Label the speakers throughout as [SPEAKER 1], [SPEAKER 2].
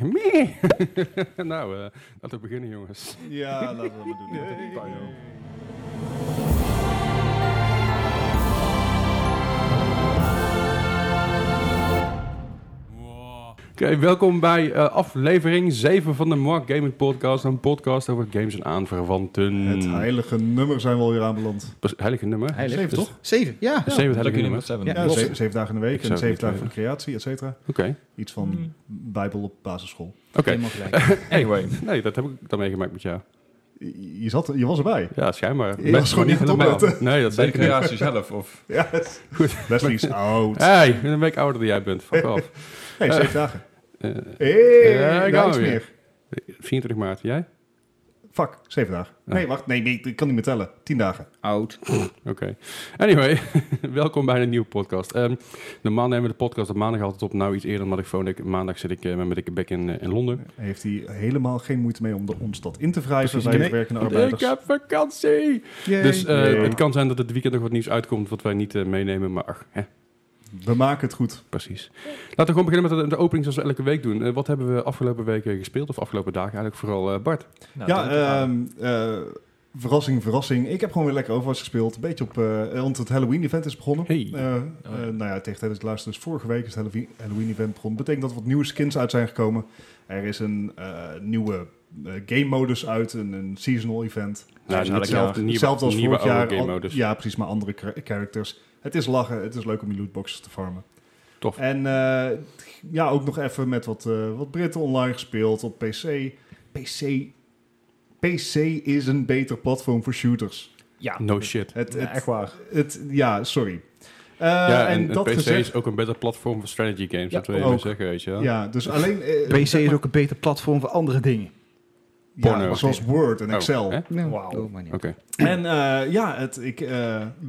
[SPEAKER 1] Mee. nou, eh, laten we beginnen, jongens.
[SPEAKER 2] Ja, laten we dat maar doen.
[SPEAKER 1] Nee. Puinhoop. Oké, welkom bij eh, aflevering 7 van de Mark Gaming Podcast. Een podcast over games en aanverwanten.
[SPEAKER 2] Het heilige nummer zijn we alweer aanbeland.
[SPEAKER 1] Pers- heilige nummer.
[SPEAKER 3] Heilig.
[SPEAKER 2] Zeven,
[SPEAKER 3] Dus-
[SPEAKER 2] toch?
[SPEAKER 3] Zeven, ja.
[SPEAKER 1] Zeven het heilige
[SPEAKER 3] Lucky
[SPEAKER 1] nummer.
[SPEAKER 3] number seven.
[SPEAKER 2] Ja,
[SPEAKER 3] Los.
[SPEAKER 2] ze- zeven dagen in de
[SPEAKER 1] Ik
[SPEAKER 2] week
[SPEAKER 1] zou
[SPEAKER 2] en
[SPEAKER 1] het
[SPEAKER 2] zeven
[SPEAKER 1] niet Hmm.
[SPEAKER 2] dagen van de creatie, et cetera.
[SPEAKER 1] Oké,
[SPEAKER 2] Iets van Bijbel op basisschool.
[SPEAKER 1] oké.
[SPEAKER 3] Helemaal gelijk. Anyway.
[SPEAKER 1] Nee, dat heb ik dan meegemaakt met jou.
[SPEAKER 2] Je, je zat, je was erbij.
[SPEAKER 1] Ja, schijnbaar.
[SPEAKER 2] Je was
[SPEAKER 1] maar
[SPEAKER 2] gewoon niet aan het opletten.
[SPEAKER 1] Nee, dat
[SPEAKER 3] Bij de
[SPEAKER 1] zeker niet.
[SPEAKER 3] creatie zelf, of...
[SPEAKER 2] Ja,
[SPEAKER 1] Goed.
[SPEAKER 2] Leslie is oud.
[SPEAKER 1] Hey, een week ouder dan jij bent. Fuck off.
[SPEAKER 2] Hey, zeven dagen.
[SPEAKER 1] Eh,
[SPEAKER 2] Hey,
[SPEAKER 1] ja,
[SPEAKER 2] daar
[SPEAKER 1] gaan
[SPEAKER 2] is
[SPEAKER 1] we weer.
[SPEAKER 2] meer.
[SPEAKER 1] 24 maart, jij?
[SPEAKER 2] Fuck, zeven dagen.
[SPEAKER 1] Ja.
[SPEAKER 2] Nee, wacht. Nee, nee, ik kan niet meer tellen. Tien dagen.
[SPEAKER 3] Oud.
[SPEAKER 1] Oké. Anyway, welkom bij een nieuwe podcast. Ehm, normaal nemen we de podcast op maandag altijd op. Nou, iets eerder, omdat ik gewoon... ik- maandag zit ik eh, met mijn dikke bek in, eh, in Londen.
[SPEAKER 2] Heeft hij helemaal geen moeite mee om de, ons dat in te wrijven
[SPEAKER 1] Precies,
[SPEAKER 2] bij de
[SPEAKER 1] nee.
[SPEAKER 2] werkende
[SPEAKER 1] Ik
[SPEAKER 2] arbeiders.
[SPEAKER 1] heb vakantie! Dus eh,
[SPEAKER 2] Yay.
[SPEAKER 1] het kan zijn dat het weekend nog wat nieuws uitkomt wat wij niet eh, meenemen, maar ach, hè,
[SPEAKER 2] We maken het goed.
[SPEAKER 1] precies. Laten we gewoon beginnen met de, de opening zoals we elke week doen. Eh, wat hebben we afgelopen weken gespeeld, of afgelopen dagen eigenlijk vooral, eh, Bart?
[SPEAKER 4] Nou,
[SPEAKER 2] ja, ehm, eh, verrassing, verrassing. Ik heb gewoon weer lekker Overwatch gespeeld. Een beetje op, eh, want het Halloween-event is begonnen.
[SPEAKER 1] Hey.
[SPEAKER 2] Eh, eh, nou ja, tegen tijdens het luisteren dus vorige week is het Halloween- Halloween-event begonnen. Betekent dat er wat nieuwe skins uit zijn gekomen. Er is een eh, nieuwe eh, game-modus uit, een, een seasonal event.
[SPEAKER 1] Nou,
[SPEAKER 2] Dus
[SPEAKER 1] elk
[SPEAKER 2] hetzelfde,
[SPEAKER 1] jaar.
[SPEAKER 2] hetzelfde als
[SPEAKER 1] Nieuwe-
[SPEAKER 2] vorig
[SPEAKER 1] nieuwe
[SPEAKER 2] jaar.
[SPEAKER 1] oude
[SPEAKER 2] al-
[SPEAKER 1] game-modus.
[SPEAKER 2] Ja, precies, maar andere char- characters. Het is lachen, het is leuk om je lootboxes te farmen.
[SPEAKER 1] Tof.
[SPEAKER 2] En eh, ja, ook nog even met wat, eh, wat Britten online gespeeld op PC. PC. PC is een beter platform voor shooters.
[SPEAKER 3] Ja.
[SPEAKER 1] No shit.
[SPEAKER 2] Het,
[SPEAKER 3] Ja,
[SPEAKER 2] het,
[SPEAKER 3] echt waar.
[SPEAKER 2] het, ja, sorry. Eh,
[SPEAKER 1] ja,
[SPEAKER 2] en
[SPEAKER 1] en, het
[SPEAKER 2] dat
[SPEAKER 1] PC
[SPEAKER 2] gezegd,
[SPEAKER 1] is ook een beter platform voor strategy games,
[SPEAKER 3] Ja,
[SPEAKER 1] dat wil je maar
[SPEAKER 2] ook.
[SPEAKER 1] zeggen, weet je wel.
[SPEAKER 2] ja, dus alleen eh,
[SPEAKER 4] PC
[SPEAKER 2] zeg
[SPEAKER 4] is
[SPEAKER 2] maar-
[SPEAKER 4] ook een beter platform voor andere dingen.
[SPEAKER 2] ja,
[SPEAKER 1] porno.
[SPEAKER 2] zoals Word en
[SPEAKER 1] Oh,
[SPEAKER 2] Excel.
[SPEAKER 1] hè?
[SPEAKER 3] Wauw.
[SPEAKER 1] Oké.
[SPEAKER 2] En eh, ja, het, ik, eh,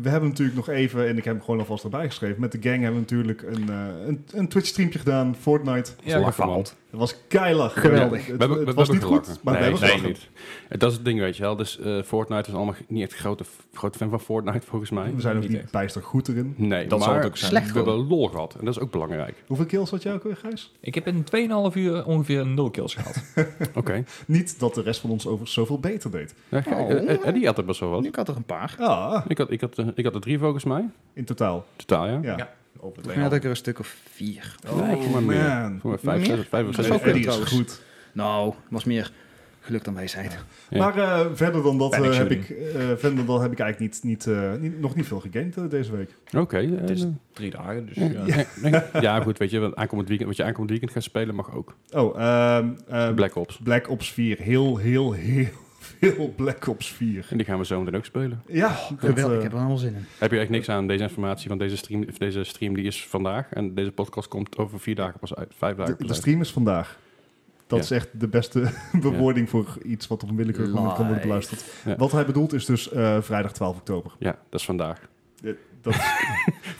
[SPEAKER 2] we hebben natuurlijk nog even, en ik heb hem gewoon alvast erbij geschreven. Met de gang hebben we natuurlijk een, eh, een, een Twitch streampje gedaan, Fortnite.
[SPEAKER 1] Ja, gefaald.
[SPEAKER 2] Dat was keilach.
[SPEAKER 4] Geweldig.
[SPEAKER 2] Het,
[SPEAKER 1] We
[SPEAKER 2] het
[SPEAKER 1] hebben- we
[SPEAKER 2] was
[SPEAKER 1] hebben
[SPEAKER 2] niet
[SPEAKER 1] gelachen.
[SPEAKER 2] goed, maar
[SPEAKER 1] nee,
[SPEAKER 2] we
[SPEAKER 1] nee,
[SPEAKER 2] hebben gelachen.
[SPEAKER 1] niet. Eh, Dat is het ding, weet je wel. Dus eh, Fortnite is allemaal niet echt grote, grote fan van Fortnite, volgens mij.
[SPEAKER 2] We zijn ook
[SPEAKER 3] Niet
[SPEAKER 2] niet
[SPEAKER 3] echt.
[SPEAKER 2] bijster goed erin.
[SPEAKER 1] Nee,
[SPEAKER 3] Dat
[SPEAKER 1] maar
[SPEAKER 3] zal het ook zijn.
[SPEAKER 1] we
[SPEAKER 4] Slecht
[SPEAKER 1] hebben lol gehad. En dat is ook belangrijk.
[SPEAKER 2] Hoeveel kills had jij ook weer, Gijs?
[SPEAKER 3] Ik heb in 2,5 uur ongeveer 0 kills gehad.
[SPEAKER 1] Oké.
[SPEAKER 2] Niet dat de rest van ons over zoveel beter deed.
[SPEAKER 1] Ja, kijk,
[SPEAKER 4] Oh.
[SPEAKER 1] eh, eh, Eddie had er best wel wat.
[SPEAKER 4] Ik had er een paar.
[SPEAKER 2] Ah,
[SPEAKER 1] Ik had, ik had, eh, ik had er drie volgens mij.
[SPEAKER 2] in totaal.
[SPEAKER 1] Totaal, ja.
[SPEAKER 2] Ja.
[SPEAKER 3] Ja. Over
[SPEAKER 4] Toen had ik er een stuk of vier.
[SPEAKER 1] Nee, voor mij
[SPEAKER 2] Oh,
[SPEAKER 1] meer.
[SPEAKER 2] man.
[SPEAKER 1] Voor mij vijf,
[SPEAKER 4] Meer?
[SPEAKER 1] zes, vijf of
[SPEAKER 4] Dat is
[SPEAKER 1] zes.
[SPEAKER 4] ook weer
[SPEAKER 2] Eddie is
[SPEAKER 4] trouwens.
[SPEAKER 2] goed.
[SPEAKER 4] Nou, was meer geluk dan wijsheid.
[SPEAKER 1] Ja.
[SPEAKER 2] Maar eh, verder dan dat eh,
[SPEAKER 3] Panic
[SPEAKER 2] heb ik,
[SPEAKER 3] shooting.
[SPEAKER 2] eh, verder dan dat heb ik eigenlijk niet, niet, eh, niet- nog niet veel gegamed eh, deze week.
[SPEAKER 1] Oké. eh,
[SPEAKER 3] Het is
[SPEAKER 1] eh,
[SPEAKER 3] drie dagen, dus
[SPEAKER 1] ja.
[SPEAKER 3] ja.
[SPEAKER 1] ja. goed, weet je, want aankomend weekend, wat je aankomend weekend gaat spelen mag ook.
[SPEAKER 2] Oh, ehm, eh,
[SPEAKER 1] Black Ops.
[SPEAKER 2] Black Ops 4. Heel, heel, heel veel Black Ops 4.
[SPEAKER 1] En die gaan we zo meteen ook spelen.
[SPEAKER 2] Ja, dat,
[SPEAKER 4] Geweldig,
[SPEAKER 2] eh,
[SPEAKER 4] ik heb er allemaal zin in.
[SPEAKER 1] Heb je echt niks aan deze informatie, want deze stream, of deze stream die is vandaag. En deze podcast komt over vier dagen pas uit, vijf dagen
[SPEAKER 2] De,
[SPEAKER 1] pas
[SPEAKER 2] de
[SPEAKER 1] uit.
[SPEAKER 2] stream is vandaag. Dat
[SPEAKER 1] Ja.
[SPEAKER 2] is echt de beste bewoording voor iets wat op een willekeurig moment kan worden beluisterd.
[SPEAKER 1] Ja.
[SPEAKER 2] Wat hij bedoelt is dus eh, vrijdag 12 oktober.
[SPEAKER 1] Ja, dat is vandaag.
[SPEAKER 2] Eh, Dat is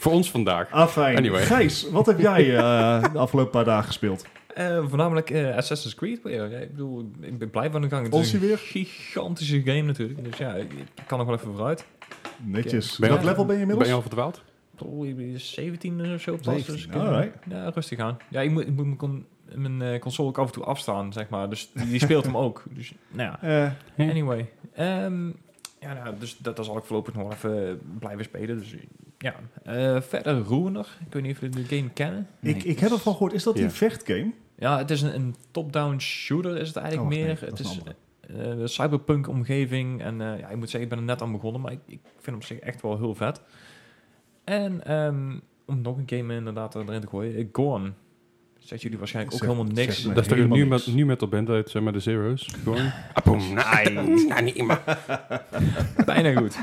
[SPEAKER 1] Voor ons vandaag.
[SPEAKER 2] afijn.
[SPEAKER 1] Anyway.
[SPEAKER 2] Gijs, wat heb jij eh, de afgelopen paar dagen gespeeld?
[SPEAKER 3] Eh, voornamelijk eh, Assassin's Creed weer. Ja, ik bedoel, ik ben blij van de gang. Het
[SPEAKER 2] Ons
[SPEAKER 3] is
[SPEAKER 2] je
[SPEAKER 3] een
[SPEAKER 2] weer?
[SPEAKER 3] gigantische game natuurlijk. Dus ja, ik ik kan nog wel even vooruit.
[SPEAKER 2] Netjes.
[SPEAKER 1] Ben je
[SPEAKER 2] Welk
[SPEAKER 3] al-
[SPEAKER 2] level ben
[SPEAKER 1] Ben
[SPEAKER 2] je inmiddels?
[SPEAKER 1] je al verdwaald?
[SPEAKER 3] Oh, ik ben 17 of zo pas. Dus
[SPEAKER 2] 17,
[SPEAKER 3] ik, eh,
[SPEAKER 2] alright.
[SPEAKER 3] Ja, rustig aan. Ja, ik moet, ik moet mijn, con- mijn eh, console ook af en toe afstaan, zeg maar. Dus die, die speelt hem ook. Dus nou ja.
[SPEAKER 2] Eh,
[SPEAKER 3] Anyway. ehm, ja, nou, dus dat, dat zal ik voorlopig nog wel even blijven spelen. Dus ja. Eh, verder Ruiner. Ik weet niet of jullie de game kennen.
[SPEAKER 2] ik, ik heb ervan gehoord, is dat
[SPEAKER 1] Ja.
[SPEAKER 2] een vechtgame?
[SPEAKER 3] Ja, het is een, een top-down shooter is het eigenlijk
[SPEAKER 2] Oh, wacht,
[SPEAKER 3] meer.
[SPEAKER 2] nee, dat
[SPEAKER 3] het
[SPEAKER 2] is
[SPEAKER 3] is
[SPEAKER 2] een
[SPEAKER 3] eh, een cyberpunk omgeving. En eh, ja, ik moet zeggen, ik ben er net aan begonnen. Maar ik, ik vind hem op zich echt wel heel vet. En ehm, om nog een game inderdaad erin te gooien. eh, Gone. Zegt jullie waarschijnlijk ook
[SPEAKER 2] Zeg-
[SPEAKER 3] helemaal niks.
[SPEAKER 2] zeg Nee,
[SPEAKER 1] dat is toch een
[SPEAKER 2] helemaal
[SPEAKER 1] nu,
[SPEAKER 2] niks.
[SPEAKER 1] met, nu metal band uit, zeg maar, de Zero's? Gewoon. Apoem, nee, nee, niet meer.
[SPEAKER 3] Bijna goed.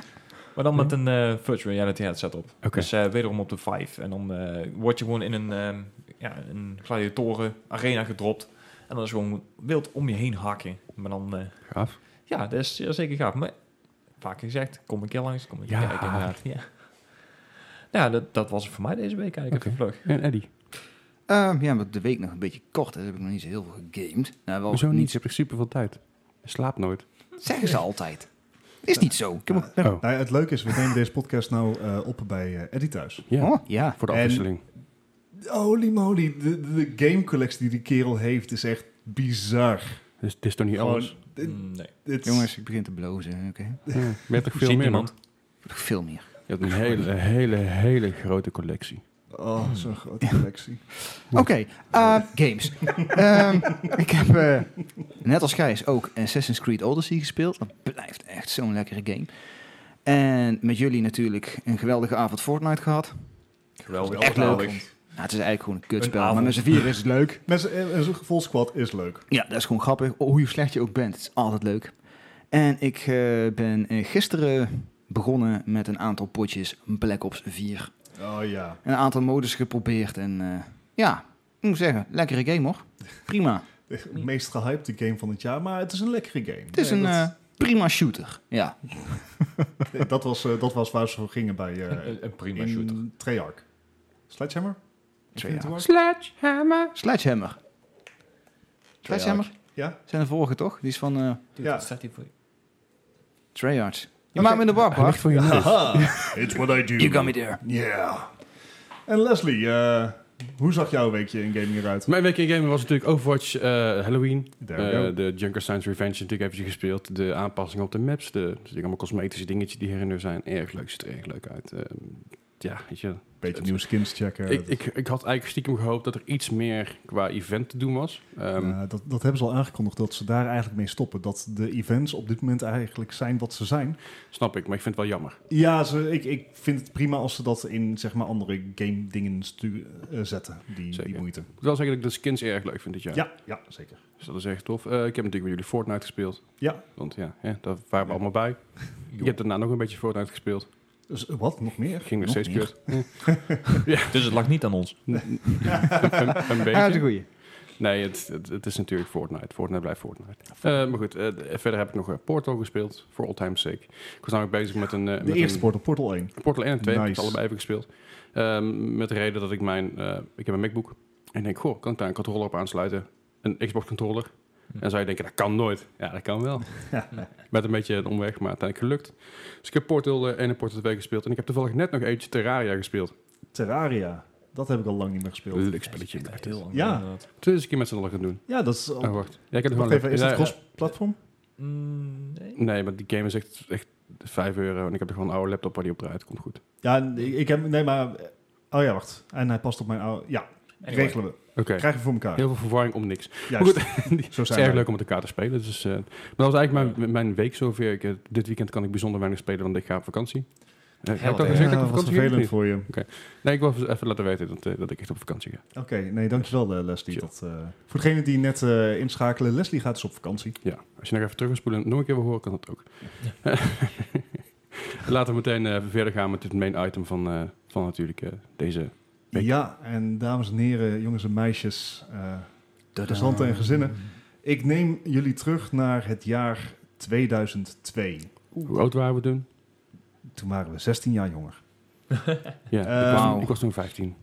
[SPEAKER 3] Maar dan met een eh, virtual reality headset op.
[SPEAKER 1] Oké.
[SPEAKER 3] Dus eh, wederom op de 5. En dan eh, word je gewoon in een, ehm ja, een gladiatoren arena gedropt. En dan is gewoon wild om je heen hakken. Maar dan, eh,
[SPEAKER 1] Gaaf.
[SPEAKER 3] ja, dat is zeer zeker gaaf. Maar vaak gezegd, kom een keer langs, kom een keer
[SPEAKER 1] Ja.
[SPEAKER 3] kijken inderdaad. Ja, ja dat, dat was het voor mij deze week eigenlijk
[SPEAKER 1] Oké.
[SPEAKER 3] even vlug.
[SPEAKER 1] En Eddie?
[SPEAKER 4] Ehm, ja, maar de week nog een beetje kort. Dus heb ik nog niet zo heel veel gegamed. Nou, wel
[SPEAKER 1] Hoezo niet?
[SPEAKER 4] niet?
[SPEAKER 1] Ze hebben super veel tijd. Je slaapt nooit.
[SPEAKER 4] Zeggen ze altijd. Is niet zo. Ik heb ook-
[SPEAKER 1] Oh,
[SPEAKER 2] Nou, ja, het leuke is, we nemen deze podcast nou eh, op bij eh, Eddie thuis.
[SPEAKER 1] ja.
[SPEAKER 4] Oh, ja.
[SPEAKER 1] Voor de
[SPEAKER 2] En-
[SPEAKER 1] afwisseling.
[SPEAKER 2] Holy moly, de, de, de gamecollectie die die kerel heeft is echt bizar.
[SPEAKER 1] Dus het is toch niet
[SPEAKER 2] Gewoon,
[SPEAKER 1] alles?
[SPEAKER 2] dit-
[SPEAKER 3] Mm, Nee.
[SPEAKER 2] dit is-
[SPEAKER 4] Mm. Jongens, ik begin te blozen, oké.
[SPEAKER 1] Ja, je hebt toch veel
[SPEAKER 3] Ziet
[SPEAKER 1] meer, man?
[SPEAKER 3] niemand.
[SPEAKER 4] Nog Veel meer.
[SPEAKER 1] Je hebt een hele, hele, hele grote collectie.
[SPEAKER 4] Mm.
[SPEAKER 2] Oh, zo'n grote collectie.
[SPEAKER 4] Oké, eh, games. Ehm, ik heb, eh, net als Gijs, ook Assassin's Creed Odyssey gespeeld. Dat blijft echt zo'n lekkere game. En met jullie natuurlijk een geweldige avond Fortnite gehad.
[SPEAKER 3] Geweldig.
[SPEAKER 4] Echt leuk.
[SPEAKER 3] Geweldig.
[SPEAKER 4] Nou, het is eigenlijk gewoon een
[SPEAKER 3] Een
[SPEAKER 4] kutspel,
[SPEAKER 3] avond.
[SPEAKER 4] maar met z'n vieren is het leuk.
[SPEAKER 2] Mensen, eh, een gevoel squad is leuk.
[SPEAKER 4] Ja, dat is gewoon grappig. Oh, Hoe slecht je ook bent, het is altijd leuk. En ik eh, ben eh, gisteren begonnen met een aantal potjes Black Ops 4.
[SPEAKER 2] Oh ja.
[SPEAKER 4] Een aantal modus geprobeerd en eh, ja, ik moet zeggen, lekkere game hoor. Prima.
[SPEAKER 2] De meest gehypte game van het jaar, maar het is een lekkere game.
[SPEAKER 4] Het is
[SPEAKER 2] Nee,
[SPEAKER 4] een
[SPEAKER 2] dat,
[SPEAKER 4] eh, prima shooter. Ja,
[SPEAKER 2] nee, dat, was, eh, dat was waar ze voor gingen bij eh,
[SPEAKER 3] Een, een prima shooter.
[SPEAKER 2] in Treyarch. Sledgehammer?
[SPEAKER 4] Treyarch.
[SPEAKER 1] Sledgehammer.
[SPEAKER 4] Sledgehammer. Sledgehammer?
[SPEAKER 2] Ja.
[SPEAKER 4] Zijn de vorige toch? Die is van eh
[SPEAKER 3] Dude,
[SPEAKER 2] Ja.
[SPEAKER 3] wat staat hier voor je?
[SPEAKER 4] Treyarch. Je maakt me in de war,
[SPEAKER 1] Hij ligt
[SPEAKER 4] Bart.
[SPEAKER 1] voor je neus.
[SPEAKER 2] It's what I do.
[SPEAKER 4] You got me there.
[SPEAKER 2] Yeah. En Leslie, eh, hoe zag jouw weekje in gaming eruit?
[SPEAKER 1] Mijn week in gaming was natuurlijk Overwatch, eh, Halloween,
[SPEAKER 2] There
[SPEAKER 1] Eh,
[SPEAKER 2] we go.
[SPEAKER 1] de Junker Science Revenge natuurlijk eventjes gespeeld. De aanpassingen op de maps. De dus natuurlijk allemaal cosmetische dingetjes die her en der zijn. Erg leuk, ziet er erg leuk uit. Ehm, ja, weet je.
[SPEAKER 2] Beetje nieuwe skins checken.
[SPEAKER 1] Ik, ik, ik had eigenlijk stiekem gehoopt dat er iets meer qua event te doen was. Ehm,
[SPEAKER 2] Eh, dat, dat hebben ze al aangekondigd dat ze daar eigenlijk mee stoppen. Dat de events op dit moment eigenlijk zijn wat ze zijn.
[SPEAKER 1] Snap ik, maar ik vind het wel jammer.
[SPEAKER 2] Ja, ze, ik, ik vind het prima als ze dat in zeg maar, andere game dingen stu- eh, zetten. Die, die
[SPEAKER 1] Zeker.
[SPEAKER 2] moeite.
[SPEAKER 1] Ik moet wel zeggen dat ik de skins erg leuk vind dit jaar.
[SPEAKER 2] Ja, ja, zeker.
[SPEAKER 1] Dus dat is echt tof. Eh, ik heb natuurlijk met jullie Fortnite gespeeld.
[SPEAKER 2] Ja.
[SPEAKER 1] Want ja, hè, daar waren we allemaal bij. Ik heb daarna nog een beetje Fortnite gespeeld.
[SPEAKER 2] Dus, eh, wat? Nog meer?
[SPEAKER 1] Ging nog
[SPEAKER 4] Nog
[SPEAKER 1] steeds
[SPEAKER 4] meer?
[SPEAKER 1] kut.
[SPEAKER 3] Dus het lag niet aan ons.
[SPEAKER 1] een, een
[SPEAKER 4] Ja, dat is
[SPEAKER 1] beetje.
[SPEAKER 4] een goeie.
[SPEAKER 1] Nee, het, het, het is natuurlijk Fortnite. Fortnite blijft Fortnite. Eh, maar goed, eh, verder heb ik nog eh, Portal gespeeld. For all time's sake. Ik was namelijk bezig met een... eh,
[SPEAKER 2] De
[SPEAKER 1] met
[SPEAKER 2] eerste
[SPEAKER 1] een-
[SPEAKER 2] Portal, Portal 1.
[SPEAKER 1] Portal 1 en 2 heb ik
[SPEAKER 2] Nice.
[SPEAKER 1] het allebei even gespeeld. Ehm, met de reden dat ik mijn... eh, ik heb een MacBook. En ik denk, goh, kan ik daar een controller op aansluiten? Een Xbox controller?
[SPEAKER 2] Hm.
[SPEAKER 1] En zou je denken, dat kan nooit. Ja, dat kan wel. Met een beetje een omweg, maar uiteindelijk gelukt. Dus ik heb Portal eh, 1 en Portal 2 gespeeld. En ik heb toevallig net nog eentje Terraria gespeeld.
[SPEAKER 2] Terraria. Dat heb ik al lang niet meer gespeeld.
[SPEAKER 1] Leuk spelletje.
[SPEAKER 3] Echt
[SPEAKER 1] blijft het.
[SPEAKER 3] heel lang.
[SPEAKER 2] Ja.
[SPEAKER 3] inderdaad.
[SPEAKER 1] Dus een keer met z'n allen gaan doen.
[SPEAKER 2] Ja, dat is al...
[SPEAKER 1] Oh, wacht. Ja, ik heb er
[SPEAKER 2] Wacht
[SPEAKER 1] gewoon
[SPEAKER 2] even, is
[SPEAKER 1] ja,
[SPEAKER 2] het
[SPEAKER 1] ja.
[SPEAKER 2] cross-platform?
[SPEAKER 3] Mm, nee.
[SPEAKER 1] Nee, maar die game is echt, echt 5 euro. En ik heb er gewoon een oude laptop waar die op draait. Komt goed.
[SPEAKER 2] Ja, ik heb... Nee, maar... eh, Oh ja, wacht. En hij past op mijn oude... Ja,
[SPEAKER 3] Anyway.
[SPEAKER 2] regelen we.
[SPEAKER 1] Oké.
[SPEAKER 2] Krijgen we voor elkaar.
[SPEAKER 1] Heel veel verwarring om niks.
[SPEAKER 2] Juist. Zo
[SPEAKER 1] Het is
[SPEAKER 2] zijn
[SPEAKER 1] erg
[SPEAKER 2] wij.
[SPEAKER 1] leuk om met elkaar te spelen. Dus, eh, maar dat was eigenlijk mijn, mijn week zover. Ik, eh, dit weekend kan ik bijzonder weinig spelen, want ik ga op vakantie. Eh, heb ik
[SPEAKER 3] Hell,
[SPEAKER 1] al gezegd dat ik
[SPEAKER 2] Ja,
[SPEAKER 1] op
[SPEAKER 2] wat
[SPEAKER 1] vakantie ga? of
[SPEAKER 2] vervelend
[SPEAKER 1] niet?
[SPEAKER 2] voor je.
[SPEAKER 1] Nee, ik wil even laten weten dat, eh, dat ik echt op vakantie ga.
[SPEAKER 2] Oké, nee, dankjewel eh, Leslie.
[SPEAKER 1] Chill.
[SPEAKER 2] Dat, eh, voor degenen die net eh, inschakelen, Leslie gaat dus op vakantie.
[SPEAKER 1] Ja, als je nog even terug wil spoelen en nog een keer wil horen, kan dat ook. Laten we meteen eh, verder gaan met het main item van, eh, van natuurlijk eh, deze... Week.
[SPEAKER 2] Ja, en dames en heren, jongens en meisjes, eh,
[SPEAKER 4] Tada.
[SPEAKER 2] gezanten en gezinnen. Ik neem jullie terug naar het jaar 2002.
[SPEAKER 1] Hoe oud waren we toen?
[SPEAKER 2] Toen waren we 16 jaar jonger.
[SPEAKER 1] Ja,
[SPEAKER 2] Eh,
[SPEAKER 1] ik, was,
[SPEAKER 4] Wauw.
[SPEAKER 1] ik was toen 15.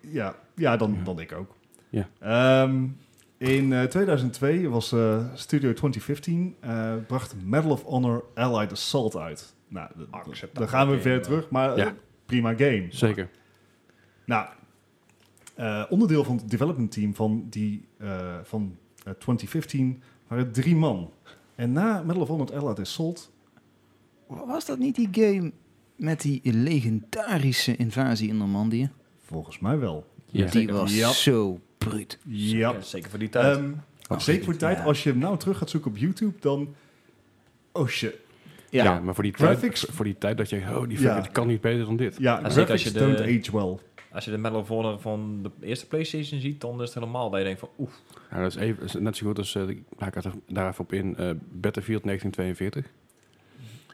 [SPEAKER 2] Ja, ja dan,
[SPEAKER 1] Ja.
[SPEAKER 2] dan ik ook.
[SPEAKER 1] Ja.
[SPEAKER 2] Ehm, in eh, 2002 was eh, Studio 2015, eh, bracht Medal of Honor Allied Assault uit. Nou, d- d-
[SPEAKER 3] Acceptabel
[SPEAKER 2] dan gaan we
[SPEAKER 3] game,
[SPEAKER 2] verder
[SPEAKER 3] eh.
[SPEAKER 2] terug, maar
[SPEAKER 1] Ja.
[SPEAKER 2] eh, prima game.
[SPEAKER 1] Zeker.
[SPEAKER 2] Nou, eh, onderdeel van het development team van, die, eh, van eh, 2015 waren drie man. En na Medal of Honor Allied Assault,
[SPEAKER 4] Was dat niet die game met die legendarische invasie in Normandië?
[SPEAKER 2] volgens mij wel.
[SPEAKER 1] Ja.
[SPEAKER 4] Die was
[SPEAKER 2] Ja.
[SPEAKER 4] zo bruut.
[SPEAKER 2] Ja.
[SPEAKER 3] Zeker, zeker voor die tijd.
[SPEAKER 2] Ehm,
[SPEAKER 4] Absoluut,
[SPEAKER 2] zeker voor die tijd,
[SPEAKER 4] ja.
[SPEAKER 2] als je hem nou terug gaat zoeken op YouTube, dan... Oh shit,
[SPEAKER 1] Ja.
[SPEAKER 4] Ja.
[SPEAKER 1] maar voor die,
[SPEAKER 2] Graphics-
[SPEAKER 1] tijd, voor die tijd dat je, oh, die
[SPEAKER 2] Ja.
[SPEAKER 1] fucker, die kan niet beter dan dit.
[SPEAKER 2] Ja,
[SPEAKER 3] zeker
[SPEAKER 2] graphics
[SPEAKER 3] als je de-
[SPEAKER 2] don't age well.
[SPEAKER 3] Als je de Medal of Honor van de eerste PlayStation ziet, dan is het helemaal dat je denkt van oef.
[SPEAKER 1] Ja, Nou, dat is even, is net zo goed als, eh, ik haak er daar even op in, eh, Battlefield 1942.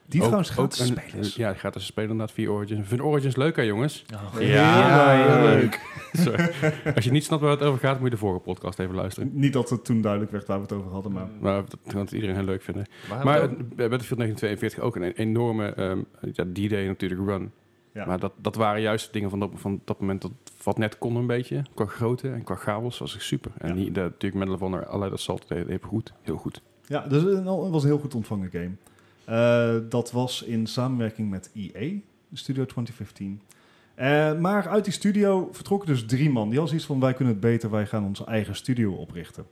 [SPEAKER 2] Die
[SPEAKER 1] Ook-
[SPEAKER 2] trouwens gaat
[SPEAKER 1] ook een-
[SPEAKER 2] spelers.
[SPEAKER 1] Ja, gaat dus spelen inderdaad via Origins. Ik vind Origins leuk hè jongens?
[SPEAKER 4] Ja, heel leuk.
[SPEAKER 1] Sorry. Als je niet snapt waar het over gaat, moet je de vorige podcast even luisteren.
[SPEAKER 2] Niet dat het toen duidelijk werd waar we het over hadden, maar...
[SPEAKER 1] Maar dat kan het iedereen heel leuk vinden.
[SPEAKER 3] Waar
[SPEAKER 1] Maar
[SPEAKER 3] hebben we
[SPEAKER 1] het- bij Battlefield 1942 ook een enorme ehm, ja, D-Day natuurlijk run.
[SPEAKER 2] Ja.
[SPEAKER 1] Maar dat, dat waren juist de dingen van dat, van dat moment dat wat net kon een beetje. Qua grootte en qua chaos was het super. En
[SPEAKER 2] Ja.
[SPEAKER 1] hier, de, natuurlijk Medal of Honor, Allied Assault, deed deed goed. Heel goed.
[SPEAKER 2] Ja, dus een- het was een heel goed ontvangen game. Eh, dat was in samenwerking met EA, Studio 2015. Eh, maar uit die studio vertrokken dus drie man. Die hadden zoiets van, wij kunnen het beter, wij gaan onze eigen studio oprichten.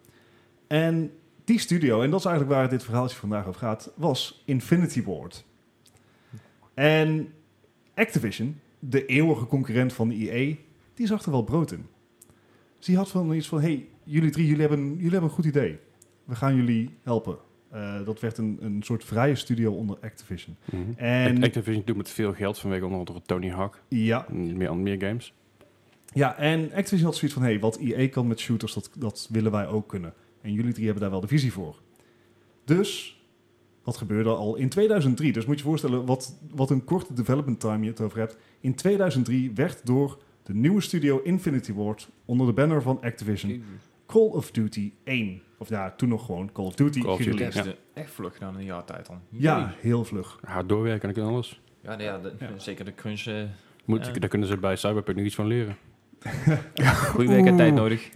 [SPEAKER 2] En die studio, en dat is eigenlijk waar dit verhaaltje vandaag over gaat, was Infinity Ward. En Activision, de eeuwige concurrent van EA, die zag er wel brood in. Dus die had van iets van, hey, jullie drie, jullie hebben, jullie hebben een goed idee. We gaan jullie helpen. Eh, dat werd een, een soort vrije studio onder Activision.
[SPEAKER 1] Mhm.
[SPEAKER 2] En
[SPEAKER 1] Activision doet met veel geld vanwege onder andere Tony Hawk
[SPEAKER 2] ja,
[SPEAKER 1] en meer, meer games.
[SPEAKER 2] Ja, en Activision had zoiets van, hey, wat EA kan met shooters, dat, dat willen wij ook kunnen. En jullie drie hebben daar wel de visie voor. Dus, wat gebeurde al in 2003? Dus moet je je voorstellen wat, wat een korte development time je het over hebt. In 2003 werd door de nieuwe studio Infinity Ward, onder de banner van Activision, Call of Duty 1. Of ja, toen nog gewoon Call of Duty
[SPEAKER 1] Call of Duty,
[SPEAKER 2] gereleased.
[SPEAKER 1] ja.
[SPEAKER 3] Echt vlug gedaan in een jaar tijd dan.
[SPEAKER 2] Ja, heel vlug.
[SPEAKER 1] Hard doorwerken en alles.
[SPEAKER 3] Ja, nee, ja, de-
[SPEAKER 2] Ja.
[SPEAKER 3] zeker de crunch. eh,
[SPEAKER 1] Moet,
[SPEAKER 3] Ja.
[SPEAKER 1] Daar kunnen ze bij Cyberpunk nog iets van leren.
[SPEAKER 3] Goede week en tijd nodig.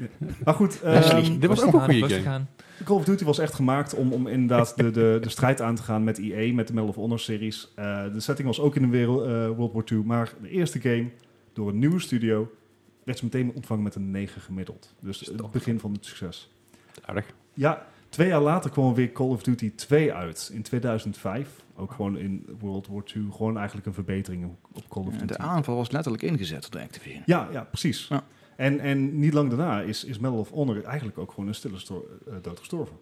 [SPEAKER 2] Maar goed,
[SPEAKER 1] Leslie,
[SPEAKER 2] ehm,
[SPEAKER 1] dit was
[SPEAKER 3] Rustig
[SPEAKER 1] ook een
[SPEAKER 3] aan,
[SPEAKER 1] goede
[SPEAKER 3] rustig
[SPEAKER 1] game.
[SPEAKER 3] aan.
[SPEAKER 2] Call of Duty was echt gemaakt om, om inderdaad de, de, de strijd aan te gaan met EA, met de Medal of Honor series. Eh, de setting was ook in de wereld, eh, World War II, maar de eerste game door een nieuwe studio werd ze meteen ontvangen met een 9 gemiddeld. Dus het begin van het succes.
[SPEAKER 1] Aardig.
[SPEAKER 2] Ja, twee jaar later kwam weer Call of Duty 2 uit, in 2005. Ook gewoon in World War II, gewoon eigenlijk een verbetering op- op Call of Duty.
[SPEAKER 4] De aanval was letterlijk ingezet door Activision.
[SPEAKER 2] Ja, ja precies.
[SPEAKER 4] Ja.
[SPEAKER 2] En, en niet lang daarna is, is Medal of Honor eigenlijk ook gewoon een stille sto- eh, dood gestorven.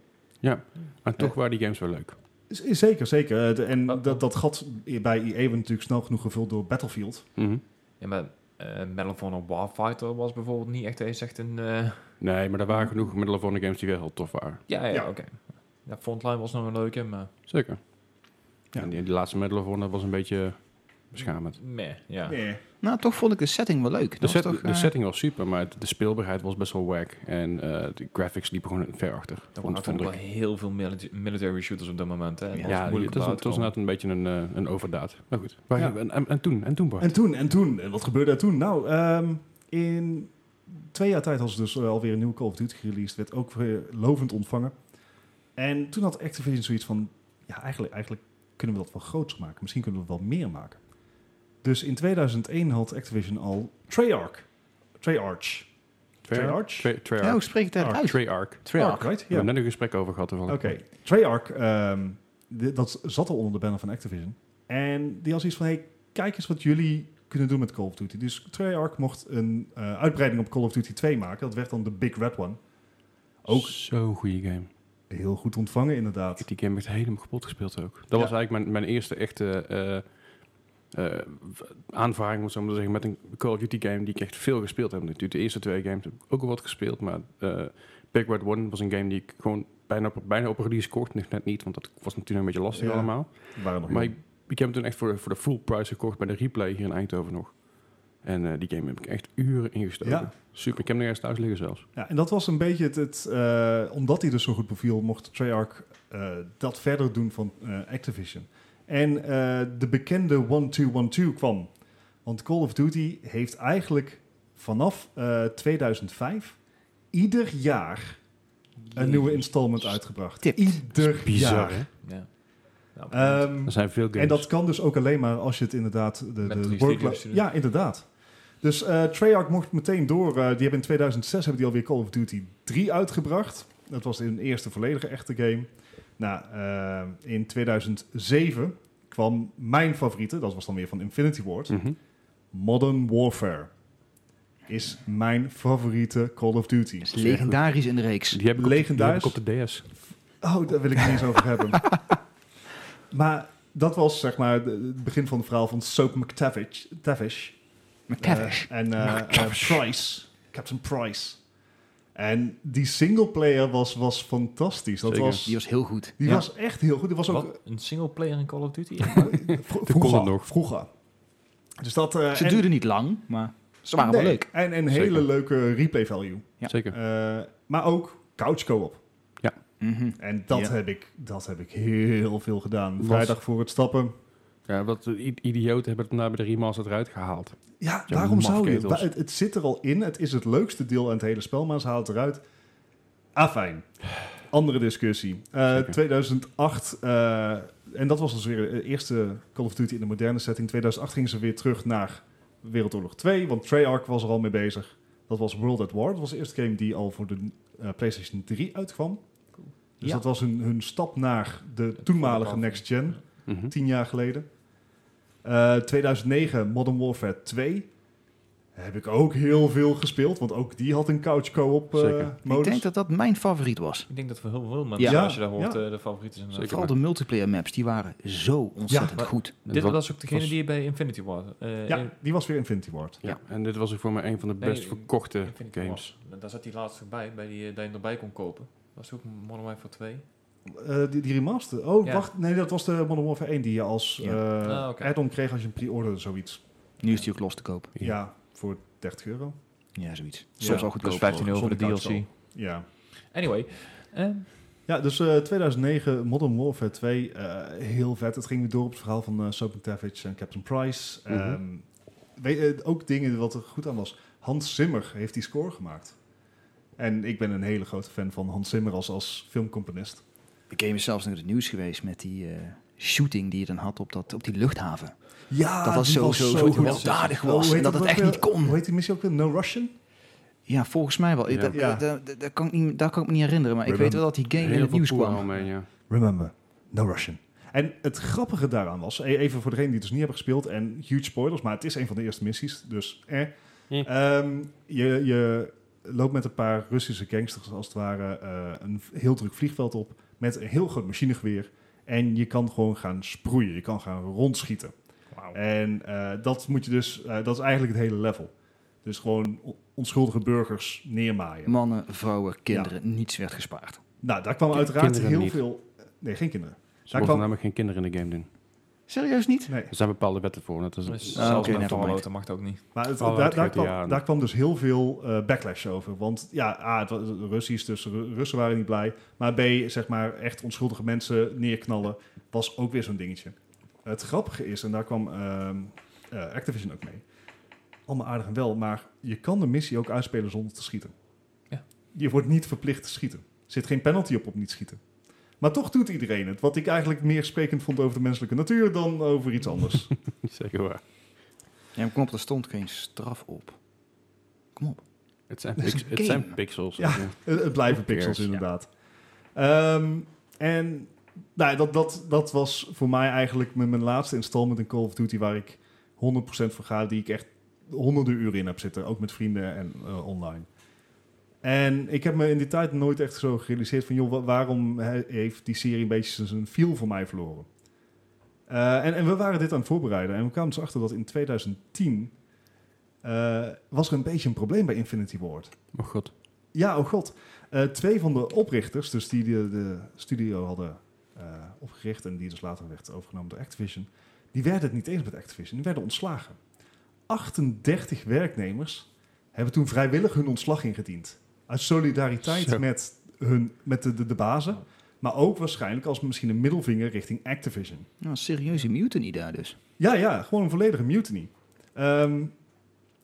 [SPEAKER 1] Maar toch waren die games wel leuk.
[SPEAKER 2] Z- Zeker, zeker. Eh, de- en
[SPEAKER 3] Wat-
[SPEAKER 2] dat, dat gat bij EA werd natuurlijk snel genoeg gevuld door Battlefield.
[SPEAKER 1] Mhm.
[SPEAKER 3] Ja, maar eh Medal of Honor Warfighter was bijvoorbeeld niet echt, eens echt een... eh,
[SPEAKER 1] Nee, maar er waren genoeg Medal of Honor games die wel heel tof waren.
[SPEAKER 3] ja, ja,
[SPEAKER 2] Ja.
[SPEAKER 3] oké. Ja, Frontline was nog een leuke, maar...
[SPEAKER 1] Zeker.
[SPEAKER 2] Ja.
[SPEAKER 1] En die, die laatste Medal of Honor was een beetje beschamend.
[SPEAKER 3] Meh, ja.
[SPEAKER 2] Nee.
[SPEAKER 4] Nou, toch vond ik de setting wel leuk.
[SPEAKER 1] De,
[SPEAKER 4] Dat
[SPEAKER 1] set-
[SPEAKER 4] was toch,
[SPEAKER 1] de
[SPEAKER 4] eh,
[SPEAKER 1] setting was super, maar het- de speelbaarheid was best wel wack. En eh, de graphics liepen gewoon ver achter.
[SPEAKER 3] Er
[SPEAKER 1] vond-
[SPEAKER 3] waren
[SPEAKER 1] vond
[SPEAKER 3] natuurlijk
[SPEAKER 1] ik.
[SPEAKER 3] wel heel veel mili- military shooters op dat moment. Hè.
[SPEAKER 4] Ja,
[SPEAKER 3] was
[SPEAKER 1] Ja,
[SPEAKER 3] moeilijk
[SPEAKER 1] het was,
[SPEAKER 3] om
[SPEAKER 1] het was
[SPEAKER 3] eruit
[SPEAKER 1] inderdaad een beetje een, eh, een overdaad. Maar goed. Waar-
[SPEAKER 2] Ja.
[SPEAKER 1] en, en, en toen? En toen, Bart?
[SPEAKER 2] En toen, en toen. En wat gebeurde er toen? Nou, ehm, in twee jaar tijd was er dus eh, alweer een nieuwe Call of Duty gereleased. Werd ook weer lovend ontvangen. En toen had Activision zoiets van... Ja, eigenlijk, eigenlijk kunnen we dat wel groots maken. Misschien kunnen we wel meer maken. Dus in 2001 had Activision al Treyarch. Treyarch. Treyarch?
[SPEAKER 1] Tre-
[SPEAKER 4] ja, hoe
[SPEAKER 1] Treyarch.
[SPEAKER 4] spreek ik
[SPEAKER 2] Arc.
[SPEAKER 4] daaruit?
[SPEAKER 1] Treyarch.
[SPEAKER 4] Treyarch.
[SPEAKER 2] right?
[SPEAKER 1] We hebben net een gesprek over gehad.
[SPEAKER 2] Oké, Treyarch, ehm, di- dat zat al onder de banner van Activision. En die had iets van, hey, kijk eens wat jullie kunnen doen met Call of Duty. Dus Treyarch mocht een eh, uitbreiding op Call of Duty 2 maken. Dat werd dan de Big Red One.
[SPEAKER 1] Ook
[SPEAKER 2] Ook
[SPEAKER 1] zo'n goede game.
[SPEAKER 2] heel goed ontvangen,
[SPEAKER 1] Ik
[SPEAKER 2] inderdaad.
[SPEAKER 1] heb die game echt helemaal kapot gespeeld ook. Dat
[SPEAKER 2] Ja.
[SPEAKER 1] was eigenlijk mijn, mijn eerste echte eh, eh, aanvaring, moet ik zo maar zeggen, met een Call of Duty game die ik echt veel gespeeld heb. Natuurlijk, de eerste twee games heb ik ook al wat gespeeld, maar eh Big Red One was een game die ik gewoon bijna op, bijna op een release kocht. Nog net niet, want dat was natuurlijk een beetje lastig
[SPEAKER 2] Ja.
[SPEAKER 1] allemaal.
[SPEAKER 2] Die waren nog
[SPEAKER 1] Maar ik,
[SPEAKER 2] jong.
[SPEAKER 1] ik heb hem toen echt voor, voor de full price gekocht bij de replay hier in Eindhoven nog. En eh, die game heb ik echt uren ingestoken.
[SPEAKER 2] Ja.
[SPEAKER 1] Super, ik heb hem ergens thuis liggen zelfs.
[SPEAKER 2] ja, en dat was een beetje het... het eh, omdat hij dus zo goed beviel, mocht Treyarch eh, dat verder doen van eh, Activision. En eh, de bekende 1212 kwam. Want Call of Duty heeft eigenlijk vanaf eh, 2005 ieder jaar een nieuwe installment uitgebracht.
[SPEAKER 4] Stipt.
[SPEAKER 2] Ieder
[SPEAKER 1] Bizar,
[SPEAKER 2] jaar.
[SPEAKER 1] hè?
[SPEAKER 3] Ja. Nou,
[SPEAKER 2] Ehm,
[SPEAKER 1] Er zijn veel games.
[SPEAKER 2] en dat kan dus ook alleen maar als je het inderdaad... De, de
[SPEAKER 3] Met drie
[SPEAKER 2] workload-
[SPEAKER 3] studio's te doen.
[SPEAKER 2] Ja, inderdaad. Dus eh, Treyarch mocht meteen door. Eh, die hebben in 2006 hebben die alweer Call of Duty 3 uitgebracht. Dat was hun eerste volledige echte game. Nou, eh, in 2007 kwam mijn favoriete, dat was dan weer van Infinity Ward,
[SPEAKER 1] Mhm.
[SPEAKER 2] Modern Warfare. Is mijn favoriete Call of Duty.
[SPEAKER 4] Is legendarisch in de reeks.
[SPEAKER 1] Die heb ik op de- die heb ik
[SPEAKER 2] Legendarisch.
[SPEAKER 1] op de DS.
[SPEAKER 2] Oh, daar wil ik het niet eens over hebben. Maar dat was zeg maar de- het begin van het verhaal van Soap McTavish. Tavish.
[SPEAKER 4] McTavish.
[SPEAKER 2] Eh, en eh, eh, Price. Captain Price. En die singleplayer was, was fantastisch. Dat
[SPEAKER 1] Zeker.
[SPEAKER 2] was,
[SPEAKER 4] Die was heel goed.
[SPEAKER 2] die
[SPEAKER 1] ja.
[SPEAKER 2] was echt heel goed. Die was ook
[SPEAKER 3] wat, een single player in Call of Duty? Ja.
[SPEAKER 2] eh, vro-
[SPEAKER 1] De
[SPEAKER 2] vroeger.
[SPEAKER 1] Colin nog.
[SPEAKER 2] vroeger. Dus dat, eh,
[SPEAKER 4] Ze
[SPEAKER 2] en-
[SPEAKER 4] duurden niet lang, maar ze waren wel
[SPEAKER 2] nee,
[SPEAKER 4] leuk.
[SPEAKER 2] En een
[SPEAKER 1] Zeker.
[SPEAKER 2] hele leuke replay value.
[SPEAKER 4] Ja.
[SPEAKER 1] Zeker.
[SPEAKER 2] Eh, maar ook couch co-op.
[SPEAKER 4] Mhm.
[SPEAKER 2] En dat,
[SPEAKER 4] Ja.
[SPEAKER 2] heb ik, dat heb ik heel veel gedaan.
[SPEAKER 1] Was-
[SPEAKER 2] Vrijdag voor het stappen.
[SPEAKER 1] Ja, wat eh, i- idioten hebben het nou bij de remaster eruit gehaald.
[SPEAKER 2] Ja,
[SPEAKER 1] Ja,
[SPEAKER 2] waarom zou je?
[SPEAKER 1] mafketels.
[SPEAKER 2] Wa- Het, het zit er al in. Het is het leukste deel aan het hele spel, maar ze haalt het eruit. Afijn. Andere discussie. Eh,
[SPEAKER 1] Zeker.
[SPEAKER 2] 2008, eh, en dat was dus weer de eerste Call of Duty in de moderne setting. 2008 gingen ze weer terug naar Wereldoorlog 2, want Treyarch was er al mee bezig. Dat was World at War. Dat was de eerste game die al voor de eh, PlayStation 3 uitkwam. Dus
[SPEAKER 4] Ja.
[SPEAKER 2] dat was hun, hun stap naar de toenmalige next gen,
[SPEAKER 1] Mhm.
[SPEAKER 2] tien jaar geleden. Eh, 2009 Modern Warfare 2. Heb ik ook heel veel gespeeld, want ook die had een couch co-op eh,
[SPEAKER 1] Zeker.
[SPEAKER 4] Ik
[SPEAKER 2] modus.
[SPEAKER 4] denk dat dat mijn favoriet was.
[SPEAKER 3] Ik denk dat we heel veel mensen,
[SPEAKER 2] Ja.
[SPEAKER 3] als je daar hoort,
[SPEAKER 2] Ja.
[SPEAKER 3] eh, de favorieten zijn.
[SPEAKER 1] Zeker.
[SPEAKER 4] Vooral de multiplayer maps, die waren zo ontzettend
[SPEAKER 3] maar-
[SPEAKER 4] goed.
[SPEAKER 3] Dit
[SPEAKER 1] Dat-
[SPEAKER 3] was ook degene
[SPEAKER 1] was-
[SPEAKER 3] die je bij Infinity War... eh, in-
[SPEAKER 2] Ja, die was weer Infinity Ward.
[SPEAKER 1] Ja, en dit was ook voor mij een van de
[SPEAKER 3] Nee,
[SPEAKER 1] best verkochte
[SPEAKER 3] Infinity
[SPEAKER 1] games.
[SPEAKER 3] War. Daar zat die laatste bij, bij die, eh, die je erbij kon kopen. Dat was ook Modern Warfare 2.
[SPEAKER 2] Eh, die, die remaster. Oh,
[SPEAKER 3] Ja.
[SPEAKER 2] wacht. Nee, dat was de Modern Warfare 1 die je als
[SPEAKER 4] Ja.
[SPEAKER 2] eh,
[SPEAKER 3] Ah, oké.
[SPEAKER 2] add-on kreeg als je een pre-order zoiets.
[SPEAKER 4] Nu is die ook los te koop.
[SPEAKER 2] Ja.
[SPEAKER 1] Ja.
[SPEAKER 2] voor 30 euro.
[SPEAKER 4] Ja, zoiets.
[SPEAKER 2] Ja.
[SPEAKER 4] Soms al goedkoop.
[SPEAKER 3] Plus 15 euro voor de
[SPEAKER 2] Zonder
[SPEAKER 3] DLC.
[SPEAKER 2] Ja,
[SPEAKER 3] Anyway. eh,
[SPEAKER 2] ja dus eh, 2009 Modern Warfare 2. eh, heel vet. Het ging weer door op het verhaal van eh Soap Tavage en Captain Price.
[SPEAKER 1] Mhm.
[SPEAKER 2] Ehm, weet, eh, ook dingen wat er goed aan was. Hans Zimmer heeft die score gemaakt. En ik ben een hele grote fan van Hans Zimmer als, als filmcomponist.
[SPEAKER 4] De game is zelfs nog in het nieuws geweest met die eh, shooting die je dan had op, dat, op die luchthaven.
[SPEAKER 2] Ja,
[SPEAKER 4] dat was
[SPEAKER 2] Ah, die
[SPEAKER 4] zo, zo, zo
[SPEAKER 2] goed.
[SPEAKER 4] gewelddadig
[SPEAKER 2] Oh, hoe
[SPEAKER 4] was en
[SPEAKER 2] heet
[SPEAKER 4] dat het
[SPEAKER 2] ook
[SPEAKER 4] echt
[SPEAKER 2] weer?
[SPEAKER 4] niet kon.
[SPEAKER 2] Hoe heet die missie ook weer? No Russian?
[SPEAKER 4] Ja, volgens mij wel. Ik-
[SPEAKER 1] Ja.
[SPEAKER 4] Dat,
[SPEAKER 2] Ja.
[SPEAKER 4] dat- dat- dat kan ik niet, daar kan ik me niet herinneren, maar ik
[SPEAKER 2] Remember.
[SPEAKER 4] weet wel dat die game
[SPEAKER 1] Heel
[SPEAKER 4] in het
[SPEAKER 1] veel
[SPEAKER 4] nieuws
[SPEAKER 1] poer
[SPEAKER 4] kwam.
[SPEAKER 1] omheen, ja.
[SPEAKER 2] Remember, no Russian. En het grappige daaraan was, e- even voor degenen die het dus niet hebben gespeeld, en huge spoilers, maar het is een van de eerste missies, dus eh.
[SPEAKER 1] Eh.
[SPEAKER 2] Ehm, je, je loopt met een paar Russische gangsters, als het ware, eh, een v- heel druk vliegveld op, met een heel groot machinegeweer. En je kan gewoon gaan sproeien, je kan gaan rondschieten. En eh, dat moet je dus, eh, dat is eigenlijk het hele level. Dus gewoon o- onschuldige burgers neermaaien.
[SPEAKER 4] Mannen, vrouwen, kinderen, niets werd gespaard.
[SPEAKER 2] nou, daar kwam uiteraard
[SPEAKER 1] kinderen
[SPEAKER 2] heel
[SPEAKER 1] niet.
[SPEAKER 2] veel... Nee, geen kinderen.
[SPEAKER 1] Ze
[SPEAKER 2] Daar
[SPEAKER 1] mogen
[SPEAKER 2] kwam-
[SPEAKER 1] namelijk geen kinderen in de game doen.
[SPEAKER 4] Serieus niet?
[SPEAKER 2] Nee.
[SPEAKER 1] Er zijn bepaalde wetten voor. Dat is
[SPEAKER 3] dus
[SPEAKER 4] Ah,
[SPEAKER 3] zelfs
[SPEAKER 4] oké, never
[SPEAKER 3] met
[SPEAKER 4] mind.
[SPEAKER 3] Fallout, dat mag dat ook niet.
[SPEAKER 2] Maar het,
[SPEAKER 1] Oh,
[SPEAKER 2] daar,
[SPEAKER 1] het
[SPEAKER 2] daar,
[SPEAKER 1] GTA
[SPEAKER 2] kwam,
[SPEAKER 1] aan.
[SPEAKER 2] daar kwam dus heel veel eh, backlash over. Want ja, A, het was Russisch, dus Ru- Russen waren niet blij. Maar B, zeg maar, echt onschuldige mensen neerknallen, was ook weer zo'n dingetje. Het grappige is, en daar kwam ehm, eh, Activision ook mee. Allemaal aardig en wel, maar je kan de missie ook uitspelen zonder te schieten.
[SPEAKER 3] Ja.
[SPEAKER 2] Je wordt niet verplicht te schieten. Er zit geen penalty op op niet schieten. Maar toch doet iedereen het. Wat ik eigenlijk meer sprekend vond over de menselijke natuur dan over iets anders.
[SPEAKER 1] niet zeker waar.
[SPEAKER 4] Ja, maar kom op, er stond geen straf op. Kom op.
[SPEAKER 1] Het zijn,
[SPEAKER 4] Dat is
[SPEAKER 1] pix-
[SPEAKER 4] een
[SPEAKER 1] het
[SPEAKER 4] game.
[SPEAKER 1] zijn pixels.
[SPEAKER 2] Ja.
[SPEAKER 1] weet je.
[SPEAKER 2] Het, het blijven
[SPEAKER 1] Who cares?
[SPEAKER 2] pixels, inderdaad. Ehm, en nou, ja, dat, dat, dat was voor mij eigenlijk mijn, mijn laatste installment in Call of Duty... waar ik 100% voor ga, die ik echt honderden uren in heb zitten. Ook met vrienden en eh, online. En ik heb me in die tijd nooit echt zo gerealiseerd van... joh, wa- waarom he- heeft die serie een beetje zijn feel voor mij verloren? Eh, en, en we waren dit aan het voorbereiden. En we kwamen dus achter dat in 2010... eh, was er een beetje een probleem bij Infinity Ward.
[SPEAKER 1] Oh god.
[SPEAKER 2] Ja, oh god. Eh, twee van de oprichters, dus die de, de studio hadden eh, opgericht en die dus later werd overgenomen door Activision, die werden het niet eens met Activision, die werden ontslagen. 38 werknemers hebben toen vrijwillig hun ontslag ingediend. Uit solidariteit
[SPEAKER 1] Zo.
[SPEAKER 2] met, hun, met de, de, de bazen, maar ook waarschijnlijk als misschien een middelvinger richting Activision.
[SPEAKER 4] Nou, serieuze mutiny daar dus.
[SPEAKER 2] Ja, ja, gewoon een volledige mutiny. Ehm,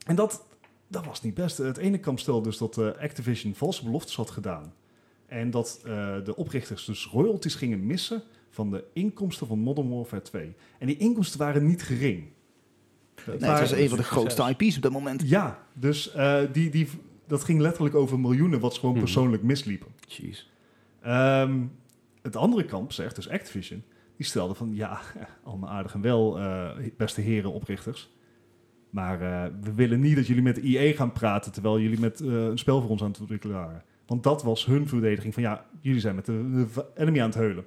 [SPEAKER 2] en dat, dat was niet best. Het ene kamp stelde dus dat eh, Activision valse beloftes had gedaan. En dat eh, de oprichters dus royalties gingen missen van de inkomsten van Modern Warfare 2. En die inkomsten waren niet gering. Dat
[SPEAKER 4] Nee, het
[SPEAKER 2] waren-
[SPEAKER 4] was een van de grootste IP's op dat moment.
[SPEAKER 2] Ja, dus eh, die, die, dat ging letterlijk over miljoenen wat ze gewoon
[SPEAKER 1] Mhm.
[SPEAKER 2] persoonlijk misliepen.
[SPEAKER 1] Jeez.
[SPEAKER 2] Ehm, het andere kamp zegt, dus Activision, die stelde van ja, allemaal aardig en wel, eh, beste heren oprichters. Maar eh, we willen niet dat jullie met IE gaan praten terwijl jullie met eh, een spel voor ons aan het ontwikkelen waren. Want dat was hun verdediging van ja, jullie zijn met de, de v- enemy aan het heulen.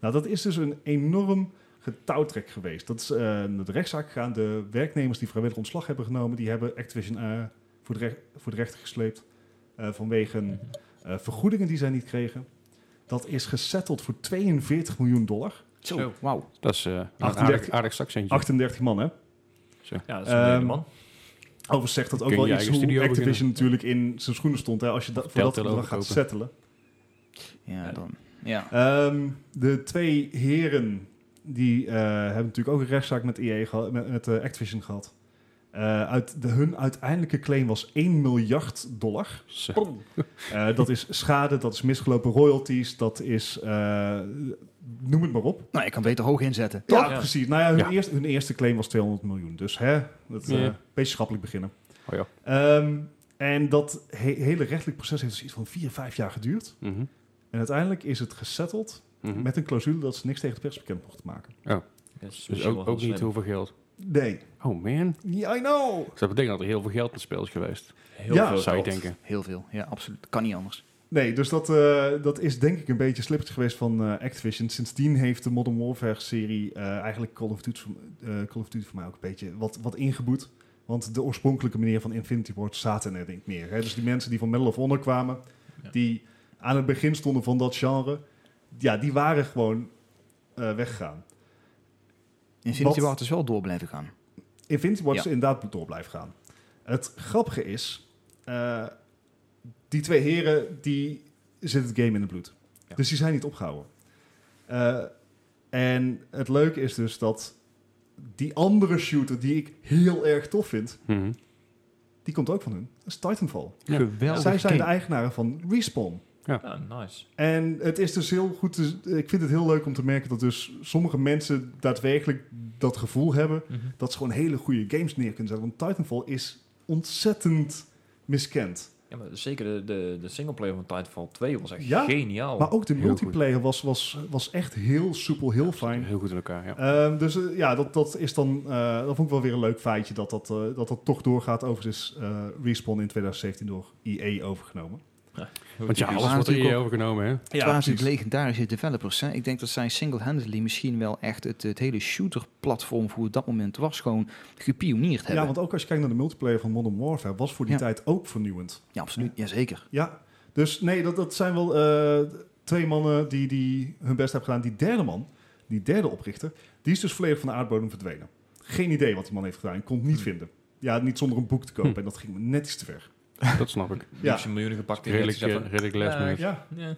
[SPEAKER 2] Nou, dat is dus een enorm getouwtrek geweest. Dat is eh, naar de rechtszaak gegaan. De werknemers die vrijwillig ontslag hebben genomen, die hebben Activision eh, voor, de rech- voor de rechter gesleept eh, vanwege eh, vergoedingen die zij niet kregen. Dat is gesetteld voor 42 miljoen dollar.
[SPEAKER 4] Zo,
[SPEAKER 3] Zo.
[SPEAKER 4] wauw.
[SPEAKER 1] Dat is eh, een
[SPEAKER 2] 38.
[SPEAKER 1] aardig, aardig zakcentje.
[SPEAKER 2] 38 man, hè?
[SPEAKER 3] Ja, dat is een
[SPEAKER 2] Ehm,
[SPEAKER 3] hele man.
[SPEAKER 2] Overigens zegt dat ook
[SPEAKER 1] Kun je
[SPEAKER 2] wel
[SPEAKER 1] je
[SPEAKER 2] iets
[SPEAKER 1] eigen
[SPEAKER 2] hoe
[SPEAKER 1] studio
[SPEAKER 2] Activision natuurlijk in zijn schoenen stond. Hè, als je da- voor dat
[SPEAKER 1] Telltale
[SPEAKER 2] bedrag gaat
[SPEAKER 1] overkopen.
[SPEAKER 2] settelen.
[SPEAKER 4] Ja, dan. Ja.
[SPEAKER 2] Ehm, de twee heren die eh, hebben natuurlijk ook een rechtszaak met, EA geha- met, met eh, Activision gehad. Eh, uit de, hun uiteindelijke claim was 1 miljard dollar.
[SPEAKER 1] Zo.
[SPEAKER 2] Eh, dat is schade, dat is misgelopen royalties, dat is... eh, noem het maar op.
[SPEAKER 4] Nou, ik kan beter hoog inzetten.
[SPEAKER 2] Ja,
[SPEAKER 3] Ja.
[SPEAKER 2] precies. Nou ja, hun,
[SPEAKER 1] Ja.
[SPEAKER 2] Eerste, hun eerste claim was 200 miljoen. Dus hè, dat, eh,
[SPEAKER 1] Ja.
[SPEAKER 2] een beetje schappelijk beginnen.
[SPEAKER 1] Oh ja.
[SPEAKER 2] Ehm, en dat he- hele rechtelijk proces heeft dus iets van 4, 5 jaar geduurd.
[SPEAKER 1] Mhm.
[SPEAKER 2] En En uiteindelijk is het gesetteld
[SPEAKER 1] Mhm.
[SPEAKER 2] met een clausule dat ze niks tegen de pers bekend mochten maken.
[SPEAKER 3] Dat is
[SPEAKER 1] Dus
[SPEAKER 3] misschien wel
[SPEAKER 1] ook,
[SPEAKER 3] heel
[SPEAKER 1] ook niet
[SPEAKER 3] slim.
[SPEAKER 1] hoeveel geld.
[SPEAKER 2] Nee.
[SPEAKER 1] Oh man.
[SPEAKER 2] Yeah, I know.
[SPEAKER 1] Dus dat betekent dat er heel veel geld in het spel is geweest.
[SPEAKER 2] Oh,
[SPEAKER 3] Heel
[SPEAKER 2] Ja.
[SPEAKER 3] veel
[SPEAKER 1] zou je
[SPEAKER 3] geld.
[SPEAKER 1] denken.
[SPEAKER 4] Heel veel, ja, absoluut. Kan niet anders.
[SPEAKER 2] Nee, dus dat, eh, dat is denk ik een beetje slippertje geweest van eh, Activision. Sindsdien heeft de Modern Warfare-serie eh, eigenlijk Call of, Duty, voor- eh, Call of Duty voor mij ook een beetje wat, wat ingeboet. Want de oorspronkelijke manier van Infinity Ward zaten er denk ik meer. Hè? Dus die mensen die van Medal of Honor kwamen,
[SPEAKER 3] Ja.
[SPEAKER 2] die aan het begin stonden van dat genre, ja, die waren gewoon eh, weggegaan.
[SPEAKER 4] Infinity
[SPEAKER 2] Wat?
[SPEAKER 4] Ward is wel door blijven gaan.
[SPEAKER 2] Infinity Ward
[SPEAKER 4] Ja.
[SPEAKER 2] is inderdaad door blijven gaan. Het grappige is, eh, die twee heren, die zit het game in het bloed.
[SPEAKER 3] Ja.
[SPEAKER 2] Dus die zijn niet opgehouden. Eh, en het leuke is dus dat die andere shooter die ik heel erg tof vind,
[SPEAKER 1] Mhm.
[SPEAKER 2] die komt ook van hun. Dat is Titanfall.
[SPEAKER 1] Ja.
[SPEAKER 4] Geweldig
[SPEAKER 2] Zij zijn de
[SPEAKER 4] game.
[SPEAKER 2] eigenaren van Respawn.
[SPEAKER 3] Ja, nice.
[SPEAKER 2] En het is dus heel goed. te- ik vind het heel leuk om te merken dat dus sommige mensen daadwerkelijk dat gevoel hebben
[SPEAKER 3] Mhm.
[SPEAKER 2] dat ze gewoon hele goede games neer kunnen zetten. Want Titanfall is ontzettend miskend.
[SPEAKER 3] Ja, maar zeker de, de, de singleplayer van Titanfall 2 was echt
[SPEAKER 2] Ja,
[SPEAKER 4] Oh,
[SPEAKER 3] geniaal.
[SPEAKER 2] Maar ook de
[SPEAKER 1] heel
[SPEAKER 2] multiplayer was, was, was echt heel soepel, heel fijn.
[SPEAKER 1] Heel goed in elkaar, ja.
[SPEAKER 2] Ehm, dus eh, ja, dat, dat is dan. eh, dat vond ik wel weer een leuk feitje dat dat, eh, dat, dat toch doorgaat. Overigens is eh, Respawn in 2017 door EA overgenomen.
[SPEAKER 1] Want ja,
[SPEAKER 4] Ze
[SPEAKER 1] alles
[SPEAKER 4] waren
[SPEAKER 1] wordt er
[SPEAKER 4] natuurlijk
[SPEAKER 1] hier overgenomen, hè?
[SPEAKER 4] Het waren natuurlijk legendarische developers. Hè. Ik denk dat zij single-handedly misschien wel echt het, het hele shooter-platform voor dat moment was gewoon gepionierd hebben.
[SPEAKER 2] Ja, want ook als je kijkt naar de multiplayer van Modern Warfare, was voor die
[SPEAKER 4] Ja.
[SPEAKER 2] tijd ook vernieuwend.
[SPEAKER 4] Ja, absoluut. Jazeker.
[SPEAKER 2] Ja, dus nee, dat, dat zijn wel eh, twee mannen die, die hun best hebben gedaan. Die derde man, die derde oprichter, die is dus volledig van de aardbodem verdwenen. Geen idee wat die man heeft gedaan, ik kon het niet vinden. Ja, niet zonder een boek te kopen
[SPEAKER 1] Hm.
[SPEAKER 2] en dat ging me net iets te ver.
[SPEAKER 1] Dat snap ik.
[SPEAKER 3] Die
[SPEAKER 2] Ja.
[SPEAKER 3] heeft zijn miljoenen gepakt. en die
[SPEAKER 1] Redelijk,
[SPEAKER 3] heeft gezegd
[SPEAKER 1] eh, redelijk last
[SPEAKER 3] eh,
[SPEAKER 1] minute.
[SPEAKER 2] Ja.
[SPEAKER 3] van, ja.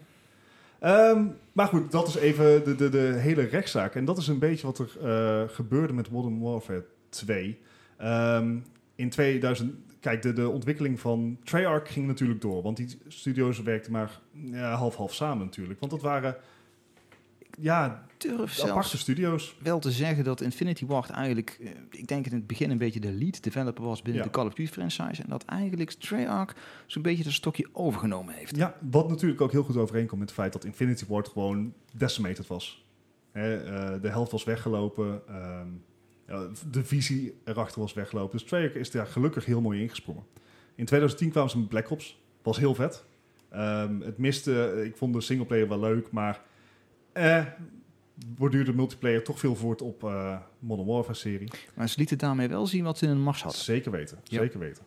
[SPEAKER 2] Ehm, maar goed, dat is even de, de, de hele rechtszaak. En dat is een beetje wat er eh, gebeurde met Modern Warfare 2. Ehm, in 2000, kijk, de, de ontwikkeling van Treyarch ging natuurlijk door. Want die studio's werkten maar ja, half-half samen natuurlijk. Want dat waren, ja,
[SPEAKER 4] Durf zelfs
[SPEAKER 2] aparte studio's.
[SPEAKER 4] wel te zeggen dat Infinity Ward eigenlijk, eh, ik denk in het begin een beetje de lead developer was binnen
[SPEAKER 2] Ja.
[SPEAKER 4] de Call of Duty franchise. En dat eigenlijk Treyarch zo'n beetje dat stokje overgenomen heeft.
[SPEAKER 2] Ja, wat natuurlijk ook heel goed overeenkomt met het feit dat Infinity Ward gewoon decimated was. Hè, eh, de helft was weggelopen, ehm, ja, de visie erachter was weggelopen. Dus Treyarch is daar gelukkig heel mooi ingesprongen. In 2010 kwamen ze met Black Ops, was heel vet. Ehm, het miste, ik vond de singleplayer wel leuk, maar eh, borduurde multiplayer toch veel voort op eh Modern Warfare-serie.
[SPEAKER 4] Maar ze lieten daarmee wel zien wat ze in hun mars hadden.
[SPEAKER 2] Zeker weten,
[SPEAKER 4] Ja.
[SPEAKER 2] zeker weten.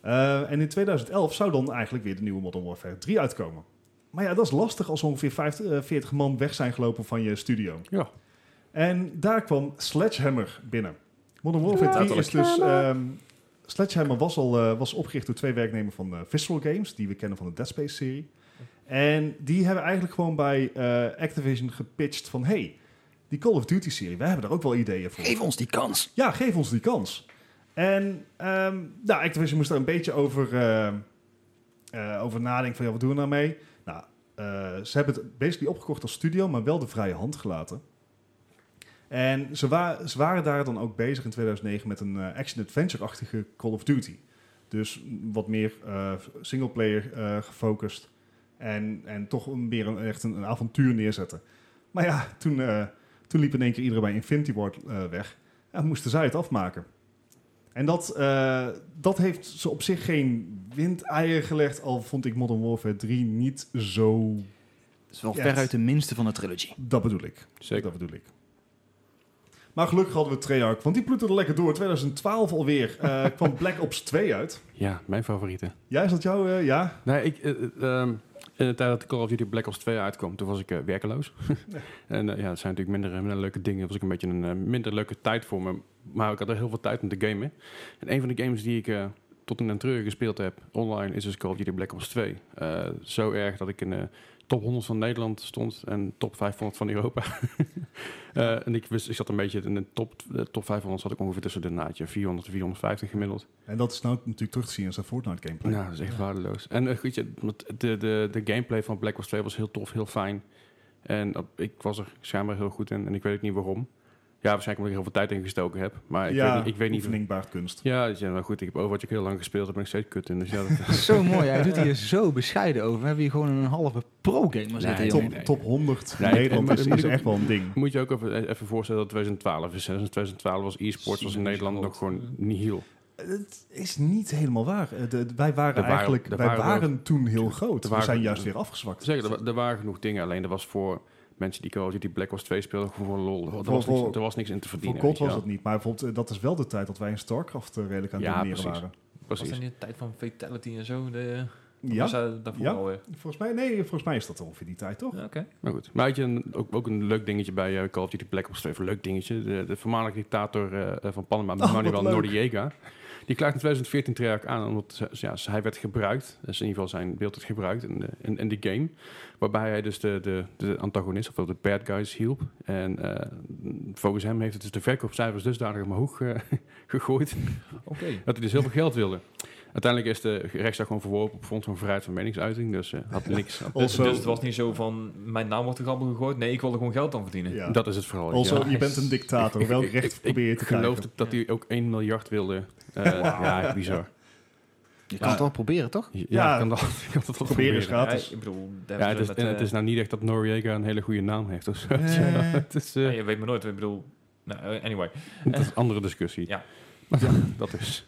[SPEAKER 2] Eh, en in 2011 zou dan eigenlijk weer de nieuwe Modern Warfare 3 uitkomen. Maar ja, dat is lastig als ongeveer 50, eh, 40 man weg zijn gelopen van je studio.
[SPEAKER 1] Ja.
[SPEAKER 2] En daar kwam Sledgehammer binnen. Modern Warfare 3 is dus... ehm, Sledgehammer was al eh, was opgericht door twee werknemers van eh Visceral Games... die we kennen van de Dead Space-serie. En die hebben eigenlijk gewoon bij eh, Activision gepitcht van... hey, die Call of Duty-serie, wij hebben daar ook wel ideeën voor.
[SPEAKER 4] Geef ons die kans.
[SPEAKER 2] Ja, geef ons die kans. En ehm nou, Activision moest daar een beetje over, eh, eh, over nadenken van ja, wat doen we nou mee? Nou, eh, ze hebben het basically opgekocht als studio, maar wel de vrije hand gelaten. En ze, wa- ze waren daar dan ook bezig in 2009 met een eh, action-adventure-achtige Call of Duty. Dus wat meer eh, singleplayer eh, gefocust. En, en toch een- meer een, echt een, een avontuur neerzetten. Maar ja, toen, eh, toen liep in één keer iedereen bij Infinity Ward eh, weg. Ja, moesten zij het afmaken. En dat, eh, dat heeft ze op zich geen windeieren gelegd, al vond ik Modern Warfare 3 niet zo.
[SPEAKER 4] Dat is wel
[SPEAKER 2] Ja.
[SPEAKER 4] veruit de minste van de trilogy.
[SPEAKER 2] Dat bedoel ik.
[SPEAKER 1] Zeker.
[SPEAKER 2] Dat bedoel ik. Maar gelukkig hadden we Treyarch, want die ploette er lekker door. 2012 alweer eh, kwam Black Ops 2 uit.
[SPEAKER 1] Ja, mijn favoriete.
[SPEAKER 2] Ja, is dat jouw? eh, ja.
[SPEAKER 1] Nee, ik, eh, eh, ehm, in de tijd dat Call of Duty Black Ops 2 uitkwam, toen was ik eh, werkeloos. en eh, ja, het zijn natuurlijk minder, eh, minder leuke dingen. Het was ook een beetje een eh, minder leuke tijd voor me. Maar ik had er heel veel tijd om te gamen. En een van de games die ik eh, tot in den treuren gespeeld heb online is dus Call of Duty Black Ops 2. Eh, zo erg dat ik in de top 100 van Nederland stond en top 500 van Europa. Eh, en ik, wist, ik zat een beetje in de top, de top 500 zat ik ongeveer tussen de nou, naadje. 400, 450 gemiddeld.
[SPEAKER 2] En dat is nou natuurlijk terug te zien in zijn Fortnite gameplay.
[SPEAKER 1] Nou, dat is echt waardeloos. En eh, goed, je- want de, de, de gameplay van Black Ops 2 was heel tof, heel fijn. En dat- ik was er schijnbaar heel goed in en ik weet ook niet waarom. waarschijnlijk omdat ik heel veel tijd in gestoken heb. Maar ik
[SPEAKER 2] ja,
[SPEAKER 1] weet niet... Ik weet niet
[SPEAKER 2] oefening baart kunst.
[SPEAKER 1] ja, dus ja, maar goed, ik heb Overwatch ook heel lang gespeeld. Daar ben ik steeds kut in. Dus ja, dat,
[SPEAKER 4] Zo mooi, hij doet hier zo bescheiden over. We hebben hier gewoon een halve pro-gamer zitten,
[SPEAKER 1] Nee,
[SPEAKER 4] jongen.
[SPEAKER 2] top,
[SPEAKER 1] nee.
[SPEAKER 2] top 100
[SPEAKER 1] Nee,
[SPEAKER 2] Nederland
[SPEAKER 1] maar
[SPEAKER 2] is,
[SPEAKER 1] dat
[SPEAKER 2] is
[SPEAKER 1] moet
[SPEAKER 2] echt wel een ding.
[SPEAKER 1] Moet je ook even, eh, even voorstellen dat 2012 is. hè. Dus 2012 was e-sports was in
[SPEAKER 3] Ziemlich
[SPEAKER 1] Nederland nog
[SPEAKER 3] groot.
[SPEAKER 1] gewoon nihil.
[SPEAKER 2] Het is niet helemaal waar. Eh, de- wij waren
[SPEAKER 1] Er waren-
[SPEAKER 2] eigenlijk,
[SPEAKER 1] er
[SPEAKER 2] wij
[SPEAKER 1] waren
[SPEAKER 2] waren, toen heel groot.
[SPEAKER 1] er
[SPEAKER 2] we
[SPEAKER 1] waren-
[SPEAKER 2] zijn juist weer afgezwakt.
[SPEAKER 1] Zeker, er, wa- er waren genoeg dingen. Alleen er was voor mensen die Call of Duty Black Ops 2 speelden gewoon voor lol. Er
[SPEAKER 2] Voor-
[SPEAKER 1] was, niks,
[SPEAKER 2] voor-
[SPEAKER 1] er was niks in te
[SPEAKER 2] Voor
[SPEAKER 1] verdienen.
[SPEAKER 2] Cold
[SPEAKER 1] weet
[SPEAKER 2] was
[SPEAKER 1] je
[SPEAKER 2] dat niet, maar bijvoorbeeld, eh, dat is wel de tijd dat wij in StarCraft eh, redelijk aan het
[SPEAKER 1] Ja,
[SPEAKER 2] domineren
[SPEAKER 1] precies.
[SPEAKER 2] waren.
[SPEAKER 1] wel.
[SPEAKER 3] Was dat
[SPEAKER 1] Precies.
[SPEAKER 3] in de tijd van Fatality en zo? De,
[SPEAKER 2] Ja,
[SPEAKER 3] Was dat daarvoor
[SPEAKER 2] Ja.
[SPEAKER 3] alweer?
[SPEAKER 2] volgens mij, nee, volgens mij is dat ongeveer die tijd toch?
[SPEAKER 3] Ja, oké.
[SPEAKER 1] Maar Nou goed. Maar had je een- ook, ook een leuk dingetje bij eh, Call of Duty Black Ops 2. Of Een leuk dingetje. De, de voormalige dictator eh, van Panama,
[SPEAKER 2] Oh, wat
[SPEAKER 1] Manuel
[SPEAKER 2] leuk.
[SPEAKER 1] Noriega. Die klaagde in 2014 Treyarch aan omdat ze- ja, ze- hij werd gebruikt. Dus in ieder geval zijn beeld werd gebruikt in de, in, in de game. Waarbij hij dus de, de, de antagonist, ofwel de bad guys, hielp. En eh, volgens hem heeft het dus de verkoopcijfers dusdanig omhoog eh, gegooid.
[SPEAKER 3] Oké.
[SPEAKER 1] Dat hij dus heel veel geld wilde. Uiteindelijk is de rechtszaak gewoon verworpen op grond van vrijheid van meningsuiting. Dus eh, had niks.
[SPEAKER 3] Dus,
[SPEAKER 2] Also,
[SPEAKER 3] dus het was niet zo van, mijn naam wordt er grabbel gegooid. Nee, ik wil er gewoon geld aan verdienen.
[SPEAKER 2] ja.
[SPEAKER 1] Dat is het verhaal.
[SPEAKER 2] also
[SPEAKER 1] ja.
[SPEAKER 2] je bent een dictator. Welk recht probeer je te
[SPEAKER 1] Ik geloof
[SPEAKER 2] krijgen?
[SPEAKER 1] dat hij ook 1 miljard wilde. Eh, Ja, bizar.
[SPEAKER 4] Je kan het wel proberen, toch?
[SPEAKER 1] Ja,
[SPEAKER 2] Ja,
[SPEAKER 1] ik kan dat, ik kan dat wel
[SPEAKER 2] Proberen is
[SPEAKER 1] proberen.
[SPEAKER 2] gratis.
[SPEAKER 3] Ja, ik bedoel, daar
[SPEAKER 1] Ja, het
[SPEAKER 3] hebben
[SPEAKER 1] is,
[SPEAKER 3] ze
[SPEAKER 1] en
[SPEAKER 3] met,
[SPEAKER 1] het is
[SPEAKER 3] eh,
[SPEAKER 1] nou niet echt dat Noriega een hele goede naam heeft of zo.
[SPEAKER 2] Eh.
[SPEAKER 1] Ja, het is, eh,
[SPEAKER 3] ja, je weet maar nooit. Ik bedoel, nou, eh, anyway.
[SPEAKER 1] dat is een andere discussie.
[SPEAKER 3] Ja.
[SPEAKER 1] Maar dat is...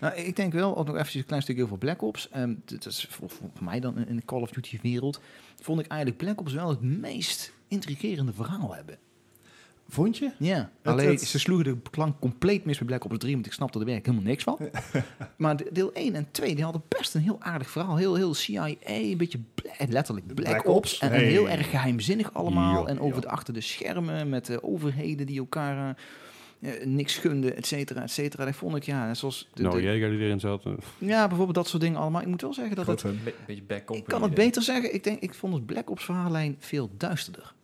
[SPEAKER 4] Nou, ik denk wel, ook nog eventjes een klein stukje over Black Ops. Ehm, dat is voor, voor mij dan in de Call of Duty wereld. Vond ik eigenlijk Black Ops wel het meest intrigerende verhaal hebben.
[SPEAKER 2] Vond je?
[SPEAKER 4] Ja,
[SPEAKER 2] Het-
[SPEAKER 4] alleen
[SPEAKER 2] het-
[SPEAKER 4] ze sloegen de klank compleet mis bij Black Ops 3, want ik snapte er werkelijk helemaal niks van. maar de- deel 1 en 2, die hadden best een heel aardig verhaal. Heel, heel CIA, een beetje bla- letterlijk Black,
[SPEAKER 2] Black
[SPEAKER 4] Ops.
[SPEAKER 2] Ops,
[SPEAKER 4] En, en
[SPEAKER 2] hey.
[SPEAKER 4] heel erg geheimzinnig allemaal.
[SPEAKER 1] Ja,
[SPEAKER 4] en over
[SPEAKER 2] ja.
[SPEAKER 4] de achter de schermen met de overheden die elkaar eh, eh, niks gunden, et cetera, et cetera. Dat vond ik, Nou, ja, net zoals... de- de-
[SPEAKER 1] Noriega die erin zat. eh,
[SPEAKER 4] ja, bijvoorbeeld dat soort dingen allemaal. Ik moet wel zeggen dat
[SPEAKER 2] Groot
[SPEAKER 4] het...
[SPEAKER 2] fan.
[SPEAKER 3] Een be- beetje back eh.
[SPEAKER 4] Ik kan het beter zeggen. Ik denk, ik vond het Black Ops verhaallijn veel duisterder.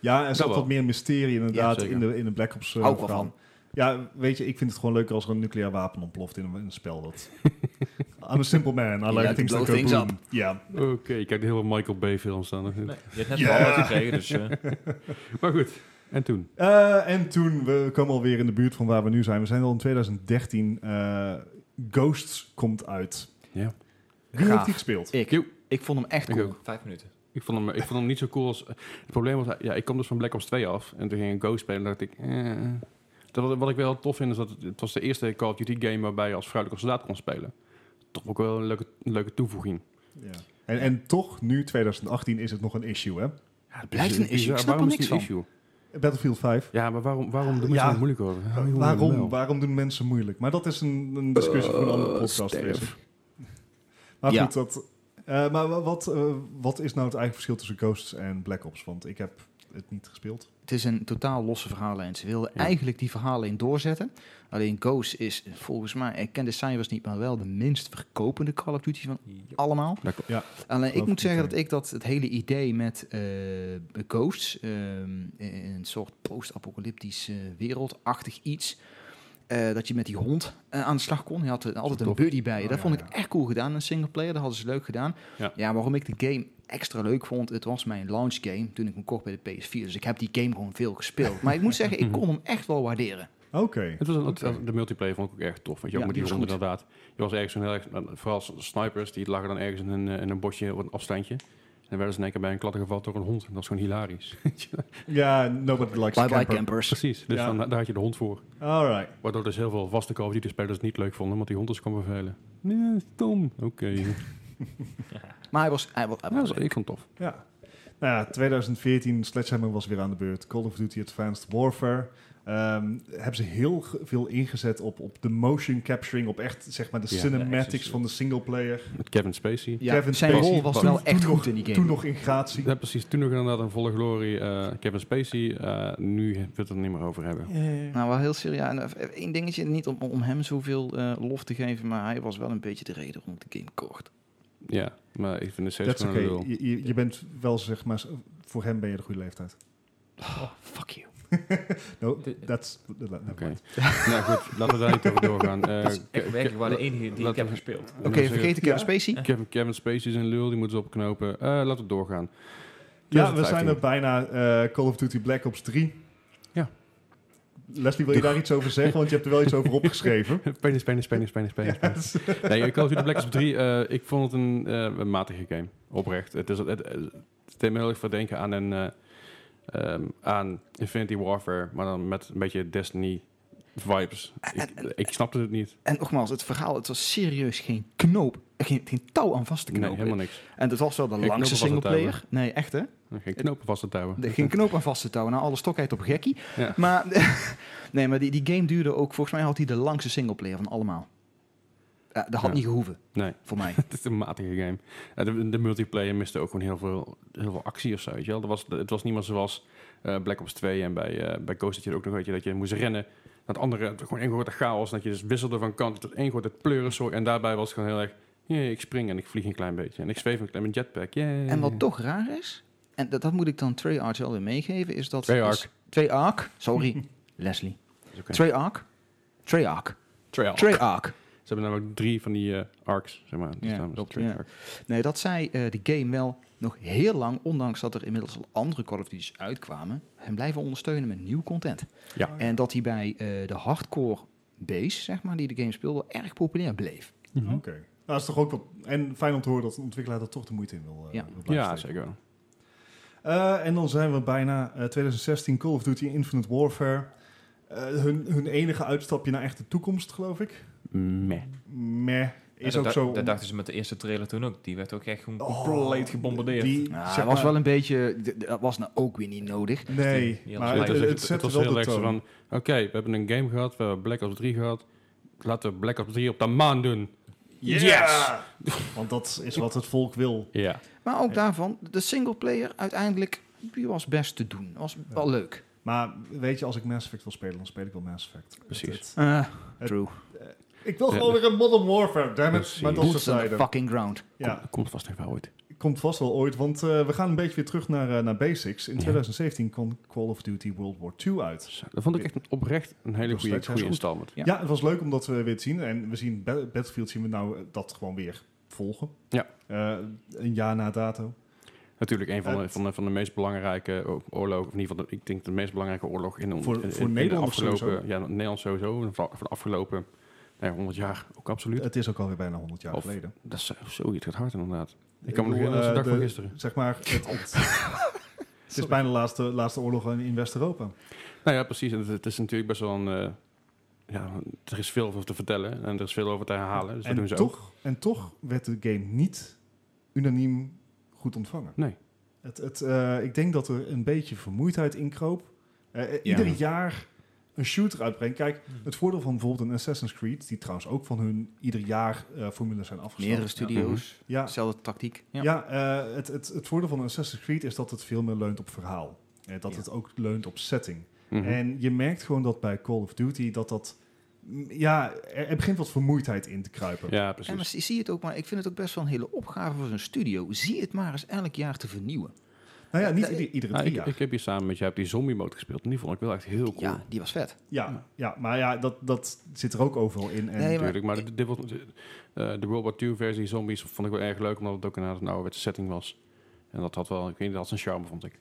[SPEAKER 2] Ja, er
[SPEAKER 1] Dat
[SPEAKER 2] zat
[SPEAKER 1] wel.
[SPEAKER 2] wat meer mysterie inderdaad
[SPEAKER 1] Ja, zeker.
[SPEAKER 2] in, de, in de Black Ops eh,
[SPEAKER 4] Hou ik wel
[SPEAKER 2] verhaal.
[SPEAKER 4] van.
[SPEAKER 2] Ja, weet je, ik vind het gewoon leuker als er een nucleair wapen ontploft in een, in een spel. Dat... I'm a simple man. I like
[SPEAKER 4] to
[SPEAKER 2] things
[SPEAKER 4] blow
[SPEAKER 2] that go
[SPEAKER 4] things
[SPEAKER 2] boom. Ja,
[SPEAKER 1] Oké, ik kijk de hele Michael Bay films dan.
[SPEAKER 3] Nee, je hebt net
[SPEAKER 2] Ja.
[SPEAKER 3] yeah. een bal gekregen, dus... eh,
[SPEAKER 1] Maar goed, en toen?
[SPEAKER 2] Eh, en toen, we komen alweer in de buurt van waar we nu zijn. We zijn al in 2013. eh, Ghosts komt uit.
[SPEAKER 1] Ja.
[SPEAKER 2] Wie
[SPEAKER 4] Gaaf.
[SPEAKER 2] heeft die gespeeld?
[SPEAKER 1] Joep.
[SPEAKER 4] Ik, ik vond hem echt
[SPEAKER 1] Ik
[SPEAKER 4] cool.
[SPEAKER 1] ook.
[SPEAKER 3] vijf minuten.
[SPEAKER 1] Ik vond, hem, ik vond hem niet zo cool als... eh, Het probleem was, ja, ik kwam dus van Black Ops 2 af. En toen ging ik Go spelen en dacht ik... eh. Terwijl, wat ik wel tof vind, is dat het, het was de eerste Call of Duty game... waarbij je als vrouwelijke soldaat kon spelen. Toch ook wel een leuke, een leuke toevoeging.
[SPEAKER 2] Ja. En, en toch, nu 2018 is het nog een issue, hè?
[SPEAKER 1] Ja, Dus het
[SPEAKER 4] blijft een issue. Ik snap
[SPEAKER 1] waarom
[SPEAKER 4] er
[SPEAKER 1] is het
[SPEAKER 4] niks
[SPEAKER 1] een issue?
[SPEAKER 2] Battlefield 5.
[SPEAKER 1] Ja, maar waarom, waarom doen mensen
[SPEAKER 2] Ja.
[SPEAKER 1] er moeilijk over?
[SPEAKER 4] Eh,
[SPEAKER 1] Ja, hoe dan
[SPEAKER 2] waarom,
[SPEAKER 1] wel?
[SPEAKER 2] waarom doen mensen moeilijk? Maar dat is een, een discussie voor een andere podcast.
[SPEAKER 1] sterf.
[SPEAKER 2] Jason. Maar
[SPEAKER 4] Ja.
[SPEAKER 2] goed, dat... eh, maar wa- wat, eh, wat is nou het eigen verschil tussen Ghosts en Black Ops? Want ik heb het niet gespeeld.
[SPEAKER 4] Het is een totaal losse verhaallijn. Ze wilden
[SPEAKER 1] Ja.
[SPEAKER 4] eigenlijk die verhaallijn doorzetten. Alleen Ghost is volgens mij, ik ken de cijfers niet, maar wel de minst verkopende Call of Duty van allemaal.
[SPEAKER 1] Dat klopt.
[SPEAKER 2] Ja.
[SPEAKER 4] Alleen ik
[SPEAKER 2] Geloof
[SPEAKER 4] moet
[SPEAKER 2] ik niet,
[SPEAKER 4] zeggen dat ik dat het hele idee met eh, Ghosts, ehm, in een soort post-apocalyptisch eh, wereldachtig iets, eh, dat je met die hond eh, aan de slag kon. Je had eh, altijd een
[SPEAKER 1] Tof.
[SPEAKER 4] buddy bij je. Dat
[SPEAKER 2] Oh, ja,
[SPEAKER 4] vond ik
[SPEAKER 2] ja.
[SPEAKER 4] echt cool gedaan in singleplayer. Dat hadden ze leuk gedaan.
[SPEAKER 1] Ja.
[SPEAKER 4] waarom ik de game extra leuk vond, het was mijn launch game toen ik hem kocht bij de PS4. Dus ik heb die game gewoon veel gespeeld. Maar ik moet zeggen, ik kon hem echt wel waarderen.
[SPEAKER 2] Oké.
[SPEAKER 1] Het was een, het- De multiplayer vond ik ook erg tof. Weet je, ook
[SPEAKER 4] Ja,
[SPEAKER 1] met die,
[SPEAKER 4] die was
[SPEAKER 1] honden inderdaad. Je was ergens een heel erg... eh, Vooral s- snipers, die lagen dan ergens in een, eh, in een bosje op een afstandje. En werden ze in één keer bij een klatter gevallen door een hond. En dat was gewoon hilarisch.
[SPEAKER 2] Ja, nobody likes
[SPEAKER 4] Bye bye
[SPEAKER 2] camper.
[SPEAKER 4] campers.
[SPEAKER 1] Precies, dus
[SPEAKER 2] Ja.
[SPEAKER 1] dan, daar had je de hond voor.
[SPEAKER 2] All right.
[SPEAKER 1] Waardoor dus heel veel vaste Call of Duty spelers het niet leuk vonden, want die hond is kwam vervelen. Nee, stom. Oké.
[SPEAKER 4] Maar hij was, hij was, hij
[SPEAKER 1] Ja,
[SPEAKER 4] was
[SPEAKER 1] dat is- ik vond het tof.
[SPEAKER 2] Ja. Nou ja, 2014, Sledgehammer was weer aan de beurt. Call of Duty Advanced Warfare. Ehm, hebben ze heel ge- veel ingezet op, op de motion capturing, op echt zeg maar de
[SPEAKER 1] Ja,
[SPEAKER 3] de
[SPEAKER 2] cinematics
[SPEAKER 3] action
[SPEAKER 2] van de singleplayer.
[SPEAKER 1] Met Kevin Spacey.
[SPEAKER 4] ja,
[SPEAKER 2] Kevin
[SPEAKER 4] zijn
[SPEAKER 2] Spacey
[SPEAKER 4] rol was
[SPEAKER 2] was
[SPEAKER 4] wel
[SPEAKER 2] toen-
[SPEAKER 4] echt
[SPEAKER 2] toen
[SPEAKER 4] goed in die game.
[SPEAKER 2] Toen nog in gratie.
[SPEAKER 1] Ja, precies. Toen nog inderdaad een volle glorie eh, Kevin Spacey. eh, nu wil ik het er niet meer over hebben.
[SPEAKER 4] Nou, wel heel serieus. En, eh, Eén dingetje, niet om, om hem zoveel eh, lof te geven, maar hij was wel een beetje de reden waarom ik de game kocht.
[SPEAKER 1] Ja, maar ik vind het steeds
[SPEAKER 2] Dat is
[SPEAKER 1] gewoon
[SPEAKER 2] oké.
[SPEAKER 1] een lul.
[SPEAKER 2] Je, je- je bent wel zeg maar, voor hem ben je de goede leeftijd.
[SPEAKER 4] Fuck you.
[SPEAKER 2] No,
[SPEAKER 3] De-
[SPEAKER 2] that's, never mind.
[SPEAKER 1] Oké. nou goed, laten we daar niet over doorgaan. Eh,
[SPEAKER 3] Echt werkelijk waar de enige die ik
[SPEAKER 1] Laten
[SPEAKER 3] heb
[SPEAKER 1] we-
[SPEAKER 3] gespeeld.
[SPEAKER 1] laten we
[SPEAKER 4] Oké,
[SPEAKER 1] zeggen,
[SPEAKER 4] vergeet ik
[SPEAKER 2] Ja.
[SPEAKER 4] Kevin Spacey.
[SPEAKER 1] Kevin, Kevin Spacey is een lul, die moeten ze opknopen. Eh, laten we doorgaan.
[SPEAKER 2] Ja, we zijn
[SPEAKER 1] 2015.
[SPEAKER 2] er bijna. eh, Call of Duty Black Ops 3.
[SPEAKER 1] Ja.
[SPEAKER 2] Leslie, wil je daar iets over zeggen? Want je hebt er wel iets over opgeschreven.
[SPEAKER 1] Penis, penis, penis, penis, penis. penis. Nee, Call of Duty Black Ops 3, eh, ik vond het een, eh, een matige game. Oprecht. Het, is, het, het deed me heel erg verdenken aan, een, eh, ehm, aan Infinity Warfare, maar dan met een beetje Destiny vibes. Ik, ik snapte het niet.
[SPEAKER 4] En nogmaals, het verhaal, het was serieus geen knoop, eh, geen, geen touw aan vast te
[SPEAKER 1] Nee,
[SPEAKER 4] knopen.
[SPEAKER 1] helemaal niks.
[SPEAKER 4] en dat was wel de
[SPEAKER 1] Geen
[SPEAKER 4] langste
[SPEAKER 1] knoop aan vast te
[SPEAKER 4] singleplayer. Nee, echt hè?
[SPEAKER 1] Geen knopen vast te touwen.
[SPEAKER 4] Er Geen knoop aan vast te touwen. Nou, alle stokheid op gekkie.
[SPEAKER 1] Ja.
[SPEAKER 4] Maar, nee, maar die, die game duurde ook, volgens mij had hij de langste singleplayer van allemaal. Eh, dat had
[SPEAKER 1] Ja.
[SPEAKER 4] niet gehoeven,
[SPEAKER 1] Nee.
[SPEAKER 4] voor mij.
[SPEAKER 1] Het is een matige game. En de, de multiplayer miste ook gewoon heel veel, heel veel actie of zo. Weet je wel? Er was, het was niet meer zoals eh, Black Ops 2 en bij, eh, bij Ghost dat je ook nog weet je, dat je moest rennen. Dat andere, het was gewoon één grote chaos. En dat je dus wisselde van kant tot één grote pleurensoort. En daarbij was het gewoon heel erg, "Jee, ik spring en ik vlieg een klein beetje. En ik zweef een klein met jetpack. Yay.
[SPEAKER 4] En wat toch raar is, en dat, dat moet ik dan Treyarch wel weer meegeven, is dat...
[SPEAKER 1] Treyarch.
[SPEAKER 4] is- Treyarch, sorry, Leslie.
[SPEAKER 1] Is oké.
[SPEAKER 4] Treyarch, Treyarch,
[SPEAKER 1] Trail.
[SPEAKER 4] Treyarch.
[SPEAKER 1] Ze hebben namelijk drie van die eh, arcs, zeg maar. Die
[SPEAKER 4] Ja,
[SPEAKER 1] staan dus
[SPEAKER 4] klopt,
[SPEAKER 1] Trail
[SPEAKER 4] ja.
[SPEAKER 1] Arc.
[SPEAKER 4] Nee, dat zei eh, de game wel nog heel lang, ondanks dat er inmiddels al andere Call of Duty's uitkwamen, hem blijven ondersteunen met nieuw content.
[SPEAKER 1] Ja.
[SPEAKER 4] En dat hij bij eh, de hardcore base, zeg maar, die de game speelde, erg populair bleef.
[SPEAKER 2] Oké. Nou, is toch ook wat, en fijn om te horen dat een ontwikkelaar daar toch de moeite in wil, eh,
[SPEAKER 4] Ja.
[SPEAKER 2] wil blijven
[SPEAKER 1] Ja,
[SPEAKER 2] steken.
[SPEAKER 1] zeker wel.
[SPEAKER 2] Eh, en dan zijn we bijna eh, 2016 Call of Duty Infinite Warfare. Eh, hun, hun enige uitstapje naar echte toekomst, geloof ik.
[SPEAKER 1] Meh.
[SPEAKER 2] Meh, is
[SPEAKER 3] Ja,
[SPEAKER 2] ook
[SPEAKER 3] dat,
[SPEAKER 2] zo.
[SPEAKER 3] Dat dachten ze met de eerste trailer toen ook. Die werd ook echt gewoon
[SPEAKER 2] Oh,
[SPEAKER 3] compleet gebombardeerd.
[SPEAKER 2] die-
[SPEAKER 4] Nou,
[SPEAKER 2] zeg
[SPEAKER 4] dat was
[SPEAKER 2] maar-
[SPEAKER 4] wel een beetje, d- d- dat was nou ook weer niet nodig.
[SPEAKER 2] Nee,
[SPEAKER 3] Die
[SPEAKER 2] maar
[SPEAKER 3] had
[SPEAKER 2] het,
[SPEAKER 3] gelijk.
[SPEAKER 2] het,
[SPEAKER 1] was-
[SPEAKER 2] het zette
[SPEAKER 1] was
[SPEAKER 2] wel
[SPEAKER 1] heel
[SPEAKER 2] de
[SPEAKER 1] erg zo
[SPEAKER 2] toon.
[SPEAKER 1] van... Oké, we hebben een game gehad, we hebben Black Ops 3 gehad. Laten we Black Ops 3 op de maan doen.
[SPEAKER 2] Ja! Want dat is wat het volk wil.
[SPEAKER 1] Ja.
[SPEAKER 4] Maar ook daarvan, de singleplayer uiteindelijk, die was best te doen. Was wel leuk.
[SPEAKER 2] Maar weet je, als ik Mass Effect wil spelen, dan speel ik wel Mass Effect.
[SPEAKER 1] Precies.
[SPEAKER 2] Het-
[SPEAKER 4] Eh,
[SPEAKER 2] Het-
[SPEAKER 4] true.
[SPEAKER 2] het- ik wil gewoon weer een Modern Warfare, dammit.
[SPEAKER 1] Precies.
[SPEAKER 2] Maar dat
[SPEAKER 4] Boots
[SPEAKER 2] is
[SPEAKER 4] on the
[SPEAKER 2] het
[SPEAKER 4] fucking ground.
[SPEAKER 2] Ja,
[SPEAKER 1] Kom- Komt vast nog wel ooit.
[SPEAKER 2] Komt vast wel ooit, want eh, we gaan een beetje weer terug naar, eh, naar basics. In
[SPEAKER 1] Ja.
[SPEAKER 2] 2017 kwam Call of Duty World War II uit.
[SPEAKER 1] Zo, Dat vond ik echt een- oprecht een hele
[SPEAKER 2] Dat
[SPEAKER 1] goede,
[SPEAKER 2] is- dat is
[SPEAKER 1] goede
[SPEAKER 2] goed.
[SPEAKER 1] installment.
[SPEAKER 4] Ja.
[SPEAKER 2] Ja. het was leuk om dat eh, weer te zien. En we zien Ba- Battlefield zien we nou eh, dat gewoon weer volgen.
[SPEAKER 1] Ja.
[SPEAKER 2] Eh, een jaar na dato.
[SPEAKER 1] Natuurlijk een van de,
[SPEAKER 2] Het-
[SPEAKER 1] van de, van de meest belangrijke o- oorlogen, of in ieder geval, de, ik denk de meest belangrijke oorlog in, on-
[SPEAKER 2] Voor-
[SPEAKER 1] in- in-
[SPEAKER 2] voor
[SPEAKER 1] in de
[SPEAKER 2] Nederlanders
[SPEAKER 1] afgelopen,
[SPEAKER 2] sowieso.
[SPEAKER 1] ja, Nederland sowieso, en van van de afgelopen nee, 100 jaar ook absoluut.
[SPEAKER 2] Het is ook alweer bijna 100 jaar
[SPEAKER 1] Of-
[SPEAKER 2] geleden.
[SPEAKER 1] dat is zo, zo, het gaat hard inderdaad. Ik kan me nog
[SPEAKER 2] bedoel,
[SPEAKER 1] herinneren als de
[SPEAKER 2] eh,
[SPEAKER 1] dag van
[SPEAKER 2] de-
[SPEAKER 1] gisteren.
[SPEAKER 2] Zeg maar, het, het, het is bijna de laatste, laatste oorlog in, in West-Europa.
[SPEAKER 1] Nou ja, precies. En het, het is natuurlijk best wel een... eh, ja, er is veel over te vertellen en er is veel over te herhalen. Dus dat
[SPEAKER 2] en,
[SPEAKER 1] doen ze ook.
[SPEAKER 2] toch, en toch werd de game niet unaniem goed ontvangen.
[SPEAKER 1] Nee.
[SPEAKER 2] Het, het, eh, ik denk dat er een beetje vermoeidheid in kroop. Eh, eh, Ieder jaar een shooter uitbrengen. Kijk, het voordeel van bijvoorbeeld een Assassin's Creed... die trouwens ook van hun ieder jaar eh formules zijn afgestapt.
[SPEAKER 4] Meerdere studio's,
[SPEAKER 2] Ja,
[SPEAKER 4] dezelfde tactiek.
[SPEAKER 2] Mhm. ja.
[SPEAKER 4] Ja.
[SPEAKER 2] eh, het, het, het voordeel van een Assassin's Creed is dat het veel meer leunt op verhaal. en dat
[SPEAKER 4] Ja.
[SPEAKER 2] het ook leunt op setting.
[SPEAKER 1] Mhm.
[SPEAKER 2] En je merkt gewoon dat bij Call of Duty dat dat... mm, Ja, er, er begint wat vermoeidheid in te kruipen.
[SPEAKER 1] Ja,
[SPEAKER 4] En maar
[SPEAKER 1] precies.
[SPEAKER 4] zie zie het ook, maar ik vind het ook best wel een hele opgave voor zo'n studio. Zie het maar eens elk jaar te vernieuwen.
[SPEAKER 2] Nou ja, niet
[SPEAKER 4] Eh,
[SPEAKER 2] ieder- iedere
[SPEAKER 1] Nou,
[SPEAKER 2] drie
[SPEAKER 1] ik,
[SPEAKER 2] jaar.
[SPEAKER 1] ik heb hier samen met jou heb die zombie mode gespeeld. En die vond ik wel echt heel cool.
[SPEAKER 4] Ja, die was vet.
[SPEAKER 2] Ja, ja, maar ja, dat, dat zit er ook overal in. En
[SPEAKER 4] Nee,
[SPEAKER 1] Natuurlijk, maar dit- dit was- eh, de World War II versie zombies vond ik wel erg leuk, omdat het ook inderdaad een ouderwetse setting was. En dat had wel, ik weet niet, dat had zijn charme, vond ik.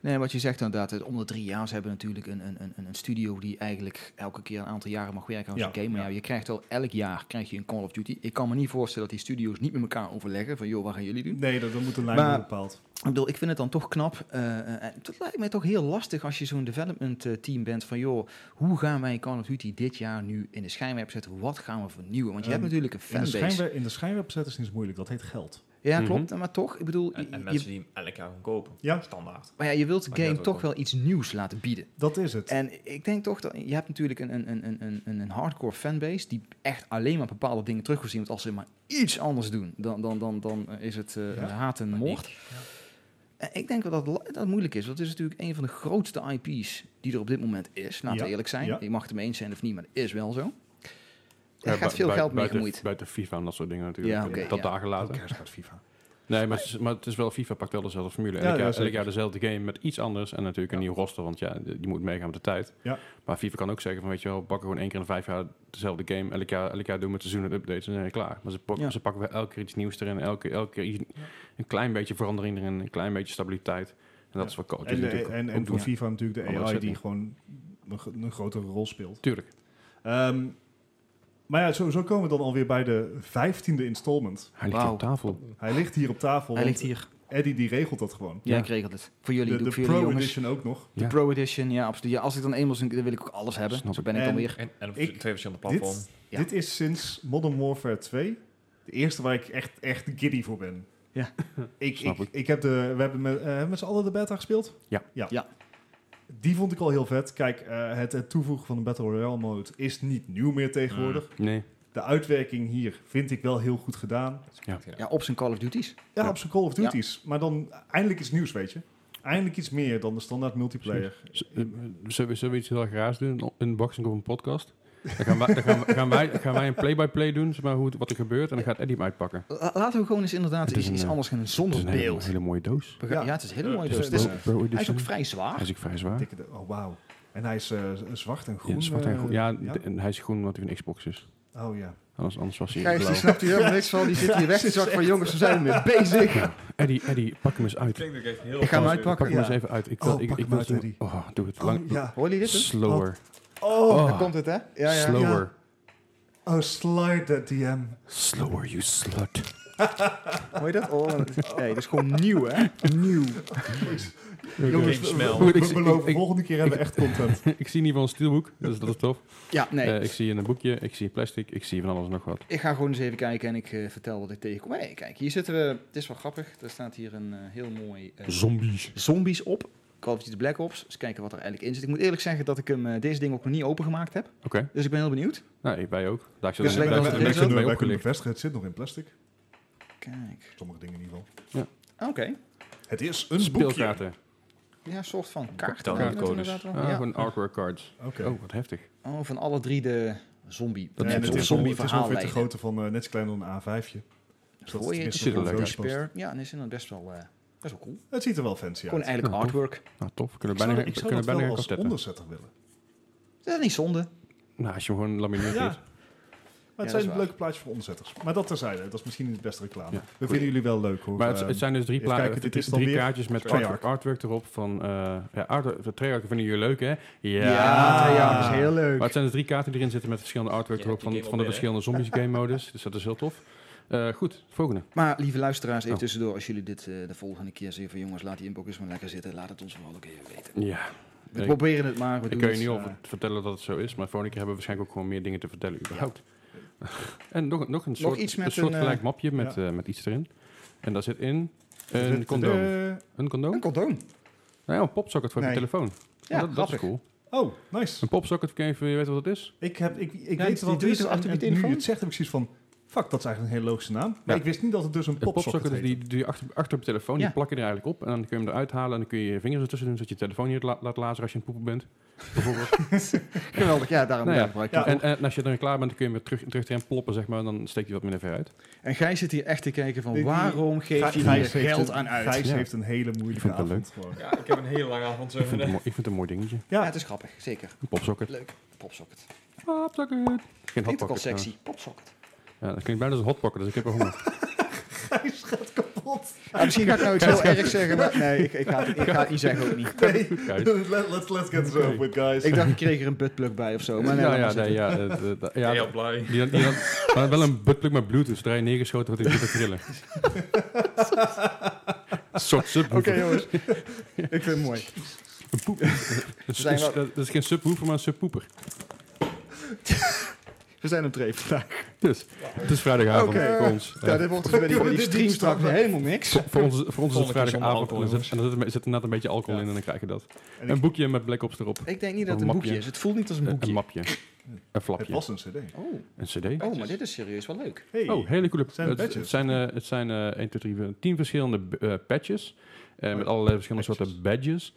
[SPEAKER 4] Nee, wat je zegt inderdaad, het om de drie jaar, ze hebben natuurlijk een, een, een, een studio die eigenlijk elke keer een aantal jaren mag werken aan zo'n
[SPEAKER 2] Ja,
[SPEAKER 4] game. Maar
[SPEAKER 2] ja.
[SPEAKER 4] ja, je krijgt wel elk jaar krijg je een Call of Duty. Ik kan me niet voorstellen dat die studio's niet met elkaar overleggen van joh, wat gaan jullie doen?
[SPEAKER 2] nee dat, dat moet een lijn
[SPEAKER 4] Maar-
[SPEAKER 2] worden bepaald.
[SPEAKER 4] Ik bedoel, ik vind het dan toch knap. eh, eh, en het lijkt mij toch heel lastig als je zo'n development eh, team bent van joh, hoe gaan wij Call of Duty dit jaar nu in de schijnwerp zetten? Wat gaan we vernieuwen? Want je
[SPEAKER 2] Ehm,
[SPEAKER 4] hebt natuurlijk een
[SPEAKER 2] In de,
[SPEAKER 4] fanbase.
[SPEAKER 2] schijnwer, in de schijnwerp zetten is niet zo moeilijk, dat heet geld.
[SPEAKER 4] Ja,
[SPEAKER 1] Mhm.
[SPEAKER 4] klopt. Maar toch, ik bedoel,
[SPEAKER 3] En, en
[SPEAKER 4] je-
[SPEAKER 3] mensen die hem elk jaar gaan kopen.
[SPEAKER 2] Ja.
[SPEAKER 3] Standaard.
[SPEAKER 4] maar ja, je wilt
[SPEAKER 3] Maar
[SPEAKER 4] de game
[SPEAKER 3] dat ook
[SPEAKER 4] toch wel iets nieuws laten bieden.
[SPEAKER 2] Dat is het.
[SPEAKER 4] En ik denk toch dat je hebt natuurlijk een, een, een, een, een, een hardcore fanbase die echt alleen maar bepaalde dingen terug wil zien. Want als ze maar iets anders doen, dan, dan, dan, dan eh, is het eh,
[SPEAKER 2] Ja.
[SPEAKER 4] haat en moord. En ik denk wel dat la- dat moeilijk is. Want het is natuurlijk een van de grootste IP's die er op dit moment is. Laten we
[SPEAKER 2] Ja.
[SPEAKER 4] eerlijk zijn.
[SPEAKER 2] Ja.
[SPEAKER 4] Je mag het ermee eens zijn of niet, maar het is wel zo. Er
[SPEAKER 1] Ja,
[SPEAKER 4] gaat
[SPEAKER 1] bu-
[SPEAKER 4] veel
[SPEAKER 1] bu-
[SPEAKER 4] geld mee
[SPEAKER 1] Eh, buiten-
[SPEAKER 4] gemoeid.
[SPEAKER 1] Buiten FIFA en dat soort dingen natuurlijk.
[SPEAKER 4] Ja,
[SPEAKER 1] Dat-
[SPEAKER 4] oké,
[SPEAKER 1] dat
[SPEAKER 4] ja.
[SPEAKER 1] dagen later.
[SPEAKER 2] Elke gaat FIFA.
[SPEAKER 1] Nee, maar het, is, maar het is wel, FIFA pakt wel dezelfde formule.
[SPEAKER 2] Ja,
[SPEAKER 1] elk,
[SPEAKER 2] ja,
[SPEAKER 1] jaar,
[SPEAKER 2] zeker.
[SPEAKER 1] elk jaar dezelfde game met iets anders. En natuurlijk een
[SPEAKER 2] Ja.
[SPEAKER 1] nieuw roster, want ja, je moet meegaan met de tijd.
[SPEAKER 2] Ja.
[SPEAKER 1] Maar FIFA kan ook zeggen van, weet je wel, we pakken gewoon één keer in de vijf jaar dezelfde game. Elk jaar, elk jaar doen we het seizoen en updates en dan zijn we klaar. Maar ze pakken,
[SPEAKER 4] Ja.
[SPEAKER 1] ze pakken wel elke keer iets nieuws erin. Elke, elke keer iets- een klein beetje verandering erin, een klein beetje stabiliteit. En dat
[SPEAKER 2] Ja.
[SPEAKER 1] is wat Call of Duty
[SPEAKER 2] En, de-
[SPEAKER 1] natuurlijk
[SPEAKER 2] en,
[SPEAKER 1] ook
[SPEAKER 2] en
[SPEAKER 1] doet.
[SPEAKER 2] voor FIFA natuurlijk de
[SPEAKER 1] Andere
[SPEAKER 2] AI die
[SPEAKER 1] setting.
[SPEAKER 2] gewoon een, gro- een grotere rol speelt.
[SPEAKER 1] Tuurlijk.
[SPEAKER 2] Ehm, maar ja, sowieso komen we dan alweer bij de vijftiende installment.
[SPEAKER 1] Hij ligt
[SPEAKER 4] Wauw.
[SPEAKER 1] op tafel.
[SPEAKER 2] Hij ligt hier op tafel.
[SPEAKER 4] Hij
[SPEAKER 2] want
[SPEAKER 4] ligt hier.
[SPEAKER 2] Eddie die regelt dat gewoon.
[SPEAKER 4] Ja,
[SPEAKER 1] Ja.
[SPEAKER 4] ik regel het. Voor jullie,
[SPEAKER 2] De,
[SPEAKER 4] doe
[SPEAKER 2] de
[SPEAKER 4] ik voor jullie
[SPEAKER 2] Pro
[SPEAKER 4] jongens.
[SPEAKER 2] Edition ook nog.
[SPEAKER 4] De
[SPEAKER 1] Ja.
[SPEAKER 4] Pro Edition, ja, absoluut. Ja, als ik dan eenmaal zo'n... Dan wil ik ook alles hebben.
[SPEAKER 1] Snap
[SPEAKER 4] Zo
[SPEAKER 1] ik.
[SPEAKER 4] ben ik
[SPEAKER 2] En-
[SPEAKER 4] alweer.
[SPEAKER 3] En, en op
[SPEAKER 2] Ik-
[SPEAKER 3] twee verschillende platformen.
[SPEAKER 2] Dit,
[SPEAKER 4] Ja.
[SPEAKER 2] dit is sinds Modern Warfare 2 de eerste waar ik echt, echt giddy voor ben.
[SPEAKER 4] Ja.
[SPEAKER 2] ik, ik,
[SPEAKER 1] Snap
[SPEAKER 2] ik.
[SPEAKER 1] ik.
[SPEAKER 2] heb de, we hebben met, eh, hebben we met z'n allen de beta gespeeld.
[SPEAKER 1] Ja.
[SPEAKER 2] ja.
[SPEAKER 4] Ja.
[SPEAKER 2] Die vond ik al heel vet. Kijk, eh, het, het toevoegen van de Battle Royale mode is niet nieuw meer tegenwoordig.
[SPEAKER 1] Nee.
[SPEAKER 2] De uitwerking hier vind ik wel heel goed gedaan.
[SPEAKER 1] Ja.
[SPEAKER 4] Ja, op zijn Call of Duties.
[SPEAKER 2] Ja,
[SPEAKER 1] Ja.
[SPEAKER 2] op zijn Call of Duties. Maar dan eindelijk iets nieuws, weet je. Eindelijk iets meer dan de standaard multiplayer.
[SPEAKER 1] Z- eh, Zullen we, zullen we iets heel erg raars doen? Een unboxing of een podcast? Dan gaan wij, dan gaan, wij- gaan wij, gaan wij een play-by-play doen, zeg maar, hoe, het- wat er gebeurt. En dan gaat Eddie hem uitpakken.
[SPEAKER 4] La- Laten we gewoon eens inderdaad
[SPEAKER 1] Het is
[SPEAKER 4] iets, iets
[SPEAKER 1] een, eh,
[SPEAKER 4] anders gaan doen
[SPEAKER 1] Het
[SPEAKER 4] zonder
[SPEAKER 1] is een hele,
[SPEAKER 4] beeld.
[SPEAKER 1] hele mooie doos.
[SPEAKER 4] We gaan-
[SPEAKER 2] Ja.
[SPEAKER 4] Ja, het is heel mooi.
[SPEAKER 2] Dus,
[SPEAKER 4] Dus, het
[SPEAKER 2] eh,
[SPEAKER 4] is-
[SPEAKER 1] Pro- Pro
[SPEAKER 4] hij is
[SPEAKER 1] Edition.
[SPEAKER 4] ook vrij
[SPEAKER 1] Hij is
[SPEAKER 4] zwaar.
[SPEAKER 1] ook vrij zwaar.
[SPEAKER 2] Dikke de- oh, wauw. En hij is eh, z- zwart en groen.
[SPEAKER 1] Ja, zwart en
[SPEAKER 2] eh,
[SPEAKER 1] groen. Ja,
[SPEAKER 2] ja?
[SPEAKER 1] d- en hij is groen omdat hij een Xbox is.
[SPEAKER 2] Oh ja.
[SPEAKER 1] Anders, anders was hij
[SPEAKER 4] Gijs, die
[SPEAKER 1] blauw.
[SPEAKER 4] snapt hier helemaal niks van. Die zit hier weg te zakken van jongens, we zijn ermee bezig.
[SPEAKER 1] Eddie, Eddie, pak hem eens uit.
[SPEAKER 3] ook echt heel...
[SPEAKER 4] Ik ga hem
[SPEAKER 1] Pak
[SPEAKER 4] uitpakken.
[SPEAKER 1] hem eens
[SPEAKER 2] Ja.
[SPEAKER 1] even uit. Ik wil,
[SPEAKER 2] Oh,
[SPEAKER 1] ik,
[SPEAKER 2] pak
[SPEAKER 1] ik
[SPEAKER 2] hem
[SPEAKER 1] wil
[SPEAKER 2] uit,
[SPEAKER 1] zien-
[SPEAKER 2] Eddie.
[SPEAKER 1] Oh, doe het. Lang,
[SPEAKER 2] Oh, ja.
[SPEAKER 4] Hoor je dit? hè?
[SPEAKER 1] Slower.
[SPEAKER 2] Oh,
[SPEAKER 1] Oh,
[SPEAKER 4] Daar komt het, hè? Ja, ja.
[SPEAKER 1] slower.
[SPEAKER 2] oh, slide that DM.
[SPEAKER 1] Slower, you slut.
[SPEAKER 4] Hoor je dat? Oh, nee, dat is gewoon nieuw, hè? Nieuw.
[SPEAKER 2] Jongens,
[SPEAKER 3] James
[SPEAKER 2] we-
[SPEAKER 3] Mel.
[SPEAKER 2] we, we
[SPEAKER 1] Ik- ik-
[SPEAKER 2] beloven,
[SPEAKER 1] ik-
[SPEAKER 2] volgende keer hebben we echt content.
[SPEAKER 1] ik zie in ieder geval een steelboek, dus dat is tof.
[SPEAKER 4] Ja, nee.
[SPEAKER 1] Eh, ik zie een boekje, ik zie plastic, ik zie van alles en nog wat.
[SPEAKER 4] Ik ga gewoon eens even kijken en ik eh, vertel wat ik tegenkom. Hey, kijk, hier zitten we. Het is wel grappig. Er staat hier een eh, heel mooi... eh,
[SPEAKER 1] Zombies.
[SPEAKER 4] zombies op. Call of Duty Black Ops. Eens kijken wat er eigenlijk in zit. Ik moet eerlijk zeggen dat ik hem, eh, deze ding ook nog niet opengemaakt heb.
[SPEAKER 1] Oké,
[SPEAKER 4] Dus ik ben heel benieuwd.
[SPEAKER 1] nou, ik- wij ook. Daar
[SPEAKER 4] Dus
[SPEAKER 1] zit
[SPEAKER 4] lijkt
[SPEAKER 1] daar
[SPEAKER 4] wel
[SPEAKER 1] zit een
[SPEAKER 4] dat het
[SPEAKER 2] wij
[SPEAKER 4] is
[SPEAKER 1] beetje
[SPEAKER 2] kunnen,
[SPEAKER 1] mee
[SPEAKER 2] wij kunnen
[SPEAKER 1] opgelegd.
[SPEAKER 2] bevestigen, het zit nog in plastic.
[SPEAKER 4] Kijk.
[SPEAKER 2] Sommige dingen in ieder geval.
[SPEAKER 4] Oké.
[SPEAKER 2] Het is een boekje.
[SPEAKER 1] Speelkaarten.
[SPEAKER 4] Ja, een soort van kaart.
[SPEAKER 3] Downloadcodes.
[SPEAKER 1] Ah, Gewoon artwork cards.
[SPEAKER 2] Oké.
[SPEAKER 1] Oh, wat heftig.
[SPEAKER 4] Oh, van alle drie de zombie.
[SPEAKER 1] Dat
[SPEAKER 2] Nee,
[SPEAKER 1] is
[SPEAKER 2] het,
[SPEAKER 1] een
[SPEAKER 2] is ongeveer- het
[SPEAKER 4] zombie
[SPEAKER 2] is ongeveer de
[SPEAKER 4] verhaallijnen.
[SPEAKER 2] grootte van eh, net zo klein dan een A5'tje. Dus dat
[SPEAKER 4] Gooi je
[SPEAKER 2] tenminste
[SPEAKER 1] ziet er
[SPEAKER 2] op een
[SPEAKER 1] leuk uit.
[SPEAKER 2] doos past.
[SPEAKER 4] Despair. Ja, en is inderdaad best wel, eh, best wel cool.
[SPEAKER 2] Het ziet er wel fancy
[SPEAKER 4] Gewoon
[SPEAKER 2] uit.
[SPEAKER 4] eigenlijk
[SPEAKER 1] Ja, tof.
[SPEAKER 4] artwork.
[SPEAKER 1] Nou, tof. Kunnen
[SPEAKER 2] Ik
[SPEAKER 1] we
[SPEAKER 2] zou,
[SPEAKER 1] bijna,
[SPEAKER 2] ik zou
[SPEAKER 1] kunnen
[SPEAKER 2] dat
[SPEAKER 1] we bijna
[SPEAKER 2] wel
[SPEAKER 1] gaan
[SPEAKER 2] als
[SPEAKER 1] kwartetten.
[SPEAKER 2] onderzetter willen.
[SPEAKER 4] Is dat niet zonde?
[SPEAKER 1] Nou, als je hem gewoon lamineert
[SPEAKER 2] Ja.
[SPEAKER 1] is.
[SPEAKER 2] Maar het
[SPEAKER 4] dat is
[SPEAKER 2] zijn
[SPEAKER 4] waar.
[SPEAKER 2] leuke plaatjes voor onderzetters. Maar dat terzijde, dat is misschien niet de beste reclame.
[SPEAKER 1] Ja.
[SPEAKER 2] We vinden jullie wel leuk hoor.
[SPEAKER 1] Maar het, het zijn dus drie,
[SPEAKER 2] even
[SPEAKER 1] pla-
[SPEAKER 2] eh, kijken, dit is dan
[SPEAKER 1] drie
[SPEAKER 2] weer
[SPEAKER 1] kaartjes met
[SPEAKER 2] Treyarch.
[SPEAKER 1] artwork, artwork erop van... eh ja, artwork, de Treyarch vinden jullie leuk, hè? Ja.
[SPEAKER 2] Ja,
[SPEAKER 4] ja, dat is heel leuk.
[SPEAKER 1] Maar het zijn dus drie kaarten die erin zitten met verschillende artwork
[SPEAKER 3] Je
[SPEAKER 1] erop
[SPEAKER 3] hebt die
[SPEAKER 1] van,
[SPEAKER 3] game
[SPEAKER 1] van de
[SPEAKER 3] alweer, hè?
[SPEAKER 1] verschillende zombies game modes. Dus dat is heel tof. Eh, goed, volgende.
[SPEAKER 4] Maar lieve luisteraars, even
[SPEAKER 1] Oh.
[SPEAKER 4] tussendoor. Als jullie dit eh, de volgende keer zien van jongens, laat die inbox eens maar lekker zitten. Laat het ons vooral ook even weten.
[SPEAKER 1] Ja.
[SPEAKER 4] We
[SPEAKER 1] Ik-
[SPEAKER 4] proberen het maar. We
[SPEAKER 1] Ik
[SPEAKER 4] doen
[SPEAKER 1] kan je
[SPEAKER 4] het,
[SPEAKER 1] nu al
[SPEAKER 4] eh,
[SPEAKER 1] vert- vertellen dat het zo is, maar volgende keer hebben we waarschijnlijk ook gewoon meer dingen te vertellen überhaupt. en nog, nog een soort,
[SPEAKER 4] iets met
[SPEAKER 1] een soort
[SPEAKER 4] een, eh,
[SPEAKER 1] gelijk mapje met, eh, met iets erin. En daar zit in een condoom.
[SPEAKER 2] Eh,
[SPEAKER 1] Een
[SPEAKER 4] Een
[SPEAKER 1] condoom?
[SPEAKER 4] condoom.
[SPEAKER 1] Nou ja, een popsocket voor
[SPEAKER 2] Nee.
[SPEAKER 1] je telefoon.
[SPEAKER 4] Ja,
[SPEAKER 1] dat, dat is
[SPEAKER 4] grappig.
[SPEAKER 1] cool.
[SPEAKER 2] Oh, nice.
[SPEAKER 1] Een popsocket, kun je even- je weet wat het is?
[SPEAKER 2] Ik, heb, ik, ik
[SPEAKER 4] Ja,
[SPEAKER 2] weet
[SPEAKER 4] die
[SPEAKER 2] wat het
[SPEAKER 4] doe je
[SPEAKER 2] is.
[SPEAKER 4] zo achter
[SPEAKER 2] en-
[SPEAKER 4] op
[SPEAKER 2] en
[SPEAKER 4] je
[SPEAKER 2] Nu
[SPEAKER 4] telefoon?
[SPEAKER 2] je het zegt, heb ik zoiets van... Fuck, dat is eigenlijk een hele logische naam.
[SPEAKER 1] Ja.
[SPEAKER 2] Maar ik wist niet dat het dus een
[SPEAKER 1] Een
[SPEAKER 2] popsocket
[SPEAKER 1] popsocket is
[SPEAKER 2] heet.
[SPEAKER 1] die, die je achter, achter op je telefoon,
[SPEAKER 4] Ja.
[SPEAKER 1] die plak je er eigenlijk op. En dan kun je hem eruit halen en dan kun je je vingers ertussen doen, zodat je telefoon niet la- laat lazeren als je aan het poepen bent. Bijvoorbeeld.
[SPEAKER 4] Geweldig, ja, daarom
[SPEAKER 1] Nou ja.
[SPEAKER 4] ja, gebruik ik
[SPEAKER 2] Ja.
[SPEAKER 4] het
[SPEAKER 1] en, en als je er klaar bent, dan kun je hem weer terug, terug erin ploppen, zeg maar. En dan steekt hij wat minder ver uit.
[SPEAKER 4] En Gij zit hier echt te kijken van
[SPEAKER 2] Die- die-
[SPEAKER 4] waarom geef je
[SPEAKER 2] Gij-
[SPEAKER 4] hier
[SPEAKER 2] Gijs heeft
[SPEAKER 4] geld
[SPEAKER 2] een-
[SPEAKER 4] aan uit?
[SPEAKER 2] Gijs
[SPEAKER 1] Ja.
[SPEAKER 2] heeft een hele moeilijke
[SPEAKER 1] Ik vind het wel
[SPEAKER 2] avond. gewoon.
[SPEAKER 3] Ja, ik heb een hele lange avond zo.
[SPEAKER 1] Ik vind, het, een mooi- ik vind het een mooi dingetje.
[SPEAKER 4] Ja,
[SPEAKER 2] Ja,
[SPEAKER 4] het is grappig, zeker.
[SPEAKER 1] Een popsocket.
[SPEAKER 4] Leuk, popsocket.
[SPEAKER 1] Popsocket. Geen
[SPEAKER 4] Klinkt ook al
[SPEAKER 1] hotpocket.
[SPEAKER 4] sexy, popsocket.
[SPEAKER 1] Ja, dat klinkt bijna als een hotpocket, dus ik heb er honger.
[SPEAKER 2] Gijs gaat kapot.
[SPEAKER 4] Ah, misschien ga ik nou iets heel erg zeggen, maar nee, ik, ik, ga, het, ik ga het niet zeggen ook niet.
[SPEAKER 2] Nee,
[SPEAKER 1] Gijs.
[SPEAKER 2] let, let's, let's get this over with, guys.
[SPEAKER 4] Ik dacht, ik kreeg er een buttplug bij of zo. Oh, Maar nee,
[SPEAKER 1] ja,
[SPEAKER 4] laat maar
[SPEAKER 1] ja, nee,
[SPEAKER 4] zitten.
[SPEAKER 1] ja, het, het, het- ja,
[SPEAKER 3] Heel blij.
[SPEAKER 1] die, die, had- maar wel een buttplug met bluetooth. Zodra je neergeschoten wordt, hij zit te trillen. Een soort
[SPEAKER 4] Oké
[SPEAKER 1] subwoofer.
[SPEAKER 4] jongens, ik vind het mooi.
[SPEAKER 1] Een poep. Dus- Een s-
[SPEAKER 4] zijn wel-
[SPEAKER 1] een s- Dat is geen subwoofer, maar een subpoeper.
[SPEAKER 4] We zijn op dreef vandaag.
[SPEAKER 1] Dus, het is vrijdagavond
[SPEAKER 4] Oké.
[SPEAKER 1] voor ons.
[SPEAKER 4] Ja,
[SPEAKER 1] Eh,
[SPEAKER 4] dit wordt bij die, bij die stream straks helemaal niks.
[SPEAKER 1] voor ons, voor ons is het
[SPEAKER 3] Volgende keer zonder
[SPEAKER 1] vrijdagavond
[SPEAKER 3] alcohol,
[SPEAKER 1] en er zit, en er zit, er zit inderdaad een beetje alcohol
[SPEAKER 2] Ja.
[SPEAKER 1] in en dan krijg je dat.
[SPEAKER 2] En
[SPEAKER 1] een
[SPEAKER 2] ik-
[SPEAKER 1] boekje met Black Ops erop.
[SPEAKER 4] Ik denk niet dat
[SPEAKER 1] Een
[SPEAKER 4] het een
[SPEAKER 1] mapje.
[SPEAKER 4] boekje is. Het voelt niet als een
[SPEAKER 1] Een, een
[SPEAKER 4] boekje.
[SPEAKER 1] mapje. Een
[SPEAKER 2] Het
[SPEAKER 1] flapje.
[SPEAKER 2] was een cd.
[SPEAKER 4] Oh,
[SPEAKER 1] Een cd.
[SPEAKER 4] oh, maar dit is serieus wel leuk.
[SPEAKER 2] Hey.
[SPEAKER 1] Oh, hele coole
[SPEAKER 2] Zijn
[SPEAKER 1] het,
[SPEAKER 2] patches?
[SPEAKER 1] het zijn, eh het zijn eh 1, 2, 3, 4, 10 verschillende eh, patches. eh, met allerlei verschillende
[SPEAKER 2] Patches.
[SPEAKER 1] soorten badges.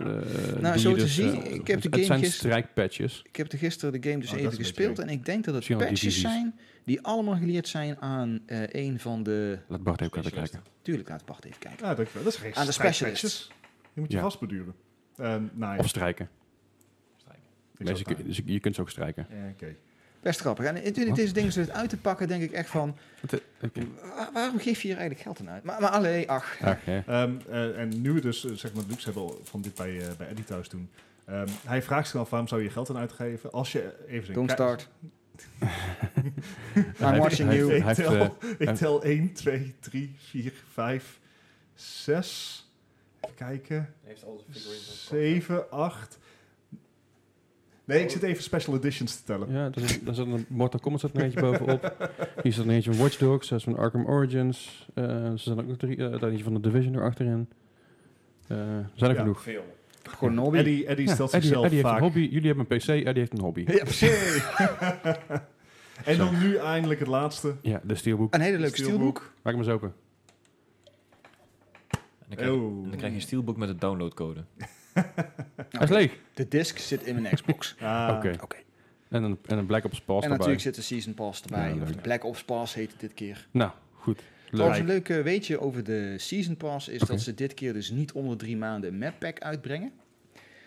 [SPEAKER 1] Eh, die
[SPEAKER 4] zo te
[SPEAKER 1] dus,
[SPEAKER 4] zien,
[SPEAKER 1] eh,
[SPEAKER 4] ik heb de
[SPEAKER 1] het-
[SPEAKER 4] game
[SPEAKER 1] Het zijn
[SPEAKER 4] gisteren-
[SPEAKER 1] strijkpatches.
[SPEAKER 4] Ik heb er gisteren de game
[SPEAKER 2] Oh,
[SPEAKER 4] dus
[SPEAKER 2] dat
[SPEAKER 4] even
[SPEAKER 2] is een
[SPEAKER 4] gespeeld
[SPEAKER 2] beetje
[SPEAKER 4] en ik denk dat het
[SPEAKER 1] Misschien wel
[SPEAKER 4] patches
[SPEAKER 1] divisies.
[SPEAKER 4] zijn die allemaal geleerd zijn aan eh, een van de...
[SPEAKER 1] Laat Bart even verder kijken.
[SPEAKER 4] Tuurlijk, laat Bart even kijken.
[SPEAKER 2] Ja, dankjewel. Dat is geen
[SPEAKER 4] Aan de
[SPEAKER 2] strijdpatches.
[SPEAKER 4] specialist.
[SPEAKER 2] Die moet je
[SPEAKER 1] Ja.
[SPEAKER 2] vastbeduren. Eh, nou ja,
[SPEAKER 1] Of strijken.
[SPEAKER 2] ik
[SPEAKER 1] Nee,
[SPEAKER 2] zou
[SPEAKER 1] ze
[SPEAKER 2] het
[SPEAKER 1] kun- ze- je kunt ze ook strijken.
[SPEAKER 2] nou- Eh, Oké.
[SPEAKER 4] Best grappig. En natuurlijk
[SPEAKER 1] Wat?
[SPEAKER 4] deze dingen zo uit te pakken, denk ik echt van... wa- waarom geef je hier eigenlijk geld aan uit? Maar, maar alleen, ach.
[SPEAKER 1] Ach, hè.
[SPEAKER 2] Ehm, eh, en nu we dus, eh, zeg maar, de luxe hebben van dit bij, eh bij Eddie thuis doen. Ehm, hij vraagt zich af waarom zou je geld aan uitgeven als je even
[SPEAKER 4] Don't start.
[SPEAKER 1] Hij heeft-
[SPEAKER 4] watching
[SPEAKER 1] hij
[SPEAKER 4] you.
[SPEAKER 1] heeft-
[SPEAKER 2] Ik
[SPEAKER 1] hij heeft, eh,
[SPEAKER 2] tel, ik
[SPEAKER 1] hij-
[SPEAKER 2] tel 1, 2, 3, 4, 5, 6. Even kijken.
[SPEAKER 3] Heeft al zijn
[SPEAKER 2] 7, 8. Nee, ik zit even special editions te tellen.
[SPEAKER 1] Ja, daar zit, daar zit een Mortal Kombat zat er eentje bovenop. Hier zit er eentje van Watch Dogs, daar is van Arkham Origins. Eh er zijn ook nog drie, eh, daar eentje van de Division erachterin. Eh er zijn er
[SPEAKER 2] Ja.
[SPEAKER 1] genoeg.
[SPEAKER 3] Veel.
[SPEAKER 4] Gewoon een hobby.
[SPEAKER 2] Eddie, Eddie
[SPEAKER 1] Ja,
[SPEAKER 2] stelt
[SPEAKER 1] Eddie-
[SPEAKER 2] zichzelf
[SPEAKER 1] Eddie heeft
[SPEAKER 2] vaak...
[SPEAKER 1] een hobby, jullie hebben een PC, Eddie heeft een hobby.
[SPEAKER 4] Ja, precies.
[SPEAKER 2] en dan nu eindelijk het laatste.
[SPEAKER 1] Ja, de steelboek.
[SPEAKER 4] Een hele leuke
[SPEAKER 2] Steelbook.
[SPEAKER 4] steelbook.
[SPEAKER 1] Maak hem eens open.
[SPEAKER 3] En dan krijg, je-
[SPEAKER 2] Oh.
[SPEAKER 3] en dan krijg je een steelbook met een downloadcode.
[SPEAKER 1] Hij is leeg.
[SPEAKER 4] Nou, De disc zit in mijn Xbox.
[SPEAKER 2] Ah,
[SPEAKER 1] Oké.
[SPEAKER 4] Oké.
[SPEAKER 1] En een, en een Black Ops Pass
[SPEAKER 4] En
[SPEAKER 1] erbij.
[SPEAKER 4] natuurlijk zit de Season Pass erbij.
[SPEAKER 1] Ja,
[SPEAKER 4] of de
[SPEAKER 1] leuk.
[SPEAKER 4] Black Ops Pass heet het dit keer.
[SPEAKER 1] Nou, goed. Leuk.
[SPEAKER 4] Trouwens, een leuk eh, weetje over de Season Pass is dat ze dit keer dus niet onder de drie maanden een map pack uitbrengen.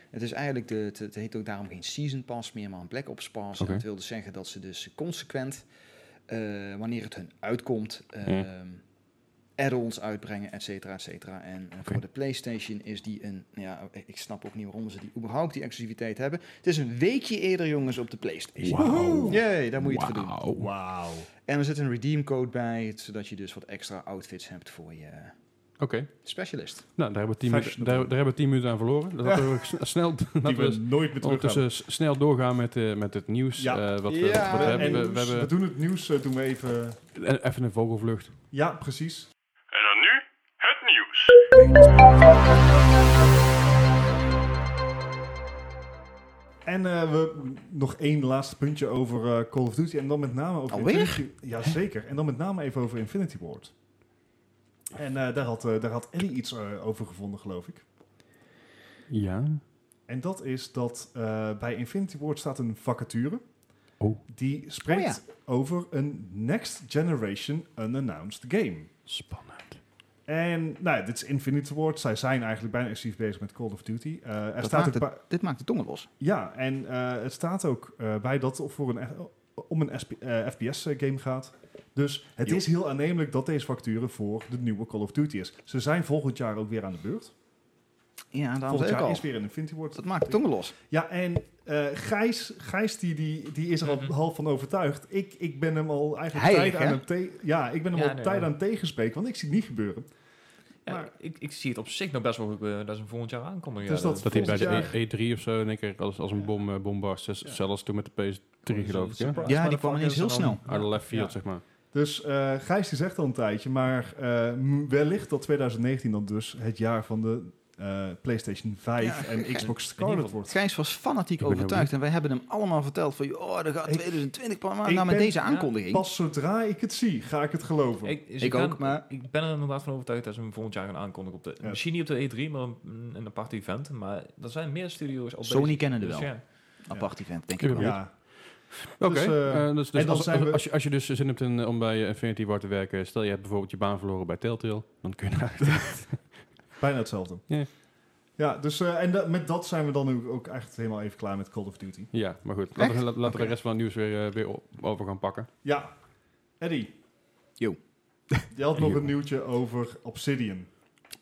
[SPEAKER 4] Het is eigenlijk de, het, het heet ook daarom geen Season Pass meer, maar een Black Ops Pass.
[SPEAKER 1] Oké.
[SPEAKER 4] En dat wil dus zeggen dat ze dus consequent, eh, wanneer het hun uitkomt, eh, add-ons uitbrengen, et cetera, et cetera. En eh, voor de PlayStation is die een, nou ja, ik snap ook niet waarom ze die überhaupt die exclusiviteit hebben. Het is een weekje eerder, jongens, op de PlayStation.
[SPEAKER 1] Wauw.
[SPEAKER 4] Yay, daar moet je het voor doen.
[SPEAKER 1] Wauw.
[SPEAKER 2] Wauw.
[SPEAKER 4] En er zit een redeemcode bij, zodat je dus wat extra outfits hebt voor je
[SPEAKER 1] Oké.
[SPEAKER 4] specialist.
[SPEAKER 1] Nou, daar hebben, we tien minuten,
[SPEAKER 2] Fashionable.
[SPEAKER 1] daar, daar hebben we tien minuten aan verloren. Dat we s- snel,
[SPEAKER 2] Die
[SPEAKER 1] dat
[SPEAKER 2] we
[SPEAKER 1] we
[SPEAKER 2] nooit meer terug
[SPEAKER 1] ondertussen s- snel doorgaan met, eh, met het nieuws.
[SPEAKER 2] Ja.
[SPEAKER 1] eh, wat we,
[SPEAKER 4] Ja,
[SPEAKER 1] wat we
[SPEAKER 4] en
[SPEAKER 1] hebben. We, we
[SPEAKER 2] we,
[SPEAKER 1] hebben
[SPEAKER 2] doen het nieuws, eh, doen we even...
[SPEAKER 1] eh, even een vogelvlucht.
[SPEAKER 2] Ja, precies.
[SPEAKER 5] En dan nu het nieuws.
[SPEAKER 2] En eh, we nog één laatste puntje over eh, Call of Duty. En dan met name over...
[SPEAKER 4] Alweer?
[SPEAKER 2] Infinity- Jazeker. En dan met name even over Infinity Ward. En eh, daar, had, eh, daar had Ellie iets eh, over gevonden, geloof ik.
[SPEAKER 1] Ja.
[SPEAKER 2] En dat is dat eh, bij Infinity Ward staat een vacature.
[SPEAKER 1] Oh.
[SPEAKER 2] Die spreekt over een Next Generation Unannounced Game.
[SPEAKER 1] Spannend.
[SPEAKER 2] En nou, ja, dit is Infinity Ward. Zij zijn eigenlijk bijna exclusief bezig met Call of Duty. Eh, er
[SPEAKER 4] Dat
[SPEAKER 2] staat
[SPEAKER 4] maakt
[SPEAKER 2] ook
[SPEAKER 4] het-
[SPEAKER 2] bij-
[SPEAKER 4] Dit maakt de tongen los.
[SPEAKER 2] ja, en eh, het staat ook eh, bij dat het voor een, F- om een FPS-game gaat. Dus het
[SPEAKER 4] Jo.
[SPEAKER 2] is heel aannemelijk dat deze facturen voor de nieuwe Call of Duty is. Ze zijn volgend jaar ook weer aan de beurt.
[SPEAKER 4] Ja, daarom
[SPEAKER 2] Volgend
[SPEAKER 4] zei ik
[SPEAKER 2] jaar
[SPEAKER 4] al.
[SPEAKER 2] is weer een Infinity Ward.
[SPEAKER 4] Dat maakt de tongen los.
[SPEAKER 2] Ja, en eh, Gijs, Gijs die, die, die is er al
[SPEAKER 3] Mhm.
[SPEAKER 2] half van overtuigd. Ik, ik ben hem al eigenlijk
[SPEAKER 4] Heilig,
[SPEAKER 2] tijd aan
[SPEAKER 4] hè?
[SPEAKER 2] het te- ja, ik ben hem
[SPEAKER 3] Ja,
[SPEAKER 2] al
[SPEAKER 3] nee,
[SPEAKER 2] tijd
[SPEAKER 3] ja.
[SPEAKER 2] aan het tegenspreken, want ik zie het niet gebeuren.
[SPEAKER 3] Ja,
[SPEAKER 2] Maar-
[SPEAKER 3] ik, ik zie het op zich nog best wel goed, eh, dat ze hem volgend jaar aankondigen.
[SPEAKER 2] Dus
[SPEAKER 3] Ja,
[SPEAKER 2] dat-
[SPEAKER 1] Dat hij bij de
[SPEAKER 2] Volgend
[SPEAKER 1] E- E3 of zo in één keer als, als een bom, eh, bom barst. Dus Zelfs toen met de PS3 E geloof ik. Hè?
[SPEAKER 3] Surprise
[SPEAKER 4] Ja, die
[SPEAKER 3] motherfuckers
[SPEAKER 4] kwam ineens heel
[SPEAKER 3] en
[SPEAKER 4] snel.
[SPEAKER 3] dan-
[SPEAKER 1] Out of left field,
[SPEAKER 2] Ja.
[SPEAKER 1] zeg maar.
[SPEAKER 2] Dus eh, Gijs die zegt al een tijdje, maar eh, m- wellicht dat 2019 dan dus het jaar van de eh, PlayStation 5
[SPEAKER 4] Ja,
[SPEAKER 2] en
[SPEAKER 4] ja,
[SPEAKER 2] Xbox Scarlet wordt.
[SPEAKER 4] Gijs was fanatiek
[SPEAKER 1] Ik ben
[SPEAKER 4] overtuigd en wij hebben hem allemaal verteld van, oh, dat gaat
[SPEAKER 2] Ik-
[SPEAKER 4] 2020 pas maar.
[SPEAKER 2] ik
[SPEAKER 4] Nou, met
[SPEAKER 2] ben-
[SPEAKER 4] deze
[SPEAKER 3] ja,
[SPEAKER 4] aankondiging.
[SPEAKER 2] Pas zodra ik het zie, ga ik het geloven.
[SPEAKER 3] Ik, dus
[SPEAKER 4] Ik
[SPEAKER 3] ben-
[SPEAKER 4] ook, maar-
[SPEAKER 3] Ik ben er inderdaad van overtuigd dat ze hem volgend jaar gaan aankondigen. Op de,
[SPEAKER 2] Ja.
[SPEAKER 3] Misschien niet op de E3, maar een, een apart event. Maar er zijn meer studio's al
[SPEAKER 4] Sony
[SPEAKER 3] bezig.
[SPEAKER 4] kennen er
[SPEAKER 3] Dus
[SPEAKER 4] wel.
[SPEAKER 3] ja.
[SPEAKER 4] Apart event, denk
[SPEAKER 1] Ik
[SPEAKER 4] ik
[SPEAKER 1] ben
[SPEAKER 4] wel.
[SPEAKER 2] ja,
[SPEAKER 1] Oké.
[SPEAKER 2] Dus, eh,
[SPEAKER 1] eh, dus-
[SPEAKER 2] en
[SPEAKER 1] dus
[SPEAKER 2] dan
[SPEAKER 1] als-
[SPEAKER 2] zijn we-
[SPEAKER 1] als- Als je- als je dus zin hebt in, eh, om bij eh, Infinity War te werken. Stel je hebt bijvoorbeeld je baan verloren bij Telltale. Dan kun je naar
[SPEAKER 2] bijna hetzelfde.
[SPEAKER 1] Ja.
[SPEAKER 2] Ja, dus eh, en da- met dat zijn we dan ook, ook echt helemaal even klaar met Call of Duty.
[SPEAKER 1] Ja, maar goed.
[SPEAKER 4] Echt?
[SPEAKER 1] Laten we, la- laten we
[SPEAKER 2] Oké.
[SPEAKER 1] de rest van het nieuws weer, eh, weer o- over gaan pakken.
[SPEAKER 2] Ja, Eddie.
[SPEAKER 4] Yo.
[SPEAKER 2] Je had nog
[SPEAKER 1] Yo.
[SPEAKER 2] een nieuwtje over Obsidian.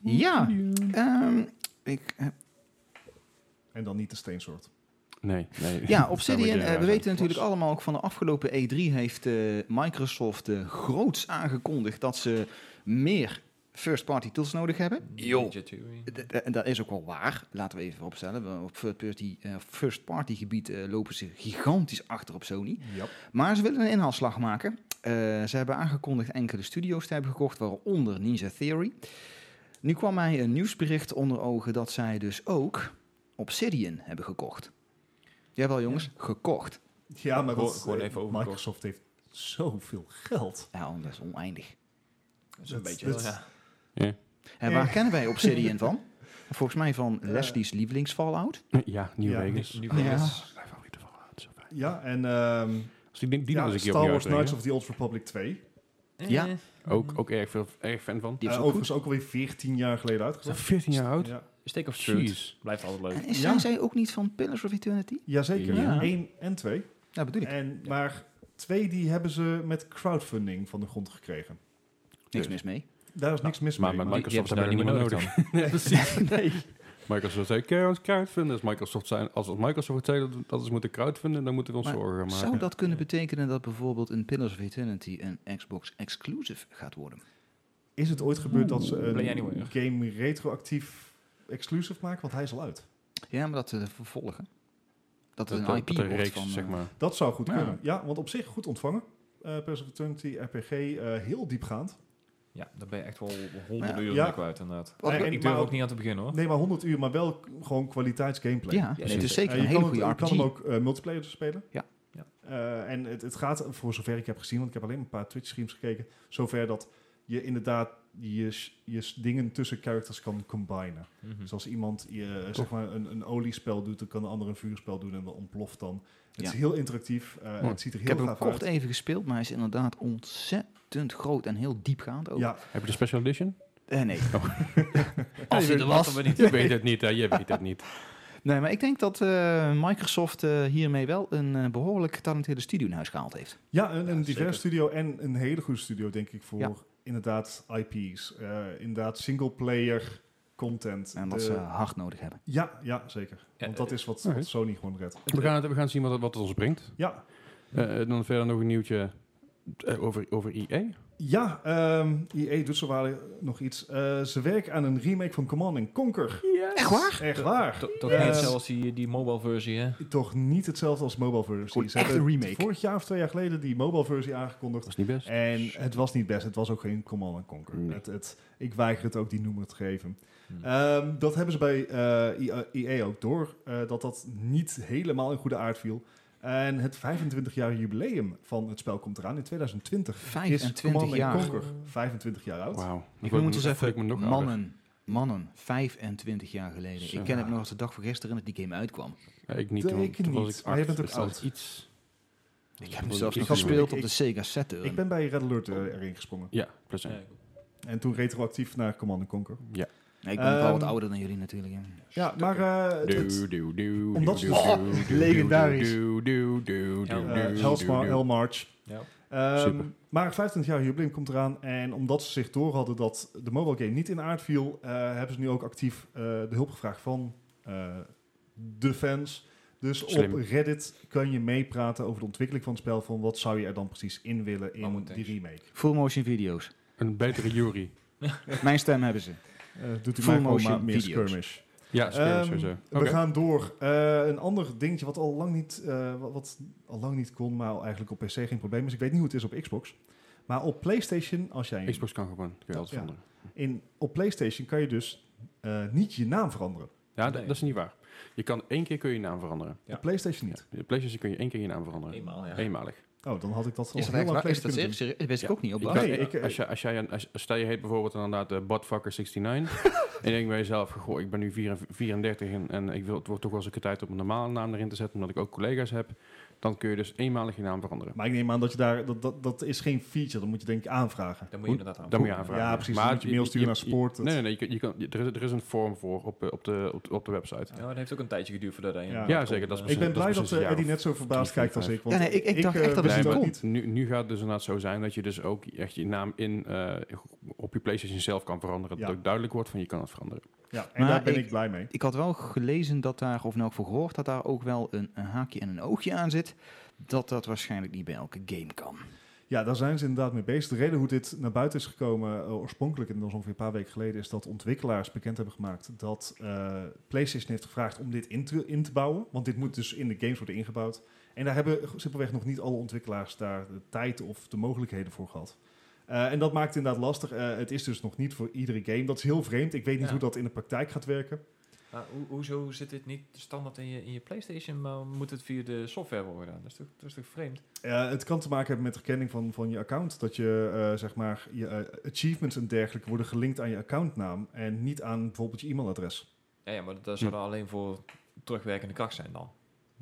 [SPEAKER 4] Ja, ehm, ik, heb-
[SPEAKER 2] En dan niet de steensoort.
[SPEAKER 1] Nee, nee.
[SPEAKER 4] ja Obsidian,
[SPEAKER 1] Daar moet je
[SPEAKER 4] eh, we
[SPEAKER 1] bij
[SPEAKER 4] weten natuurlijk allemaal ook van de afgelopen E3 heeft eh, Microsoft eh, groots aangekondigd dat ze meer first-party tools nodig hebben.
[SPEAKER 3] Ninja Theory.
[SPEAKER 4] D- d- En dat is ook wel waar, laten we even vooropstellen. We- Op first-party eh, first party gebied eh, lopen ze gigantisch achter op Sony.
[SPEAKER 2] Ja.
[SPEAKER 4] Maar ze willen een inhaalslag maken. Eh, ze hebben aangekondigd enkele studio's te hebben gekocht, waaronder Ninja Theory. Nu kwam mij een nieuwsbericht onder ogen dat zij dus ook Obsidian hebben gekocht. Jawel jongens, gekocht.
[SPEAKER 2] Ja, maar dat, eh,
[SPEAKER 3] Gewoon even overkocht.
[SPEAKER 2] Microsoft heeft zoveel geld.
[SPEAKER 4] Ja, dat is oneindig.
[SPEAKER 3] Dat is een
[SPEAKER 2] Dat-
[SPEAKER 3] beetje...
[SPEAKER 2] dat-
[SPEAKER 3] ja.
[SPEAKER 4] En waar
[SPEAKER 2] Eh.
[SPEAKER 4] kennen wij Obsidian van? Volgens mij van
[SPEAKER 2] Eh.
[SPEAKER 4] Leslie's lievelings Fallout.
[SPEAKER 1] gaan. Ja, New
[SPEAKER 2] Ja.
[SPEAKER 1] Vegas.
[SPEAKER 3] Nu- nu-
[SPEAKER 4] Ja.
[SPEAKER 1] Mijn favoriete Fallout, zo fijn.
[SPEAKER 2] Ja, en ehm,
[SPEAKER 1] Als die die nog
[SPEAKER 2] ja,
[SPEAKER 1] eens een keer
[SPEAKER 2] Star
[SPEAKER 1] opnieuw
[SPEAKER 2] Wars Knights
[SPEAKER 1] uitbrengen.
[SPEAKER 2] of the Old Republic 2.
[SPEAKER 4] Ja.
[SPEAKER 3] Eh,
[SPEAKER 1] Ook, ook erg, veel, erg fan van.
[SPEAKER 4] Die
[SPEAKER 2] Eh,
[SPEAKER 4] is ook goed.
[SPEAKER 2] overigens ook alweer 14 jaar geleden
[SPEAKER 1] Is
[SPEAKER 2] uitgebracht.
[SPEAKER 1] 14 jaar oud?
[SPEAKER 2] Ja.
[SPEAKER 3] Steak of Truth
[SPEAKER 1] Jeez.
[SPEAKER 3] blijft altijd
[SPEAKER 4] En
[SPEAKER 3] leuk.
[SPEAKER 4] is,
[SPEAKER 2] Ja.
[SPEAKER 4] zijn zij ook niet van Pillars of Eternity?
[SPEAKER 2] Jazeker,
[SPEAKER 4] Ja.
[SPEAKER 2] 1 en 2.
[SPEAKER 4] Ja, bedoel ik.
[SPEAKER 2] En, maar 2 die hebben ze met crowdfunding van de grond gekregen.
[SPEAKER 4] Niks mis mee.
[SPEAKER 2] Daar is niks mis
[SPEAKER 1] maar
[SPEAKER 2] mee.
[SPEAKER 1] met
[SPEAKER 2] maar-
[SPEAKER 1] Microsoft hebben we
[SPEAKER 3] daar
[SPEAKER 1] niet meer nodig.
[SPEAKER 3] dan.
[SPEAKER 1] Ja, precies. Microsoft zei, kun je ons crowdfunden? Als Microsoft, zijn, als Microsoft zei dat, dat ze moeten crowdfunden, dan moeten we ons
[SPEAKER 4] Maar
[SPEAKER 1] zorgen maken.
[SPEAKER 4] Zou dat kunnen betekenen dat bijvoorbeeld een Pillars of Eternity een Xbox exclusive gaat worden?
[SPEAKER 2] Is het ooit gebeurd dat ze
[SPEAKER 3] Play
[SPEAKER 2] een
[SPEAKER 3] Anywhere.
[SPEAKER 2] game retroactief exclusive maken? Want hij is al uit.
[SPEAKER 4] Ja, maar dat eh, vervolgen. Dat
[SPEAKER 1] Dat-
[SPEAKER 4] het
[SPEAKER 1] dat-
[SPEAKER 4] een IP
[SPEAKER 1] dat een
[SPEAKER 4] wordt
[SPEAKER 1] reeks,
[SPEAKER 4] van... eh,
[SPEAKER 1] zeg maar.
[SPEAKER 2] Dat zou goed
[SPEAKER 4] Ja.
[SPEAKER 2] kunnen. Ja, want op zich goed ontvangen. Eh Pillars of Eternity, RPG, eh, heel diepgaand.
[SPEAKER 3] Ja, dan ben je echt wel honderden
[SPEAKER 4] Ja.
[SPEAKER 3] uren
[SPEAKER 2] Ja.
[SPEAKER 3] mee kwijt, inderdaad.
[SPEAKER 4] Wat-
[SPEAKER 2] Nee, en
[SPEAKER 3] ik
[SPEAKER 2] maar
[SPEAKER 3] durf ook
[SPEAKER 2] ook-
[SPEAKER 3] niet aan te beginnen, hoor.
[SPEAKER 2] Nee, maar 100 uur, maar wel k- gewoon kwaliteitsgameplay.
[SPEAKER 4] ja, nee, het
[SPEAKER 3] precies.
[SPEAKER 4] is zeker
[SPEAKER 2] Eh,
[SPEAKER 4] een
[SPEAKER 2] je
[SPEAKER 4] hele
[SPEAKER 2] kan
[SPEAKER 4] goede
[SPEAKER 2] het-
[SPEAKER 4] RPG.
[SPEAKER 2] Je kan hem ook eh, multiplayer spelen.
[SPEAKER 4] Ja.
[SPEAKER 3] Ja.
[SPEAKER 2] Eh, en het, het gaat, voor zover ik heb gezien, want ik heb alleen een paar Twitch-streams gekeken, zover dat je inderdaad je, s- je s- dingen tussen characters kan combinen.
[SPEAKER 3] Mhm.
[SPEAKER 2] Dus als iemand je, eh, zeg maar een, een oliespel doet, dan kan de ander een vuurspel doen en dan ontploft dan. Het
[SPEAKER 4] Ja.
[SPEAKER 2] is heel interactief. eh,
[SPEAKER 1] Mooi.
[SPEAKER 2] het ziet er
[SPEAKER 4] Ik heb
[SPEAKER 2] heel
[SPEAKER 4] hem
[SPEAKER 2] gaaf
[SPEAKER 4] kort
[SPEAKER 2] uit.
[SPEAKER 4] even gespeeld, maar hij is inderdaad ontzettend groot en heel diepgaand ook.
[SPEAKER 2] Ja,
[SPEAKER 1] Heb je de special edition?
[SPEAKER 4] Eh, nee.
[SPEAKER 1] Oh.
[SPEAKER 4] Als hij er was.
[SPEAKER 3] we niet.
[SPEAKER 1] Je weet het niet, hè? Je weet het niet.
[SPEAKER 4] Nee, maar ik denk dat eh, Microsoft eh, hiermee wel een eh, behoorlijk getalenteerde studio in huis gehaald heeft.
[SPEAKER 2] ja een, een
[SPEAKER 3] Ja,
[SPEAKER 2] diverse
[SPEAKER 3] zeker.
[SPEAKER 2] studio en een hele goede studio, denk ik, voor
[SPEAKER 4] Ja.
[SPEAKER 2] inderdaad IP's. eh inderdaad single-player content.
[SPEAKER 4] En dat
[SPEAKER 2] De-
[SPEAKER 4] ze hard nodig hebben.
[SPEAKER 2] Ja, ja, zeker.
[SPEAKER 3] Eh,
[SPEAKER 2] Want dat is wat,
[SPEAKER 1] Oké.
[SPEAKER 2] wat Sony gewoon redt.
[SPEAKER 1] We gaan, het, we gaan zien wat het, wat het ons brengt.
[SPEAKER 2] Ja,
[SPEAKER 1] Eh, eh, dan verder nog een nieuwtje eh, over, over IE.
[SPEAKER 2] ja ehm EA doet zowaar nog iets. Eh, ze werken aan een remake van Command and Conquer.
[SPEAKER 4] Echt waar?
[SPEAKER 2] Echt waar.
[SPEAKER 3] Dat dat
[SPEAKER 2] Ja.
[SPEAKER 3] heet zelfs die, die mobile versie, hè?
[SPEAKER 2] Toch niet hetzelfde als mobile versie.
[SPEAKER 4] Gewoon
[SPEAKER 2] Ze
[SPEAKER 4] echt
[SPEAKER 2] hebben
[SPEAKER 4] een remake.
[SPEAKER 2] Vorig jaar of twee jaar geleden die mobile versie aangekondigd.
[SPEAKER 1] Dat is niet best.
[SPEAKER 2] En het was niet best. Het was ook geen Command and Conquer.
[SPEAKER 1] Dus Nee.
[SPEAKER 2] Het, het, ik weiger het ook die noemer te geven.
[SPEAKER 3] Hmm.
[SPEAKER 2] Ehm, dat hebben ze bij eh, I- eh, EA ook door. eh, dat dat niet helemaal in goede aard viel. En het 25-jarige jubileum van het spel komt eraan in 2020. is
[SPEAKER 4] 25
[SPEAKER 2] Command
[SPEAKER 4] jaar.
[SPEAKER 2] Conquer 25 jaar oud.
[SPEAKER 1] Wauw.
[SPEAKER 4] Ik
[SPEAKER 1] word-
[SPEAKER 4] noem het eens
[SPEAKER 1] voel ik me
[SPEAKER 4] even
[SPEAKER 1] nog ouder.
[SPEAKER 4] mannen. Mannen, 25 jaar geleden.
[SPEAKER 1] Zo.
[SPEAKER 4] Ik ken het nog als de dag van gisteren dat die game uitkwam.
[SPEAKER 1] Ja, ik niet,
[SPEAKER 2] Ik
[SPEAKER 1] want toen was
[SPEAKER 2] niet,
[SPEAKER 1] ik
[SPEAKER 2] maar jij
[SPEAKER 1] acht,
[SPEAKER 2] bent ook
[SPEAKER 1] dus dat
[SPEAKER 2] oud.
[SPEAKER 1] is iets.
[SPEAKER 4] Ik heb hem
[SPEAKER 1] Ik-
[SPEAKER 4] zelfs
[SPEAKER 1] ik-
[SPEAKER 4] nog
[SPEAKER 1] ik-
[SPEAKER 4] gespeeld
[SPEAKER 2] ik-
[SPEAKER 4] op de Sega Saturn.
[SPEAKER 2] Ik ben bij Red Alert eh, erin gesprongen.
[SPEAKER 1] Ja, plus één.
[SPEAKER 2] En toen retroactief naar Command and Conquer.
[SPEAKER 4] Nee, ik ben wel wat
[SPEAKER 2] Ehm,
[SPEAKER 4] ouder dan jullie natuurlijk. hè.
[SPEAKER 2] Ja, maar eh, het- het-
[SPEAKER 1] Doe, doe, doe,
[SPEAKER 2] omdat
[SPEAKER 1] doe,
[SPEAKER 2] ze-
[SPEAKER 1] doe,
[SPEAKER 2] Oh,
[SPEAKER 1] doe, doe, doe,
[SPEAKER 4] legendarisch.
[SPEAKER 1] doe, doe, doe, doe,
[SPEAKER 3] Ja,
[SPEAKER 2] eh,
[SPEAKER 1] doe,
[SPEAKER 2] Hellsmar,
[SPEAKER 1] doe, doe.
[SPEAKER 2] Elmarch.
[SPEAKER 3] Ja.
[SPEAKER 2] Ehm,
[SPEAKER 1] Super.
[SPEAKER 2] maar het 25 jaar jubileum komt eraan. En omdat ze zich door hadden dat de mobile game niet in aard viel, eh, hebben ze nu ook actief eh, de hulp gevraagd van eh, de fans. Dus
[SPEAKER 1] Slim.
[SPEAKER 2] op Reddit kan je meepraten over de ontwikkeling van het spel. Van wat zou je er dan precies in willen
[SPEAKER 3] Maar
[SPEAKER 2] in
[SPEAKER 3] moet
[SPEAKER 2] die
[SPEAKER 3] eens.
[SPEAKER 2] remake.
[SPEAKER 4] Full motion video's.
[SPEAKER 1] Een betere Yuri.
[SPEAKER 4] Mijn stem hebben ze.
[SPEAKER 2] Eh doet u
[SPEAKER 4] Full
[SPEAKER 2] mij gewoon
[SPEAKER 4] motion
[SPEAKER 2] maar meer
[SPEAKER 4] video's.
[SPEAKER 2] skirmish.
[SPEAKER 1] Ja,
[SPEAKER 2] Ehm,
[SPEAKER 1] sowieso.
[SPEAKER 2] We gaan door. Eh, een ander dingetje wat al lang niet, eh, wat, wat al lang niet kon, maar al eigenlijk op PC geen probleem is. Ik weet niet hoe het is op Xbox. Maar op PlayStation, als jij
[SPEAKER 1] Xbox kan gewoon. Kun je altijd
[SPEAKER 2] Ja.
[SPEAKER 1] veranderen.
[SPEAKER 2] in, op PlayStation kan je dus eh, niet je naam veranderen.
[SPEAKER 1] Ja, d-
[SPEAKER 3] Nee.
[SPEAKER 1] dat is niet waar. Je kan één keer kun je je naam veranderen.
[SPEAKER 3] Ja.
[SPEAKER 2] Op PlayStation
[SPEAKER 1] Ja.
[SPEAKER 2] niet.
[SPEAKER 1] De PlayStation kun je één keer je naam veranderen.
[SPEAKER 3] Eenmaal, ja.
[SPEAKER 1] Eenmalig.
[SPEAKER 2] Oh, dan had ik dat al
[SPEAKER 4] Is dat
[SPEAKER 2] heel
[SPEAKER 4] echt
[SPEAKER 2] lang
[SPEAKER 4] waar? Is dat
[SPEAKER 2] geleden kunnen
[SPEAKER 4] serieus? Dat wist ik ook niet. Op
[SPEAKER 1] Je
[SPEAKER 4] de
[SPEAKER 1] kan-
[SPEAKER 2] Nee, ik, eh,
[SPEAKER 1] als, je, als, jij, een- als, stel je heet bijvoorbeeld inderdaad uh, Badfucker69 en je denkt bij jezelf, goh, ik ben nu 34 34 en, en ik wil, het wordt toch wel eens een keer tijd om een normale naam erin te zetten, omdat ik ook collega's heb, dan kun je dus eenmalig je naam veranderen.
[SPEAKER 2] doen. Maar ik neem aan dat je daar, dat, dat, dat is geen feature. Dat moet je denk ik aanvragen.
[SPEAKER 3] Dan moet je inderdaad aan.
[SPEAKER 1] Dan moet je aanvragen.
[SPEAKER 2] Ja, precies. Dan moet je mail sturen naar sport.
[SPEAKER 1] Nee, nee, nee. Je, kan- je kan, je- er, is, er is een vorm voor op, eh, op, de, op, de- op de website.
[SPEAKER 3] Ja, Nou, dat heeft ook een tijdje geduurd voordat hij...
[SPEAKER 2] Ja.
[SPEAKER 3] inderdaad
[SPEAKER 1] Ja,
[SPEAKER 3] komt,
[SPEAKER 1] zeker, dat
[SPEAKER 3] eh.
[SPEAKER 1] is
[SPEAKER 2] ik ben
[SPEAKER 1] dat
[SPEAKER 2] blij
[SPEAKER 1] is
[SPEAKER 2] dat,
[SPEAKER 1] precies een
[SPEAKER 2] eh,
[SPEAKER 1] jaar
[SPEAKER 2] Eddie
[SPEAKER 1] of
[SPEAKER 2] net zo verbaasd
[SPEAKER 1] 25.
[SPEAKER 2] kijkt als ik. Want
[SPEAKER 4] Ja, nee, ik- ik dacht
[SPEAKER 2] eh,
[SPEAKER 4] echt dat
[SPEAKER 2] wist
[SPEAKER 4] het
[SPEAKER 2] het
[SPEAKER 4] kon.
[SPEAKER 2] ook niet.
[SPEAKER 1] nu, nu gaat het dus inderdaad zo zijn dat je dus ook echt je naam in, eh, op je PlayStation zelf kan veranderen. Dat
[SPEAKER 2] Ja.
[SPEAKER 1] ook duidelijk wordt van je kan het veranderen.
[SPEAKER 2] Ja, en
[SPEAKER 4] Maar
[SPEAKER 2] daar ben
[SPEAKER 4] ik-
[SPEAKER 2] ik blij mee.
[SPEAKER 4] Ik had wel gelezen dat daar, of nou ook voor gehoord, dat daar ook wel een, een haakje en een oogje aan zit. Dat dat waarschijnlijk niet bij elke game kan.
[SPEAKER 2] Ja, daar zijn ze inderdaad mee bezig. De reden hoe dit naar buiten is gekomen, eh, oorspronkelijk, en dat is ongeveer een paar weken geleden, is dat ontwikkelaars bekend hebben gemaakt dat eh, PlayStation heeft gevraagd om dit in te, in te bouwen. Want dit moet dus in de games worden ingebouwd. En daar hebben simpelweg nog niet alle ontwikkelaars daar de tijd of de mogelijkheden voor gehad. Eh, en dat maakt het inderdaad lastig. Eh, het is dus nog niet voor iedere game. Dat is heel vreemd. Ik weet niet
[SPEAKER 3] Ja.
[SPEAKER 2] hoe dat in de praktijk gaat werken.
[SPEAKER 3] Maar ho- hoezo zit dit niet standaard in je, in je PlayStation, maar moet het via de software worden gedaan? Dat is toch, dat is toch vreemd?
[SPEAKER 2] Eh, het kan te maken hebben met herkenning van, van je account. Dat je, eh, zeg maar, je eh, achievements en dergelijke worden gelinkt aan je accountnaam. En niet aan bijvoorbeeld je e-mailadres.
[SPEAKER 3] Ja, ja maar dat zou er alleen voor terugwerkende kracht zijn dan.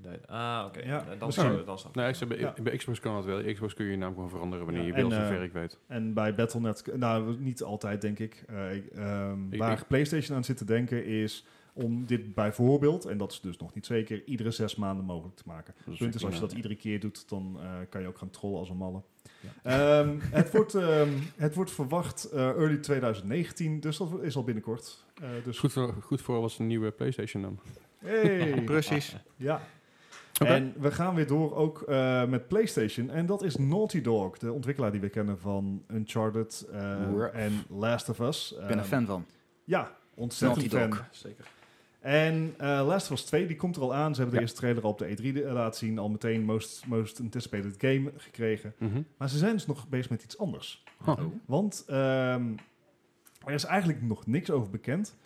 [SPEAKER 3] De- ah, oké.
[SPEAKER 2] Ja,
[SPEAKER 3] Dan- dan
[SPEAKER 2] misschien.
[SPEAKER 3] zou dan snap ik.
[SPEAKER 1] Nee, Nou, ik zeg, bij,
[SPEAKER 2] Ja.
[SPEAKER 1] bij Xbox kan dat wel. Xbox kun je je naam gewoon veranderen wanneer
[SPEAKER 2] Ja,
[SPEAKER 1] je wil,
[SPEAKER 2] en, eh,
[SPEAKER 1] zover ik weet.
[SPEAKER 2] En bij Battle.net, nou niet altijd denk ik. Eh, ik, ehm,
[SPEAKER 1] Ik-
[SPEAKER 2] waar
[SPEAKER 1] ik-
[SPEAKER 2] PlayStation aan zit te denken is om dit bijvoorbeeld, en dat is dus nog niet zeker, iedere zes maanden mogelijk te maken.
[SPEAKER 1] Dat is
[SPEAKER 2] Het punt is,
[SPEAKER 1] prima.
[SPEAKER 2] als je dat iedere keer doet, dan eh, kan je ook gaan trollen als een malle.
[SPEAKER 3] Ja.
[SPEAKER 2] Ehm, het, wordt, ehm, het wordt verwacht eh, early 2019, dus dat is al binnenkort. Eh, dus
[SPEAKER 1] is goed voor, goed voor als een nieuwe PlayStation dan.
[SPEAKER 2] Hey.
[SPEAKER 4] Precies.
[SPEAKER 2] Ja.
[SPEAKER 1] Oké.
[SPEAKER 2] En we gaan weer door ook eh, met PlayStation. En dat is Naughty Dog, de ontwikkelaar die we kennen van Uncharted eh,
[SPEAKER 4] Oeh.
[SPEAKER 2] en Last of Us.
[SPEAKER 4] Ik ben er
[SPEAKER 2] Ehm,
[SPEAKER 4] fan van.
[SPEAKER 2] Ja, ontzettend
[SPEAKER 4] Naughty
[SPEAKER 2] fan.
[SPEAKER 4] Dog.
[SPEAKER 3] Zeker.
[SPEAKER 2] En eh, Last of Us 2, die komt er al aan. Ze hebben
[SPEAKER 1] Ja.
[SPEAKER 2] de eerste trailer al op de E3 de- laten zien. Al meteen most, most Anticipated Game gekregen.
[SPEAKER 1] Mhm.
[SPEAKER 2] Maar ze zijn dus nog bezig met iets anders.
[SPEAKER 3] Oh.
[SPEAKER 1] Huh.
[SPEAKER 2] Want ehm, er is eigenlijk nog niks over bekend.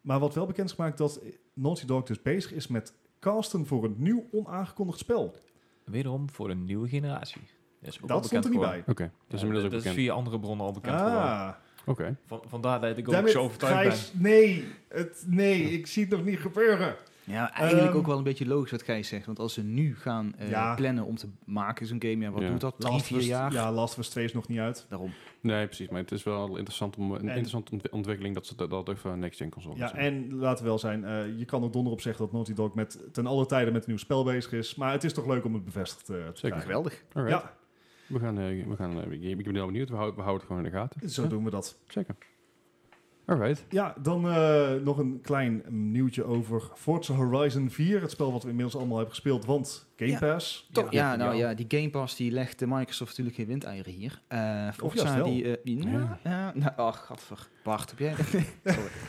[SPEAKER 2] Maar wat wel bekend is gemaakt, dat Naughty Dog dus bezig is met casten voor een nieuw onaangekondigd spel.
[SPEAKER 3] Wederom voor een nieuwe generatie. Dat, is ook al
[SPEAKER 2] dat stond er
[SPEAKER 3] bekend
[SPEAKER 2] niet
[SPEAKER 3] geworden.
[SPEAKER 2] bij.
[SPEAKER 1] Oké, dat is
[SPEAKER 3] Ja,
[SPEAKER 1] Dus inmiddels ook
[SPEAKER 3] dat
[SPEAKER 1] bekend.
[SPEAKER 3] via andere bronnen al bekend geworden.
[SPEAKER 2] Ah,
[SPEAKER 1] Oké.
[SPEAKER 3] Van, vandaar dat ik ook
[SPEAKER 2] damn it,
[SPEAKER 3] zo overtuigd ben.
[SPEAKER 2] Gijs, nee, het, nee, ik zie het nog niet gebeuren.
[SPEAKER 4] Ja, eigenlijk
[SPEAKER 2] Ehm,
[SPEAKER 4] ook wel een beetje logisch wat Gijs zegt. Want als ze nu gaan eh,
[SPEAKER 2] Ja.
[SPEAKER 4] plannen om te maken zo'n game, ja, wat
[SPEAKER 1] Ja.
[SPEAKER 4] doet dat? Drie,
[SPEAKER 2] Last of
[SPEAKER 4] vier
[SPEAKER 2] Us,
[SPEAKER 4] jaar?
[SPEAKER 2] ja, Last of Us 2 is nog niet uit.
[SPEAKER 4] Daarom.
[SPEAKER 1] Nee, precies. Maar het is wel interessant om, een interessante ontwi- ontwikkeling dat ze dat, dat ook voor een next-gen console
[SPEAKER 2] Ja,
[SPEAKER 1] is.
[SPEAKER 2] en laten we wel zijn, eh, je kan ook donder op zeggen dat Naughty Dog met, ten alle tijden met een nieuw spel bezig is. Maar het is toch leuk om het bevestigd eh, te
[SPEAKER 1] Zeker.
[SPEAKER 2] krijgen.
[SPEAKER 4] Geweldig.
[SPEAKER 1] Alright.
[SPEAKER 2] Ja,
[SPEAKER 1] We gaan, eh, we gaan, eh, ik ben heel benieuwd. We houden, we houden het gewoon in de gaten.
[SPEAKER 2] zo
[SPEAKER 1] Ja,
[SPEAKER 2] doen we dat.
[SPEAKER 1] Zeker. Alright.
[SPEAKER 2] Ja, dan eh, nog een klein nieuwtje over Forza Horizon 4. Het spel wat we inmiddels allemaal hebben gespeeld, want Game
[SPEAKER 4] Ja.
[SPEAKER 2] Pass.
[SPEAKER 4] Toch?
[SPEAKER 3] Ja.
[SPEAKER 4] Ja, nou
[SPEAKER 3] Ja.
[SPEAKER 4] ja, die Game Pass die legt de Microsoft natuurlijk geen windeieren hier. Eh
[SPEAKER 2] juist
[SPEAKER 4] Forza
[SPEAKER 2] wel.
[SPEAKER 4] die... eh, die
[SPEAKER 1] Ja.
[SPEAKER 4] ja. ja, nou, ach, gadver. Bart, heb jij...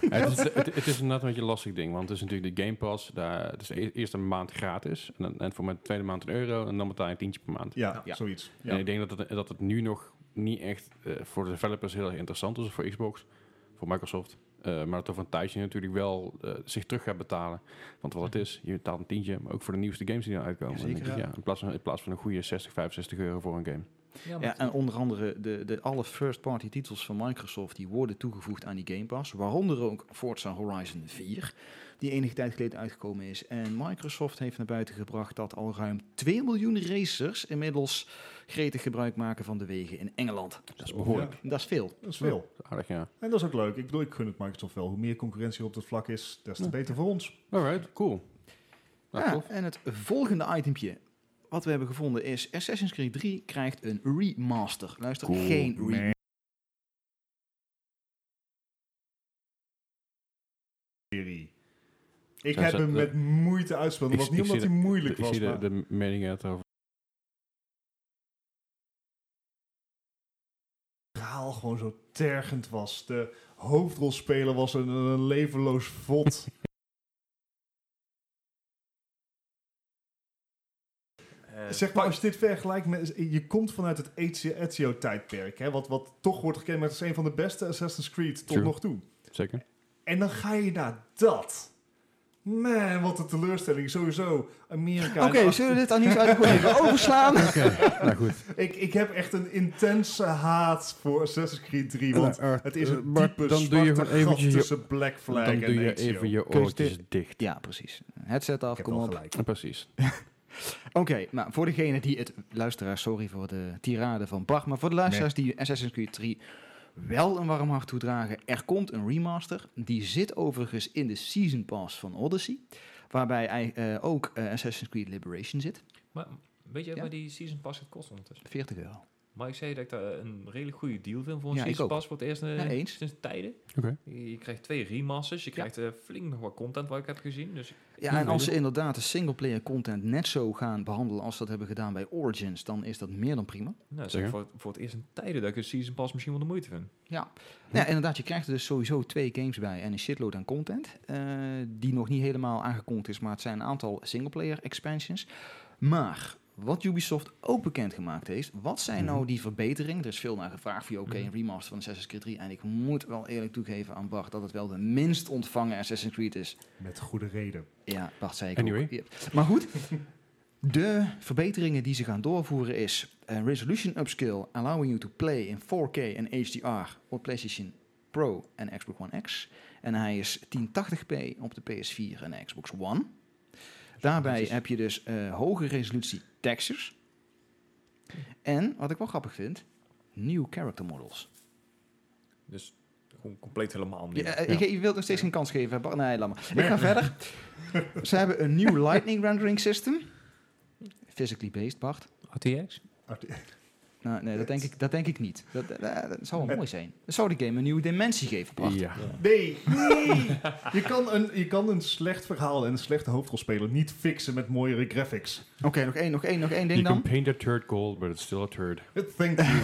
[SPEAKER 1] Ja, het, is, het, het is inderdaad een beetje een lastig ding, want het is natuurlijk de Game Pass. Daar, het is e- eerst een maand gratis en, dan- en voor mijn tweede maand een euro en dan betaal je een tientje per maand.
[SPEAKER 2] Ja,
[SPEAKER 4] Ja.
[SPEAKER 2] zoiets.
[SPEAKER 1] En
[SPEAKER 2] Ja.
[SPEAKER 1] ik denk dat het, dat het nu nog niet echt eh, voor de developers heel erg interessant is, of voor Xbox, voor Microsoft. Eh, maar dat over een tijdje natuurlijk wel eh, zich terug gaat betalen. Want wat het is, je betaalt een tientje, maar ook voor de nieuwste games die eruit komen.
[SPEAKER 4] Ja, zeker,
[SPEAKER 1] Dan denk ik,
[SPEAKER 2] ja.
[SPEAKER 1] Mhm. ja, in, plaats van, in plaats van een goede 60, 65 euro voor een game.
[SPEAKER 3] Ja, maar
[SPEAKER 4] Ja, en onder andere de, de alle first-party titels van Microsoft die worden toegevoegd aan die Game Pass. Waaronder ook Forza Horizon 4, die enige tijd geleden uitgekomen is. En Microsoft heeft naar buiten gebracht dat al ruim 2 miljoen racers inmiddels gretig gebruik maken van de wegen in Engeland.
[SPEAKER 1] Dat is behoorlijk
[SPEAKER 4] Dat is veel.
[SPEAKER 2] Dat is veel.
[SPEAKER 1] aardig, ja.
[SPEAKER 2] En dat is ook leuk. Ik bedoel, ik gun het Microsoft wel. Hoe meer concurrentie op dat vlak is, des te
[SPEAKER 1] Ja.
[SPEAKER 2] beter voor ons.
[SPEAKER 1] Alright, cool. Nou,
[SPEAKER 4] Ja,
[SPEAKER 1] tof.
[SPEAKER 4] en het volgende itempje wat we hebben gevonden is Assassin's Creed 3 krijgt een remaster. Luister,
[SPEAKER 1] Cool,
[SPEAKER 4] geen
[SPEAKER 1] man.
[SPEAKER 4] remaster.
[SPEAKER 2] Serie. Ik
[SPEAKER 1] Zijn
[SPEAKER 2] heb
[SPEAKER 1] ze-
[SPEAKER 2] hem
[SPEAKER 1] dat-
[SPEAKER 2] met moeite uitspelen.
[SPEAKER 1] Ik-
[SPEAKER 2] Dat was
[SPEAKER 1] ik
[SPEAKER 2] niet omdat
[SPEAKER 1] zie
[SPEAKER 2] hij moeilijk
[SPEAKER 1] Ik
[SPEAKER 2] was.
[SPEAKER 1] zie de,
[SPEAKER 2] maar-
[SPEAKER 1] de meningen uit over.
[SPEAKER 2] verhaal gewoon zo tergend was. De hoofdrolspeler was een, een levenloos vod.
[SPEAKER 3] eh,
[SPEAKER 2] zeg maar, als je dit vergelijkt met... Je komt vanuit het Ezio- Ezio-tijdperk, hè, wat, wat toch wordt gekend met als een van de beste Assassin's Creed tot
[SPEAKER 1] True.
[SPEAKER 2] nog toe.
[SPEAKER 1] Zeker.
[SPEAKER 2] En dan ga je naar dat. Man, wat een teleurstelling. Sowieso, Amerika...
[SPEAKER 4] Oké,
[SPEAKER 2] en achter-
[SPEAKER 4] zullen we dit aan nieuws uitgekomen overslaan?
[SPEAKER 1] nou goed.
[SPEAKER 2] ik, ik heb echt een intense haat voor Assassin's Creed 3, want het is een eh, diepe
[SPEAKER 1] Nou, eh, dan doe je
[SPEAKER 2] zwarte
[SPEAKER 1] gewoon
[SPEAKER 2] gat
[SPEAKER 1] eventjes je,
[SPEAKER 2] tussen Black Flag
[SPEAKER 1] dan
[SPEAKER 2] en
[SPEAKER 1] doe je
[SPEAKER 2] Ezio.
[SPEAKER 1] even je
[SPEAKER 4] Kun je
[SPEAKER 1] oortjes dicht.
[SPEAKER 4] Ja, precies. Headset af,
[SPEAKER 2] Ik heb
[SPEAKER 4] kom
[SPEAKER 2] wel
[SPEAKER 4] op.
[SPEAKER 2] gelijk.
[SPEAKER 1] Ja, Precies.
[SPEAKER 4] Oké, nou voor degene die het. Luisteraars, sorry voor de tirade van Bart. Maar voor de luisteraars die Assassin's Creed 3 wel een warm hart toedragen. Er komt een remaster. Die zit overigens in de Season Pass van Odyssey. Waarbij ei- eh, ook eh, Assassin's Creed Liberation zit.
[SPEAKER 3] maar weet jij
[SPEAKER 4] Ja.
[SPEAKER 3] waar die season pass het kost ondertussen?
[SPEAKER 4] 40 euro.
[SPEAKER 3] Maar ik zei dat ik daar een redelijk goede deal vind voor een
[SPEAKER 4] Ja, ik
[SPEAKER 3] season
[SPEAKER 4] ook.
[SPEAKER 3] pass voor het eerst eh,
[SPEAKER 4] Ja, eens.
[SPEAKER 3] sinds tijden.
[SPEAKER 1] Oké.
[SPEAKER 3] Je je krijgt twee remasters, je krijgt eh, flink nog wat content wat ik heb gezien. Dus
[SPEAKER 4] Ja, en als ze inderdaad de singleplayer content net zo gaan behandelen als ze dat hebben gedaan bij Origins, dan is dat meer dan prima.
[SPEAKER 3] nou, zeg,
[SPEAKER 1] Zeker.
[SPEAKER 3] voor, voor het eerst in tijden dat ik een season pass misschien wel de moeite vind.
[SPEAKER 4] Ja. ja, inderdaad. Je krijgt er dus sowieso twee games bij en een shitload aan content. eh, die nog niet helemaal aangekondigd is, maar het zijn een aantal singleplayer expansions. Maar wat Ubisoft ook bekendgemaakt heeft, wat zijn nou die verbeteringen? Er is veel naar gevraagd voor, oké, een remaster van Assassin's Creed 3. En ik moet wel eerlijk toegeven aan Bart dat het wel de minst ontvangen Assassin's Creed is.
[SPEAKER 2] Met goede reden.
[SPEAKER 4] Ja, Bart zei ik
[SPEAKER 1] Anyway.
[SPEAKER 4] ook. Ja. Maar goed, de verbeteringen die ze gaan doorvoeren is... eh, resolution upscale, allowing you to play in 4K en HDR... op PlayStation Pro en Xbox One X. En hij is 1080p op de PS4 en de Xbox One. Daarbij heb je dus eh, hoge resolutie textures. En, wat ik wel grappig vind, nieuw character models.
[SPEAKER 3] Dus gewoon compleet helemaal nieuw.
[SPEAKER 4] Ja, eh, ik- Je wilt nog steeds geen kans geven, Bart. Nee, laat maar. Ik ga verder. Ze hebben een nieuw lightning rendering system. Physically based, Bart.
[SPEAKER 3] RTX?
[SPEAKER 4] Nou, nee, dat denk ik, dat denk ik niet. Dat, eh, dat zou wel mooi zijn. Dat zou de game een nieuwe dimensie geven, Bart.
[SPEAKER 1] Ja.
[SPEAKER 2] Nee, nee. je, kan een, je kan een slecht verhaal en een slechte hoofdrolspeler niet fixen met mooiere graphics.
[SPEAKER 4] Oké, nog één, nog één, nog één
[SPEAKER 1] You
[SPEAKER 4] ding
[SPEAKER 1] can
[SPEAKER 4] dan.
[SPEAKER 1] paint a turd gold, but it's still a turd.
[SPEAKER 2] Thank you.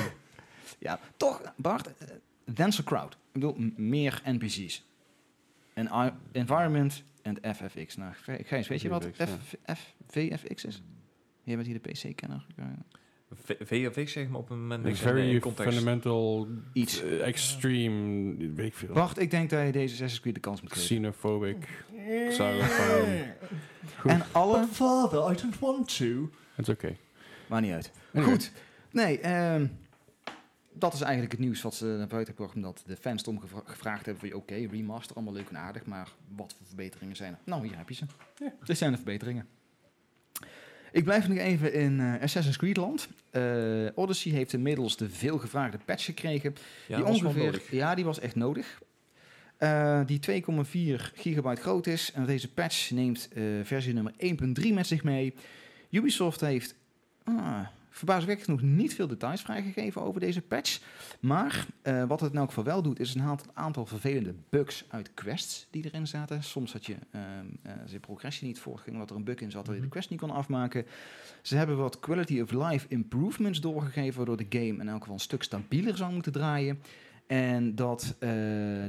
[SPEAKER 4] Ja, toch, Bart, eh, denser crowd. Ik bedoel, m- meer NPC's. En I- environment en FFX. Nou, Gijs, Gijs, weet je wat
[SPEAKER 1] VFX, ja.
[SPEAKER 4] F, F, VFX is? Jij bent hier de PC-kenner.
[SPEAKER 3] V- VFX zeg maar op een moment.
[SPEAKER 1] Een
[SPEAKER 3] niks in de
[SPEAKER 1] very
[SPEAKER 3] context.
[SPEAKER 1] fundamental,
[SPEAKER 4] Iets.
[SPEAKER 1] eh, extreme, weet ik veel.
[SPEAKER 4] Bart, ik denk dat je deze Assassin's Creed de kans moet geven.
[SPEAKER 1] Xenophobic. Xylophone. Goed.
[SPEAKER 4] En alle...
[SPEAKER 2] But father, I don't want to.
[SPEAKER 1] It's okay.
[SPEAKER 4] Maakt niet uit.
[SPEAKER 1] Anyway.
[SPEAKER 4] Goed. Nee, ehm, dat is eigenlijk het nieuws wat ze naar buiten brachten. Omdat de fans erom gevra- gevraagd hebben van... Oké, remaster, allemaal leuk en aardig. Maar wat voor verbeteringen zijn er? Nou, hier heb je ze. Dit zijn de verbeteringen. Ik blijf nog even in eh, Assassin's Creed land. Eh, Odyssey heeft inmiddels de veelgevraagde patch gekregen. die
[SPEAKER 3] Ja, dat was wel
[SPEAKER 4] ongeveer,
[SPEAKER 3] nodig.
[SPEAKER 4] Ja, die was echt nodig. Eh, die 2,4 gigabyte groot is. En deze patch neemt eh, versie nummer 1.3 met zich mee. Ubisoft heeft ah, verbazingwekkend nog niet veel details vrijgegeven over deze patch. Maar eh, wat het in elk geval wel doet, is een haalt een aantal vervelende bugs uit quests die erin zaten. Soms had je ehm eh, als de progressie niet voortging, omdat er een bug in zat dat
[SPEAKER 3] Mhm.
[SPEAKER 4] je de quest niet kon afmaken. Ze hebben wat quality of life improvements doorgegeven, waardoor de game in elk geval een stuk stabieler zou moeten draaien. En dat eh,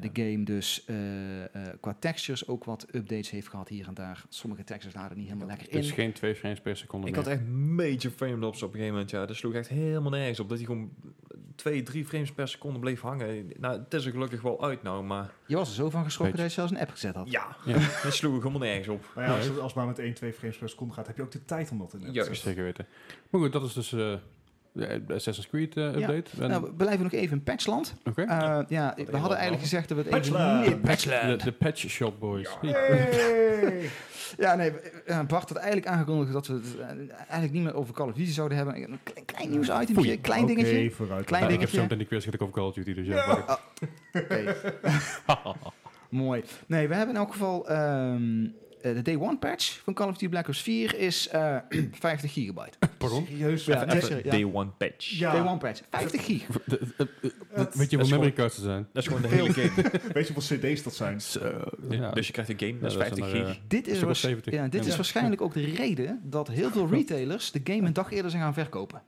[SPEAKER 4] de game dus eh, eh, qua textures ook wat updates heeft gehad hier en daar. Sommige textures laden niet helemaal lekker in.
[SPEAKER 1] Dus geen twee frames per seconde
[SPEAKER 3] Ik
[SPEAKER 1] meer.
[SPEAKER 3] had echt major frame drops op een gegeven moment. Ja, dat sloeg echt helemaal nergens op. Dat hij gewoon twee, drie frames per seconde bleef hangen. Nou, het is er gelukkig wel uit nou, maar
[SPEAKER 4] Je was er zo van geschrokken
[SPEAKER 1] Beetje.
[SPEAKER 4] dat je zelfs een app gezet had.
[SPEAKER 3] ja,
[SPEAKER 1] Ja.
[SPEAKER 3] dat sloeg helemaal nergens op.
[SPEAKER 2] Maar ja, als het, als het maar met 1, 2 frames per seconde gaat, heb je ook de tijd om dat in te
[SPEAKER 3] Juist.
[SPEAKER 2] zetten.
[SPEAKER 1] Zeker weten. Maar goed, dat is dus eh, de Assassin's Creed eh, update. En-
[SPEAKER 4] Nou, we blijven nog even in Patchland.
[SPEAKER 1] Oké.
[SPEAKER 4] Eh, ja, we hadden eigenlijk gezegd dat we het
[SPEAKER 2] Patchland.
[SPEAKER 4] even...
[SPEAKER 1] De,
[SPEAKER 4] Patchland!
[SPEAKER 1] de Patch Shop Boys.
[SPEAKER 2] Hey.
[SPEAKER 4] Ja, nee, eh, Bart had eigenlijk aangekondigd dat we het eh, eigenlijk niet meer over Call of Duty zouden hebben. Een klein, klein nieuwsitempje,
[SPEAKER 1] Foei.
[SPEAKER 4] klein dingetje.
[SPEAKER 2] Oké, vooruit.
[SPEAKER 4] Klein
[SPEAKER 1] Nou, ik heb
[SPEAKER 4] dingetje.
[SPEAKER 1] zo meteen de quiz gehad over Call of Duty, dus ja. maar ik-
[SPEAKER 4] Oké. Mooi. Nee, we hebben in elk geval... ehm, eh, de Day One patch van Call of Duty Black Ops 4 is eh 50 gigabyte.
[SPEAKER 1] Pardon?
[SPEAKER 2] Serieus?
[SPEAKER 4] Ja,
[SPEAKER 2] Ja,
[SPEAKER 4] nee,
[SPEAKER 2] echt.
[SPEAKER 4] sorry, ja.
[SPEAKER 3] Day one patch.
[SPEAKER 2] Ja.
[SPEAKER 4] Day One patch. 50 gig.
[SPEAKER 1] De- de- de-
[SPEAKER 2] Dat-
[SPEAKER 1] Weet je
[SPEAKER 3] dat
[SPEAKER 1] hoe
[SPEAKER 3] is
[SPEAKER 1] memory cards er zijn?
[SPEAKER 3] Dat is gewoon de hele game.
[SPEAKER 2] Weet je hoeveel cd's dat zijn?
[SPEAKER 1] Ja.
[SPEAKER 3] Dus je krijgt een eh, game, dat is
[SPEAKER 1] Ja, dat
[SPEAKER 3] 50
[SPEAKER 1] zijn er,
[SPEAKER 3] gig.
[SPEAKER 4] Dit
[SPEAKER 1] Stuk
[SPEAKER 4] is,
[SPEAKER 1] of
[SPEAKER 4] waars-
[SPEAKER 1] 70.
[SPEAKER 4] ja, dit
[SPEAKER 1] Ja.
[SPEAKER 4] is waarschijnlijk ook de reden dat heel veel retailers de game een dag eerder zijn gaan verkopen.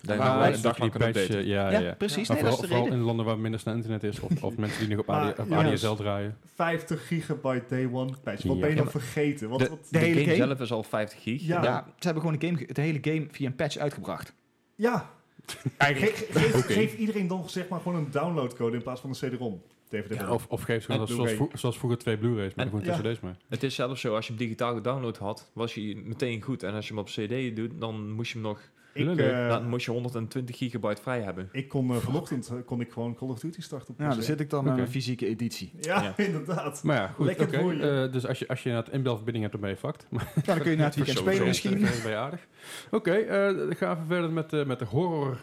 [SPEAKER 3] Daar
[SPEAKER 1] Waarom
[SPEAKER 3] gaan we
[SPEAKER 1] is
[SPEAKER 3] een dag
[SPEAKER 1] die
[SPEAKER 3] lang kunnen
[SPEAKER 1] patch,
[SPEAKER 3] updaten.
[SPEAKER 1] eh, ja, ja,
[SPEAKER 4] ja,
[SPEAKER 1] ja.
[SPEAKER 4] precies.
[SPEAKER 1] Maar
[SPEAKER 4] nee,
[SPEAKER 1] vooral,
[SPEAKER 4] dat is de
[SPEAKER 1] vooral
[SPEAKER 4] reden.
[SPEAKER 1] in landen waar minder snel internet is, of, of mensen die nog op,
[SPEAKER 2] Maar,
[SPEAKER 1] AD, op
[SPEAKER 2] ja,
[SPEAKER 1] ADSL draaien.
[SPEAKER 2] 50 gigabyte day one patch. Wat
[SPEAKER 1] Ja.
[SPEAKER 2] ben je dan
[SPEAKER 3] Ja,
[SPEAKER 2] vergeten? Wat,
[SPEAKER 3] De,
[SPEAKER 2] wat-
[SPEAKER 3] de
[SPEAKER 4] hele
[SPEAKER 3] game,
[SPEAKER 4] game?
[SPEAKER 3] zelf is al 50 gig.
[SPEAKER 2] Ja.
[SPEAKER 4] Ja, ze hebben gewoon de, game, ge- de hele game via een patch uitgebracht.
[SPEAKER 2] ja. Ge- ge- geef, geef iedereen dan zeg maar gewoon een downloadcode in plaats van een CD-ROM. DVD
[SPEAKER 3] Ja,
[SPEAKER 1] Of, of geef gewoon
[SPEAKER 2] En
[SPEAKER 1] als- zoals,
[SPEAKER 2] Blu-ray.
[SPEAKER 1] vro- zoals vroeger twee Blu-rays, maar
[SPEAKER 3] En-
[SPEAKER 1] gewoon
[SPEAKER 2] Ja.
[SPEAKER 1] tussen deze mee.
[SPEAKER 3] Het is zelfs zo, als je hem digitaal gedownload had, was hij meteen goed. En als je hem op CD doet, dan moest je hem nog
[SPEAKER 2] ik,
[SPEAKER 1] Lullig.
[SPEAKER 2] eh,
[SPEAKER 3] dan moest je 120 gigabyte vrij hebben.
[SPEAKER 2] ik kon eh, vanochtend eh, kon ik gewoon Call of Duty starten. op
[SPEAKER 4] Ja,
[SPEAKER 2] PC.
[SPEAKER 4] daar zit ik dan met
[SPEAKER 1] Oké.
[SPEAKER 4] mijn fysieke editie.
[SPEAKER 2] Ja,
[SPEAKER 3] Ja.
[SPEAKER 2] inderdaad.
[SPEAKER 1] Maar ja, goed,
[SPEAKER 2] Lekker
[SPEAKER 1] oké.
[SPEAKER 2] voor je.
[SPEAKER 1] Eh, dus als je, als je inderdaad inbelverbinding hebt, dan ben je fucked. Maar
[SPEAKER 4] Ja, dan kun je na het weekend
[SPEAKER 3] Sowieso.
[SPEAKER 4] spelen misschien.
[SPEAKER 1] dat ben je aardig. Oké, eh, dan gaan we verder met, eh, met de horror,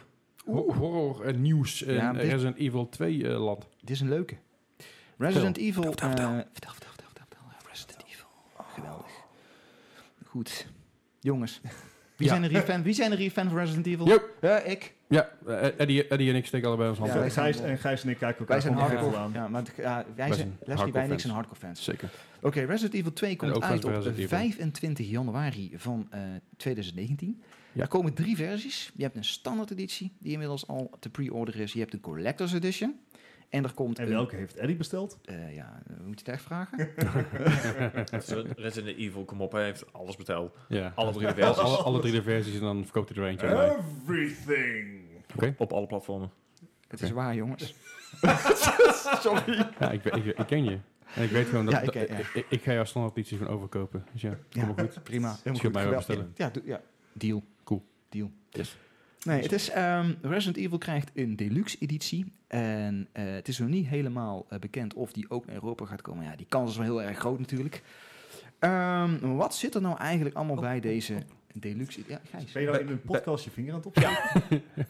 [SPEAKER 1] ho- horror eh, nieuws in
[SPEAKER 4] Ja, dit-
[SPEAKER 1] Resident Evil 2 eh, land.
[SPEAKER 4] Dit is een leuke. Resident Evil. eh, Vertel, vertel, vertel, vertel, vertel. Resident Evil. Geweldig. Goed. Jongens. Wie,
[SPEAKER 1] Ja.
[SPEAKER 4] zijn er hier fan, wie zijn er hier fan van Resident Evil?
[SPEAKER 1] Yo.
[SPEAKER 4] Ja, ik.
[SPEAKER 1] Ja, eh, Eddie, Eddie en ik steken allebei ons hand
[SPEAKER 4] Ja,
[SPEAKER 1] op.
[SPEAKER 4] wij
[SPEAKER 2] en,
[SPEAKER 4] zijn-
[SPEAKER 2] Gijs, en Gijs en ik kijken elkaar
[SPEAKER 4] Wij zijn
[SPEAKER 2] gewoon heel veel
[SPEAKER 4] hardcore.
[SPEAKER 2] aan.
[SPEAKER 4] Ja, maar ja, wij
[SPEAKER 1] zijn
[SPEAKER 4] zijn, Leslie,
[SPEAKER 1] hardcore
[SPEAKER 4] wij en ik
[SPEAKER 1] fans.
[SPEAKER 4] zijn hardcore fans.
[SPEAKER 1] Zeker.
[SPEAKER 4] Oké, Resident Evil 2
[SPEAKER 1] En
[SPEAKER 4] komt
[SPEAKER 1] ook
[SPEAKER 4] uit
[SPEAKER 1] fans
[SPEAKER 4] op
[SPEAKER 1] bij Resident Evil.
[SPEAKER 4] 25 januari van eh, 2019.
[SPEAKER 1] Ja.
[SPEAKER 4] Er komen drie versies. Je hebt een standaard editie, die inmiddels al te pre-order is. Je hebt een collector's edition. En er komt
[SPEAKER 2] En
[SPEAKER 4] een...
[SPEAKER 2] welke heeft Eddie besteld?
[SPEAKER 4] eh, ja, eh, moet je het echt vragen?
[SPEAKER 3] Resident Evil, kom op, hij heeft alles betaald.
[SPEAKER 1] Ja.
[SPEAKER 3] Alle drie de
[SPEAKER 1] Alle,
[SPEAKER 3] versies.
[SPEAKER 1] alle, alle drie de versies en dan verkoopt hij er
[SPEAKER 2] Oh.
[SPEAKER 1] eentje aan mij.
[SPEAKER 2] Everything.
[SPEAKER 1] Oké.
[SPEAKER 3] Op alle platformen.
[SPEAKER 4] het is waar, jongens.
[SPEAKER 1] Ja, ik, ik, ik ken je. En ik weet gewoon dat...
[SPEAKER 4] Ja, ik
[SPEAKER 1] dat-
[SPEAKER 4] ken-
[SPEAKER 1] ik,
[SPEAKER 4] ja.
[SPEAKER 1] ik, ga jouw standaard editie gewoon overkopen. Dus ja,
[SPEAKER 4] Ja,
[SPEAKER 1] kom maar goed.
[SPEAKER 4] prima. Helemaal
[SPEAKER 1] Schiet mij wel
[SPEAKER 4] Geweld-
[SPEAKER 1] bestellen.
[SPEAKER 4] Ja, doe- ja, deal.
[SPEAKER 1] Cool.
[SPEAKER 4] Deal.
[SPEAKER 1] Yes.
[SPEAKER 4] Nee, het is, ehm, Resident Evil krijgt een deluxe editie. En eh, het is nog niet helemaal eh, bekend of die ook naar Europa gaat komen. Ja, die kans is wel heel erg groot natuurlijk. Ehm, wat zit er nou eigenlijk allemaal bij deze deluxe editie? Ja, Gijs.
[SPEAKER 2] Ben je nou in een podcast je vinger aan het opzetten?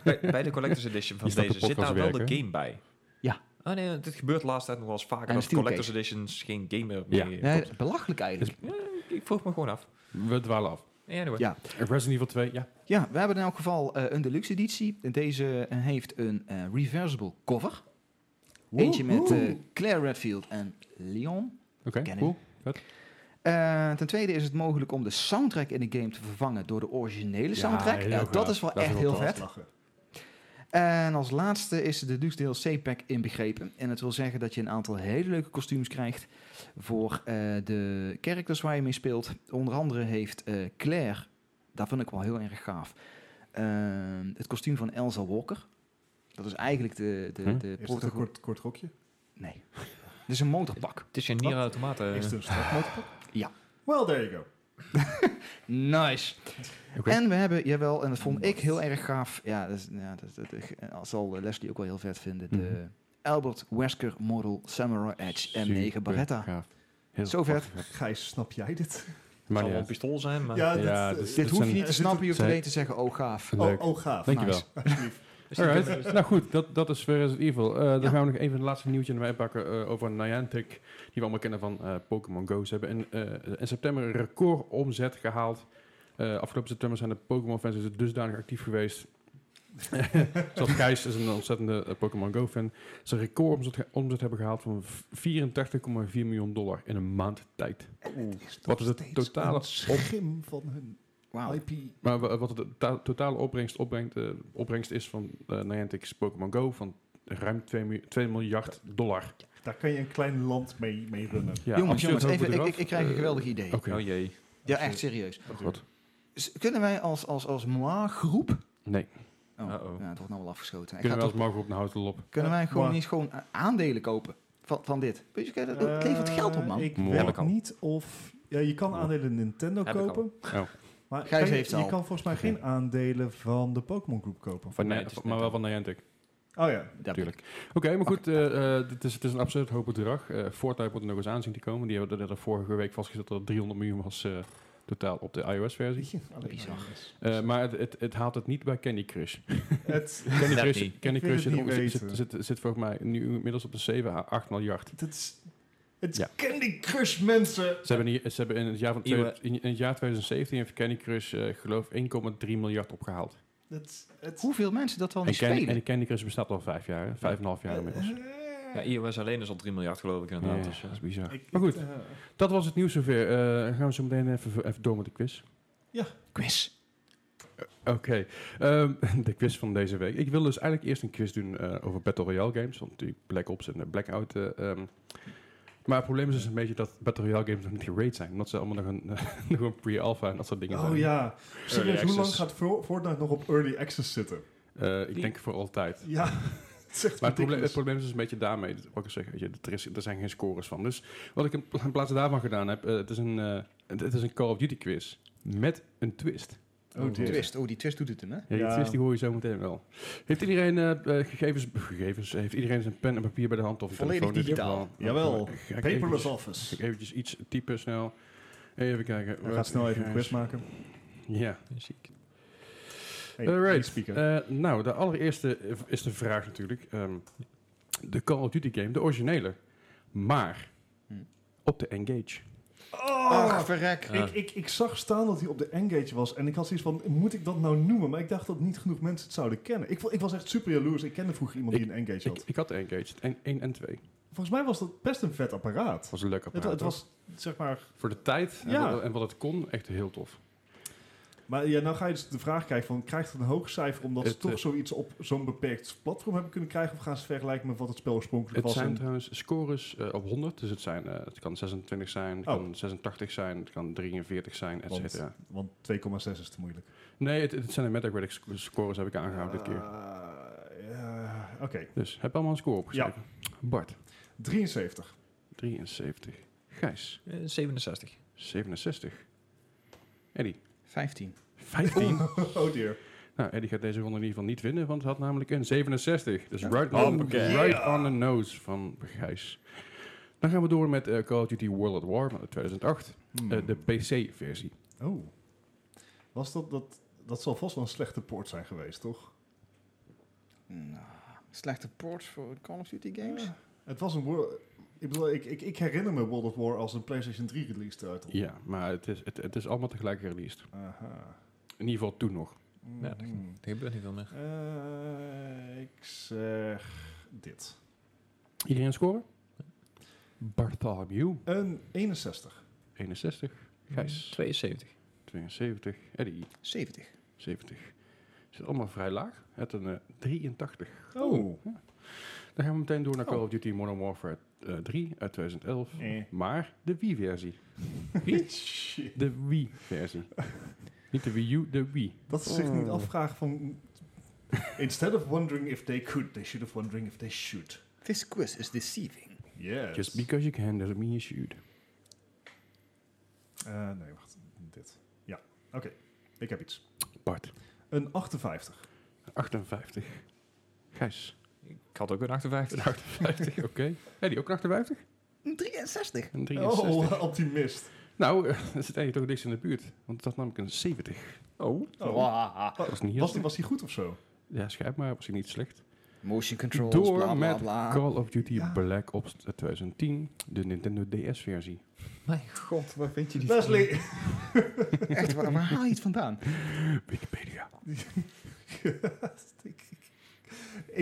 [SPEAKER 3] Bij, bij de Collector's Edition van
[SPEAKER 1] Je staat de
[SPEAKER 3] deze zit
[SPEAKER 1] podcast
[SPEAKER 3] daar wel
[SPEAKER 1] werken,
[SPEAKER 3] de
[SPEAKER 1] hè?
[SPEAKER 3] game bij.
[SPEAKER 4] Ja.
[SPEAKER 3] Oh nee, dit gebeurt de laatste tijd nog wel eens vaker.
[SPEAKER 4] En
[SPEAKER 3] Dat
[SPEAKER 4] Steel
[SPEAKER 3] collector's editions geen game meer
[SPEAKER 1] Ja.
[SPEAKER 3] mee-
[SPEAKER 4] Nee, belachelijk eigenlijk.
[SPEAKER 3] Ik vroeg me gewoon af.
[SPEAKER 1] We dwalen af.
[SPEAKER 3] Anyway.
[SPEAKER 4] Ja.
[SPEAKER 1] Resident Evil 2, ja.
[SPEAKER 4] Ja, we hebben in elk geval eh, een deluxe editie. Deze eh, heeft een eh, reversible cover. Eentje met
[SPEAKER 2] Woehoe.
[SPEAKER 4] eh, Claire Redfield en Leon.
[SPEAKER 1] Oké,
[SPEAKER 4] Kennen.
[SPEAKER 1] cool.
[SPEAKER 4] Eh, ten tweede is het mogelijk om de soundtrack in de game te vervangen door de originele
[SPEAKER 1] Ja,
[SPEAKER 4] soundtrack.
[SPEAKER 1] heel
[SPEAKER 4] Ja,
[SPEAKER 1] gaaf.
[SPEAKER 4] dat is wel
[SPEAKER 1] Dat is
[SPEAKER 4] echt
[SPEAKER 1] wel
[SPEAKER 4] heel
[SPEAKER 1] tof.
[SPEAKER 4] vet.
[SPEAKER 2] Lachen.
[SPEAKER 4] En als laatste is de Deluxe DLC pack inbegrepen. En dat wil zeggen dat je een aantal hele leuke kostuums krijgt voor eh, de characters waar je mee speelt. Onder andere heeft eh, Claire, dat vind ik wel heel erg gaaf, eh, het kostuum van Elsa Walker. Dat is eigenlijk de... de,
[SPEAKER 1] Hm?
[SPEAKER 4] de
[SPEAKER 2] Is dat
[SPEAKER 4] proto-
[SPEAKER 2] een kort, kort rokje?
[SPEAKER 4] Nee. Dat is een motorpak.
[SPEAKER 3] Het is geen Nier Automata.
[SPEAKER 2] Is het een strakmotorpak?
[SPEAKER 4] Ja.
[SPEAKER 2] Well, there you go.
[SPEAKER 4] Nice.
[SPEAKER 1] Oké.
[SPEAKER 4] En we hebben, jawel, en dat vond ik heel erg gaaf. Ja, dat, is- ja, dat, dat, dat zal eh, Leslie ook wel heel vet vinden. De
[SPEAKER 1] Mhm.
[SPEAKER 4] Albert Wesker Model Samurai Edge M9
[SPEAKER 1] Super
[SPEAKER 4] Beretta.
[SPEAKER 1] gaaf. Heel
[SPEAKER 4] Zo vet.
[SPEAKER 1] fucking
[SPEAKER 2] Gijs, snap jij dit?
[SPEAKER 3] Het
[SPEAKER 1] Maar niet
[SPEAKER 3] zal wel een
[SPEAKER 1] uit.
[SPEAKER 3] pistool zijn, maar...
[SPEAKER 2] Ja, dit,
[SPEAKER 1] ja,
[SPEAKER 2] eh,
[SPEAKER 1] dus
[SPEAKER 4] Dit hoef je niet te
[SPEAKER 2] Zit
[SPEAKER 4] snappen, je hoeft
[SPEAKER 1] het-
[SPEAKER 4] alleen te zeggen, oh gaaf.
[SPEAKER 1] Leuk.
[SPEAKER 2] Oh, oh, gaaf.
[SPEAKER 1] Dankjewel.
[SPEAKER 4] Nice.
[SPEAKER 2] Alsjeblieft.
[SPEAKER 1] Alright, nou goed, dat, dat is weer Resident Evil. Eh, dan
[SPEAKER 4] Ja.
[SPEAKER 1] gaan we nog even het laatste nieuwtje erbij pakken eh, over Niantic, die we allemaal kennen van eh, Pokémon Go. Ze hebben in, eh, in september een record omzet gehaald. Eh, afgelopen september zijn de Pokémon-fans dus dusdanig actief geweest. Zoals Gijs is een ontzettende eh, Pokémon Go-fan. Ze een record omzet, omzet hebben gehaald van 84,4 miljoen dollar in een maand tijd. Wat is het totale op-
[SPEAKER 2] Een schim van hun
[SPEAKER 4] Wauw.
[SPEAKER 2] IP.
[SPEAKER 1] Maar wa- wat de ta- totale opbrengst, opbrengt, eh, opbrengst is van eh, Niantic's Pokémon Go van ruim 2, mi- 2 miljard dollar.
[SPEAKER 2] Daar kan je een klein land mee, mee runnen.
[SPEAKER 1] Ja,
[SPEAKER 4] jongens,
[SPEAKER 1] absurd
[SPEAKER 4] jongens,
[SPEAKER 1] hoog
[SPEAKER 4] even, ik,
[SPEAKER 1] bedrag.
[SPEAKER 4] ik, ik krijg een
[SPEAKER 1] Eh,
[SPEAKER 4] geweldig idee.
[SPEAKER 1] Oké.
[SPEAKER 3] Oh jee.
[SPEAKER 4] Ja, echt serieus.
[SPEAKER 1] Oh, God.
[SPEAKER 4] S- Kunnen wij als, als, als MOA-groep...
[SPEAKER 1] Nee,
[SPEAKER 4] Oh,
[SPEAKER 3] Uh-oh.
[SPEAKER 4] ja, het wordt nou wel afgeschoten. Ik ga
[SPEAKER 1] kunnen we
[SPEAKER 4] toch-
[SPEAKER 1] als morgen op een houten lop.
[SPEAKER 4] kunnen wij gewoon
[SPEAKER 2] Maar-
[SPEAKER 4] niet gewoon a- aandelen kopen van, van dit? Weet je, kijk, dat dat levert
[SPEAKER 2] Eh,
[SPEAKER 4] geld op, man.
[SPEAKER 2] Ik
[SPEAKER 1] Mooi.
[SPEAKER 2] weet
[SPEAKER 1] Heb ik
[SPEAKER 3] al.
[SPEAKER 2] niet of... Ja, je kan aandelen Nintendo
[SPEAKER 3] Heb ik al.
[SPEAKER 2] kopen.
[SPEAKER 1] Oh.
[SPEAKER 2] Maar
[SPEAKER 4] Gijs
[SPEAKER 2] kan je,
[SPEAKER 4] heeft ze
[SPEAKER 2] je
[SPEAKER 4] al.
[SPEAKER 2] kan volgens mij geen aandelen van de Pokémon Groep kopen.
[SPEAKER 1] Van,
[SPEAKER 3] Nee,
[SPEAKER 1] Ni-
[SPEAKER 3] het is
[SPEAKER 1] maar wel
[SPEAKER 3] net-
[SPEAKER 1] van Niantic.
[SPEAKER 2] Oh ja.
[SPEAKER 4] Dat-
[SPEAKER 1] Natuurlijk. Oké, maar goed, eh, eh, dit is, het is een absurd hoog bedrag. Eh Fortnite wordt er nog eens aan zien te komen. Die hebben er er vorige week vastgezet dat het 300 miljoen was eh, totaal op de iOS-versie.
[SPEAKER 2] Alleen
[SPEAKER 4] Oh, Bizar.
[SPEAKER 2] maar jongens.
[SPEAKER 1] Eh, maar het, het, het haalt het niet bij Candy Crush.
[SPEAKER 2] Het,
[SPEAKER 1] Candy
[SPEAKER 3] Net
[SPEAKER 1] Crush,
[SPEAKER 3] niet.
[SPEAKER 1] Candy
[SPEAKER 2] Ik wil
[SPEAKER 1] Crush zit,
[SPEAKER 2] het niet
[SPEAKER 1] ongeveer-
[SPEAKER 2] weten.
[SPEAKER 1] zit, zit, zit volgens mij nu inmiddels op de 7 à 8 miljard.
[SPEAKER 2] dat is, het is
[SPEAKER 1] Ja.
[SPEAKER 2] Candy Crush, mensen.
[SPEAKER 1] Ze hebben, hier, ze hebben in, het jaar van
[SPEAKER 3] Iwe.
[SPEAKER 1] twee- in het jaar 2017 heeft Candy Crush, eh, geloof 1,3 miljard opgehaald.
[SPEAKER 2] Dat is- het,
[SPEAKER 4] Hoeveel mensen dat wel
[SPEAKER 1] En
[SPEAKER 4] niet
[SPEAKER 1] Candy,
[SPEAKER 4] spelen?
[SPEAKER 1] en Candy Crush bestaat al vijf jaar, hè? vijf en een half jaar inmiddels.
[SPEAKER 3] Ja, iOS alleen is al 3 miljard geloof ik
[SPEAKER 1] Ja,
[SPEAKER 3] inderdaad. Dus,
[SPEAKER 1] dat
[SPEAKER 3] eh,
[SPEAKER 1] is bizar.
[SPEAKER 2] Eh. Ik-
[SPEAKER 1] maar goed,
[SPEAKER 2] eh,
[SPEAKER 1] dat was het nieuws zover. Eh, dan gaan we zo meteen even, even door met de quiz.
[SPEAKER 4] Quiz.
[SPEAKER 1] Oké, ehm, de quiz van deze week. Ik wil dus eigenlijk eerst een quiz doen eh, over Battle Royale games. Want natuurlijk Black Ops en eh, Blackout. eh, ehm. Maar het probleem is dus een beetje dat Battle Royale games nog niet gerate zijn. Omdat ze allemaal nog een, nog een pre-alpha en dat soort dingen
[SPEAKER 2] oh
[SPEAKER 1] zijn.
[SPEAKER 2] ja. Serieus, hoe lang
[SPEAKER 3] access.
[SPEAKER 2] gaat Fro- Fortnite nog op Early Access zitten?
[SPEAKER 1] Eh, ik denk voor altijd.
[SPEAKER 2] Ja, het is
[SPEAKER 1] Maar het
[SPEAKER 2] echt
[SPEAKER 1] probleem, het
[SPEAKER 2] ridiculous.
[SPEAKER 1] probleem is dus een beetje daarmee, dat- wat ik zeg, weet je, dat er, is, er zijn geen scores van. Dus wat ik in pla- in plaats daarvan gedaan heb, eh, het, is een, eh, het- het is een Call of Duty quiz met een twist.
[SPEAKER 2] Oh, dear.
[SPEAKER 4] Twist. Oh, die twist doet het hem, hè?
[SPEAKER 1] Ja, die
[SPEAKER 2] Ja.
[SPEAKER 1] twist die hoor je zo meteen wel. Heeft iedereen eh, eh, gegevens, gegevens, heeft iedereen zijn pen en papier bij de hand of een
[SPEAKER 4] Volledig
[SPEAKER 1] telefoon in dit
[SPEAKER 4] digitaal.
[SPEAKER 1] geval?
[SPEAKER 2] Jawel,
[SPEAKER 1] Ga ik eventjes-
[SPEAKER 2] paperless
[SPEAKER 1] ga ik
[SPEAKER 2] office.
[SPEAKER 1] eventjes iets typen snel. Even kijken.
[SPEAKER 2] Hij gaat snel even een quiz maken.
[SPEAKER 1] Ja.
[SPEAKER 3] ziek.
[SPEAKER 2] Hey,
[SPEAKER 1] Alright.
[SPEAKER 2] niet speaker.
[SPEAKER 1] Eh, nou, de allereerste is de vraag natuurlijk. ehm, de Call of Duty game, de originele. Maar
[SPEAKER 4] Hm.
[SPEAKER 2] Hmm.
[SPEAKER 1] op de Engage.
[SPEAKER 2] oh,
[SPEAKER 4] verrek.
[SPEAKER 3] Ja.
[SPEAKER 2] ik, ik, ik zag staan dat hij op de Engage was en ik had zoiets van, moet ik dat nou noemen? Maar ik dacht dat niet genoeg mensen het zouden kennen. Ik, vo- ik was echt super jaloers. Ik kende vroeger iemand die een Engage
[SPEAKER 1] Ik,
[SPEAKER 2] had.
[SPEAKER 1] ik had de Engage, 1 en 2.
[SPEAKER 2] Volgens mij was dat best een vet apparaat.
[SPEAKER 1] Dat was een leuk
[SPEAKER 2] Het,
[SPEAKER 1] apparaat.
[SPEAKER 2] het
[SPEAKER 1] hoor.
[SPEAKER 2] was, zeg maar...
[SPEAKER 1] Voor de tijd en,
[SPEAKER 2] Ja.
[SPEAKER 1] wat, en wat het kon, echt heel tof.
[SPEAKER 2] Maar ja, nou ga je dus de vraag krijgen van, krijgt het een hoog cijfer omdat ze
[SPEAKER 1] Het, eh,
[SPEAKER 2] toch zoiets op zo'n beperkt platform hebben kunnen krijgen? Of gaan ze vergelijken met wat het spel oorspronkelijk
[SPEAKER 1] Het
[SPEAKER 2] was?
[SPEAKER 1] zijn
[SPEAKER 2] en-
[SPEAKER 1] trouwens scores eh, op 100. Dus het, zijn, eh, het kan 26 zijn, het
[SPEAKER 2] Oh.
[SPEAKER 1] kan 86 zijn, het kan 43 zijn, et
[SPEAKER 2] Want-
[SPEAKER 1] cetera.
[SPEAKER 2] Want 2,6 is te moeilijk.
[SPEAKER 1] Nee, het, het zijn de Metacritic sc- scores heb ik aangehouden dit
[SPEAKER 2] Ah.
[SPEAKER 1] keer.
[SPEAKER 2] Eh, ja, Oké,
[SPEAKER 1] Dus heb allemaal een score opgeschreven. Bart,
[SPEAKER 2] 73.
[SPEAKER 1] 73. Gijs,
[SPEAKER 3] Eh, 67.
[SPEAKER 1] 67. Eddie,
[SPEAKER 4] 15.
[SPEAKER 1] 15.
[SPEAKER 2] Oh dear.
[SPEAKER 1] Nou, Eddie gaat deze ronde in ieder geval niet winnen, want het had namelijk een 67. Dus right,
[SPEAKER 2] Oh,
[SPEAKER 1] on,
[SPEAKER 2] yeah.
[SPEAKER 1] right on the nose van Gijs. Dan gaan we door met eh, Call of Duty World at War van 2008.
[SPEAKER 2] Hmm.
[SPEAKER 1] eh, de PC-versie.
[SPEAKER 2] Oh. Was dat, dat, dat zal vast wel een slechte poort zijn geweest, toch?
[SPEAKER 4] Nou, Slechte ports voor Call of Duty games?
[SPEAKER 2] Het was een... wor- Ik, bedoel, ik, ik, ik herinner me World of War als een PlayStation 3 release title.
[SPEAKER 1] Ja, maar het is, het, het is allemaal tegelijk released.
[SPEAKER 2] Aha.
[SPEAKER 1] In ieder geval toen nog.
[SPEAKER 2] Mm.
[SPEAKER 3] Ja, dat Er gebeurt niet veel meer.
[SPEAKER 2] Eh, ik zeg dit.
[SPEAKER 1] Iedereen scoren? Bartholomew.
[SPEAKER 2] Een 61.
[SPEAKER 1] 61. Gijs.
[SPEAKER 3] Hmm. 72.
[SPEAKER 1] 72. Eddie.
[SPEAKER 4] 70.
[SPEAKER 1] 70. Zit allemaal vrij laag. Het een eh, 83.
[SPEAKER 2] Oh.
[SPEAKER 1] Dan gaan we meteen door naar Call
[SPEAKER 2] Oh.
[SPEAKER 1] of Duty Modern Warfare eh, 3 uit 2011.
[SPEAKER 2] Eh.
[SPEAKER 1] Maar de Wii-versie.
[SPEAKER 2] Shit.
[SPEAKER 1] De Wii-versie. Niet de Wii U, de Wii.
[SPEAKER 2] Dat ze zich niet
[SPEAKER 1] Oh.
[SPEAKER 2] afvragen van... Instead of wondering if they could, they should have wondering if they should.
[SPEAKER 4] This quiz is deceiving.
[SPEAKER 2] Yes.
[SPEAKER 1] Just because you can doesn't mean you should.
[SPEAKER 2] Eh, nee, wacht. Dit. Ja, oké. Ik heb iets.
[SPEAKER 1] Bart.
[SPEAKER 2] Een 58.
[SPEAKER 1] 58. Gijs.
[SPEAKER 3] Ik had ook een 58.
[SPEAKER 1] 50, oké. Eddie, ook een 58?
[SPEAKER 4] Een 63.
[SPEAKER 1] Een 63.
[SPEAKER 2] Oh, optimist.
[SPEAKER 1] Nou, eh, dat zit eigenlijk toch niks in de buurt. Want het had namelijk een 70.
[SPEAKER 3] Oh.
[SPEAKER 2] Oh.
[SPEAKER 4] Wahaha.
[SPEAKER 1] Dat is niet heel
[SPEAKER 2] Was die, was die goed of zo?
[SPEAKER 1] Ja, schijf maar. Was hij niet slecht.
[SPEAKER 4] Motion controls,
[SPEAKER 1] Door
[SPEAKER 4] bla bla
[SPEAKER 1] met
[SPEAKER 4] bla.
[SPEAKER 1] Call of Duty
[SPEAKER 2] Ah. Ja.
[SPEAKER 1] Black Ops 2010. De Nintendo DS-versie.
[SPEAKER 3] Mijn god, waar vind je die
[SPEAKER 2] Leslie!
[SPEAKER 4] Echt, waar, waar haal je het vandaan?
[SPEAKER 1] Wikipedia.
[SPEAKER 2] ik,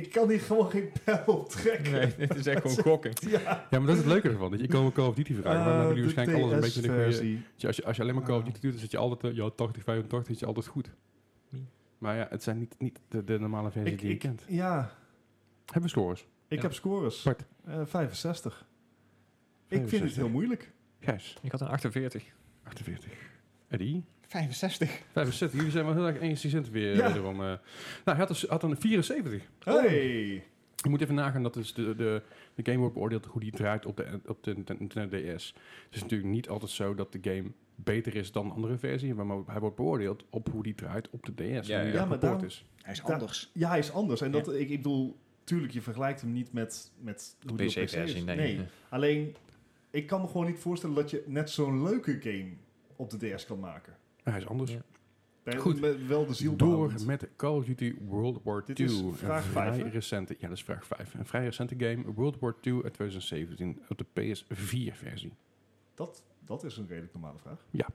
[SPEAKER 2] ik kan hier gewoon geen pijl op trekken.
[SPEAKER 3] Nee, dit is echt gewoon gokken.
[SPEAKER 1] Ja, maar dat is het leuke ervan. Dat je kan wel Call of Duty vragen.
[SPEAKER 2] Eh,
[SPEAKER 1] maar dan hebben jullie waarschijnlijk alles een beetje in Ah, de goede...
[SPEAKER 2] versie.
[SPEAKER 1] Als je- Als je, als je alleen maar Call of
[SPEAKER 2] Ah.
[SPEAKER 1] Duty doet, dan zit je altijd... eh, Ja, 80, 85 zit je altijd goed.
[SPEAKER 3] Nee.
[SPEAKER 1] Maar ja, het zijn niet, niet de, de normale versie
[SPEAKER 2] Ik,
[SPEAKER 1] die je
[SPEAKER 2] ik,
[SPEAKER 1] kent.
[SPEAKER 2] ja,
[SPEAKER 1] Hebben we scores?
[SPEAKER 2] ik
[SPEAKER 3] Ja.
[SPEAKER 2] heb scores.
[SPEAKER 1] Bart.
[SPEAKER 2] Eh, 65. Ik vind het
[SPEAKER 1] 65.
[SPEAKER 2] heel moeilijk.
[SPEAKER 1] Gijs,
[SPEAKER 3] Ik had een 48.
[SPEAKER 1] 48. Eddie?
[SPEAKER 4] 65.
[SPEAKER 1] 65. Jullie zijn wel heel erg eensgezind weer
[SPEAKER 2] Ja.
[SPEAKER 1] wederom. eh. Nou, hij had, dus, had een 74.
[SPEAKER 2] Oh. Hey!
[SPEAKER 1] Je moet even nagaan dat dus de, de, de game wordt beoordeeld hoe die draait op de, op de Nintendo DS. Het is natuurlijk niet altijd zo dat de game beter is dan een andere versie, maar maar hij wordt beoordeeld op hoe die draait op de DS.
[SPEAKER 3] Ja,
[SPEAKER 1] en hoe
[SPEAKER 3] ja,
[SPEAKER 1] die
[SPEAKER 2] maar
[SPEAKER 1] geport
[SPEAKER 2] daarom-
[SPEAKER 1] is.
[SPEAKER 4] Hij is
[SPEAKER 2] Da-
[SPEAKER 4] anders.
[SPEAKER 2] Ja, hij is anders. En dat, ik, ik bedoel, tuurlijk, je vergelijkt hem niet met, met hoe die op PC
[SPEAKER 3] PC-versie,
[SPEAKER 2] is.
[SPEAKER 3] nee.
[SPEAKER 2] Alleen, ik kan me gewoon niet voorstellen dat je net zo'n leuke game op de DS kan maken.
[SPEAKER 1] Hij is anders.
[SPEAKER 3] Ja.
[SPEAKER 2] Daar-
[SPEAKER 1] Goed.
[SPEAKER 2] met wel de ziel
[SPEAKER 1] Door
[SPEAKER 2] behoudend.
[SPEAKER 1] met Call of Duty World War
[SPEAKER 2] Dit
[SPEAKER 1] II.
[SPEAKER 2] is vraag
[SPEAKER 1] een
[SPEAKER 2] vijf,
[SPEAKER 1] vrij
[SPEAKER 2] hè?
[SPEAKER 1] recente, Ja, dat is vraag 5. Een vrij recente game, World War II uit 2017, op de PS4-versie.
[SPEAKER 2] Dat, dat is een redelijk normale vraag.
[SPEAKER 1] Ja.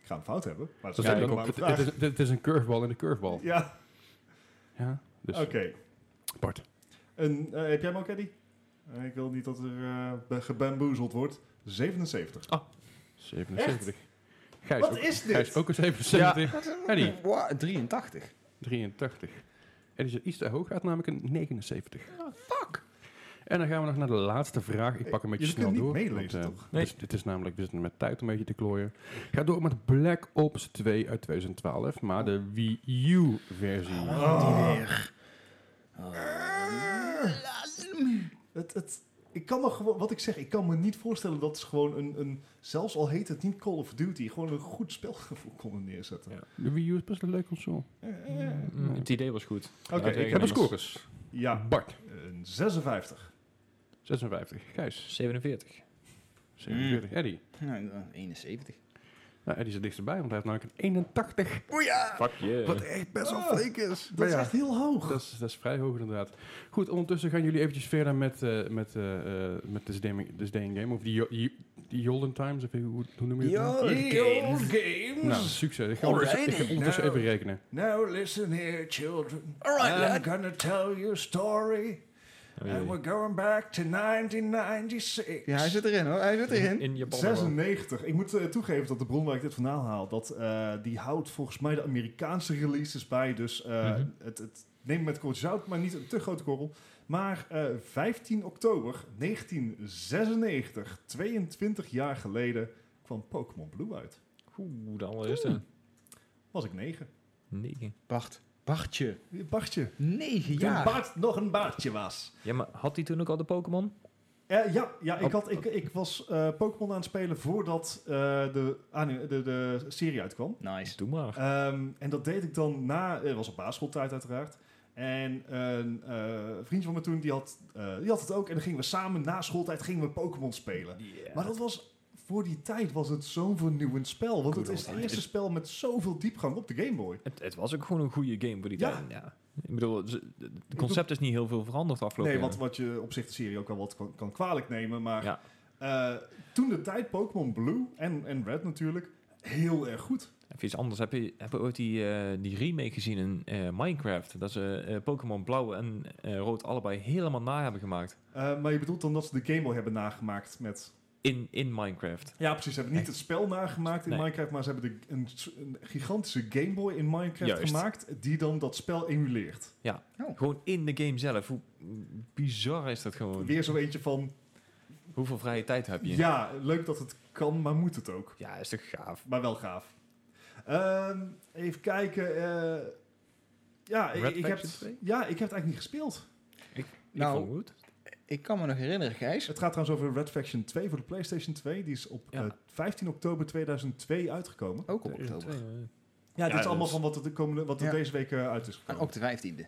[SPEAKER 2] Ik ga hem fout hebben, maar het
[SPEAKER 1] Dat
[SPEAKER 2] is
[SPEAKER 1] is
[SPEAKER 2] een
[SPEAKER 1] eigenlijk
[SPEAKER 2] normale
[SPEAKER 1] ook- Het
[SPEAKER 2] vraag.
[SPEAKER 1] het is- het is een curveball in de curveball. Ja,
[SPEAKER 2] ja,
[SPEAKER 1] dus
[SPEAKER 2] oké.
[SPEAKER 1] Bart.
[SPEAKER 2] En, eh, heb jij hem ook, Eddie? Eh, ik wil niet dat er eh, be- gebamboezeld wordt. 77.
[SPEAKER 1] 77. Gijs,
[SPEAKER 2] Wat
[SPEAKER 1] ook,
[SPEAKER 2] is dit?
[SPEAKER 1] Gijs ook een 77. Eddie.
[SPEAKER 4] Wa- 83.
[SPEAKER 1] 83. En die zit iets te hoog, gaat namelijk een 79.
[SPEAKER 2] Ah,
[SPEAKER 1] fuck! En dan gaan we nog naar de laatste vraag. Ik pak een beetje
[SPEAKER 2] Je kunt
[SPEAKER 1] snel
[SPEAKER 2] niet
[SPEAKER 1] door.
[SPEAKER 2] meelezen,
[SPEAKER 1] eh,
[SPEAKER 2] toch?
[SPEAKER 3] Nee.
[SPEAKER 1] dus dit is namelijk, we zitten met tijd een beetje te klooien. Ga door met Black Ops 2 uit 2012, maar de Wii U-versie.
[SPEAKER 2] Ah.
[SPEAKER 4] Oh.
[SPEAKER 2] Het, het, ik kan me gewoon, wat ik zeg, ik kan me niet voorstellen dat ze gewoon een, een, zelfs al heet het niet Call of Duty, gewoon een goed spelgevoel konden neerzetten.
[SPEAKER 3] Ja.
[SPEAKER 1] De Wii U is best een leuk console.
[SPEAKER 2] Eh, eh.
[SPEAKER 3] Mm, Het idee was goed.
[SPEAKER 2] Oké,
[SPEAKER 3] Ja,
[SPEAKER 2] ik
[SPEAKER 3] zeker.
[SPEAKER 2] heb
[SPEAKER 1] Hebben
[SPEAKER 2] een score.
[SPEAKER 1] scores.
[SPEAKER 2] Ja,
[SPEAKER 1] Bart,
[SPEAKER 2] een 56.
[SPEAKER 1] 56. Gijs,
[SPEAKER 3] 47.
[SPEAKER 2] Mm.
[SPEAKER 1] 47. Eddie.
[SPEAKER 4] Nou, dan 71.
[SPEAKER 1] Nou, Eddie zit dichterbij, want hij heeft namelijk een 81.
[SPEAKER 4] O ja!
[SPEAKER 3] Fuck yeah.
[SPEAKER 4] Wat echt best wel
[SPEAKER 2] Ah,
[SPEAKER 4] flink is.
[SPEAKER 2] Dat
[SPEAKER 4] Maar
[SPEAKER 2] is
[SPEAKER 4] ja.
[SPEAKER 2] echt heel hoog.
[SPEAKER 1] Dat is, dat is vrij hoog inderdaad. Goed, ondertussen gaan jullie eventjes verder met, eh met, eh eh met This, Day, This Day in Game. Of die, Jo- die, die Jolden Times, of hoe, hoe noem je dat?
[SPEAKER 2] games.
[SPEAKER 1] Nou, succes. Ik ga ondertussen, ik ga
[SPEAKER 4] Alrighty.
[SPEAKER 1] ondertussen
[SPEAKER 2] Nou.
[SPEAKER 1] even rekenen.
[SPEAKER 2] Now listen here, children.
[SPEAKER 4] Alright, lad.
[SPEAKER 2] gonna tell you a story.
[SPEAKER 3] Oei.
[SPEAKER 2] going back to 1996.
[SPEAKER 4] Ja, hij zit erin hoor. Hij zit erin.
[SPEAKER 3] In Japan.
[SPEAKER 2] 96. Ik moet eh, toegeven dat de bron waar ik dit vandaan haal, dat eh, die houdt volgens mij de Amerikaanse releases bij. Dus eh,
[SPEAKER 3] Mhm.
[SPEAKER 2] het, het neem het met een korreltje zout, maar niet een te grote korrel. Maar eh, 15 oktober 1996, 22 jaar geleden, kwam Pokémon Blue uit.
[SPEAKER 3] Oeh, de allereerste.
[SPEAKER 2] Was ik negen.
[SPEAKER 3] 9.
[SPEAKER 4] Bart. Bartje.
[SPEAKER 2] Bartje.
[SPEAKER 4] 9
[SPEAKER 2] Toen
[SPEAKER 4] jaar.
[SPEAKER 2] Bart nog een baardje was.
[SPEAKER 3] Ja, maar had hij toen ook al de Pokémon?
[SPEAKER 2] Eh, ja, ja ik, had, ik, ik was eh, Pokémon aan het spelen voordat eh, de, anime- de, de serie uitkwam.
[SPEAKER 4] Nice.
[SPEAKER 3] Doe maar.
[SPEAKER 2] Ehm, en dat deed ik dan na, het was op basisschooltijd uiteraard. En een eh, vriendje van me eh, toen, die had, eh, die had het ook. En dan gingen we samen na schooltijd gingen we Pokémon spelen. Maar dat was voor die tijd was het zo'n vernieuwend spel. Want
[SPEAKER 4] Good
[SPEAKER 2] het is het
[SPEAKER 4] old
[SPEAKER 2] eerste spel met zoveel diepgang op de Game Boy.
[SPEAKER 3] Het, het was ook gewoon een goede game voor die
[SPEAKER 2] Ja.
[SPEAKER 3] tijd. Ja. Ik bedoel, ze- het concept is niet heel veel veranderd
[SPEAKER 2] Nee,
[SPEAKER 3] afgelopen jaar.
[SPEAKER 2] want wat je op zich de serie ook wel wat kan, kan kwalijk nemen. Maar
[SPEAKER 3] Ja.
[SPEAKER 2] eh, toen de tijd Pokémon Blue en, en Red natuurlijk heel erg goed.
[SPEAKER 3] Even iets anders. Heb je, heb je ooit die, eh, die remake gezien in eh, Minecraft? Dat ze eh, Pokémon Blauw en eh, Rood allebei helemaal na hebben gemaakt.
[SPEAKER 2] Eh, maar je bedoelt dan dat ze de Game Boy hebben nagemaakt met...
[SPEAKER 3] In, in Minecraft.
[SPEAKER 2] Ja, precies. Ze hebben niet het spel nagemaakt in
[SPEAKER 3] Nee.
[SPEAKER 2] Minecraft, maar ze hebben de, een, een gigantische Game Boy in Minecraft
[SPEAKER 3] Juist.
[SPEAKER 2] gemaakt die dan dat spel emuleert.
[SPEAKER 3] Gewoon in de game zelf. Hoe bizar is dat gewoon?
[SPEAKER 2] Weer zo eentje van,
[SPEAKER 3] Hoeveel vrije tijd Oh, heb je?
[SPEAKER 2] ja, leuk dat het kan, maar moet het ook.
[SPEAKER 3] Ja, is toch gaaf.
[SPEAKER 2] Maar wel gaaf. Ehm, even kijken. eh, ja, ik,
[SPEAKER 3] Red
[SPEAKER 2] ik heb,
[SPEAKER 3] Faction 2?
[SPEAKER 2] ja, ik heb het eigenlijk niet gespeeld.
[SPEAKER 3] Nou,
[SPEAKER 4] Nou,
[SPEAKER 3] ik vond het goed.
[SPEAKER 4] Ik kan me nog herinneren, Gijs.
[SPEAKER 2] Het gaat trouwens over Red Faction 2 voor de PlayStation 2. Die is op
[SPEAKER 3] Ja.
[SPEAKER 2] eh, 15 oktober 2002 uitgekomen.
[SPEAKER 4] Ook op oktober.
[SPEAKER 2] Ja, dit is
[SPEAKER 3] dus- Ah,
[SPEAKER 2] allemaal van wat er, de komende, wat er
[SPEAKER 4] Ja.
[SPEAKER 2] deze week eh, uit is
[SPEAKER 4] En
[SPEAKER 2] gekomen.
[SPEAKER 4] ook de vijftiende.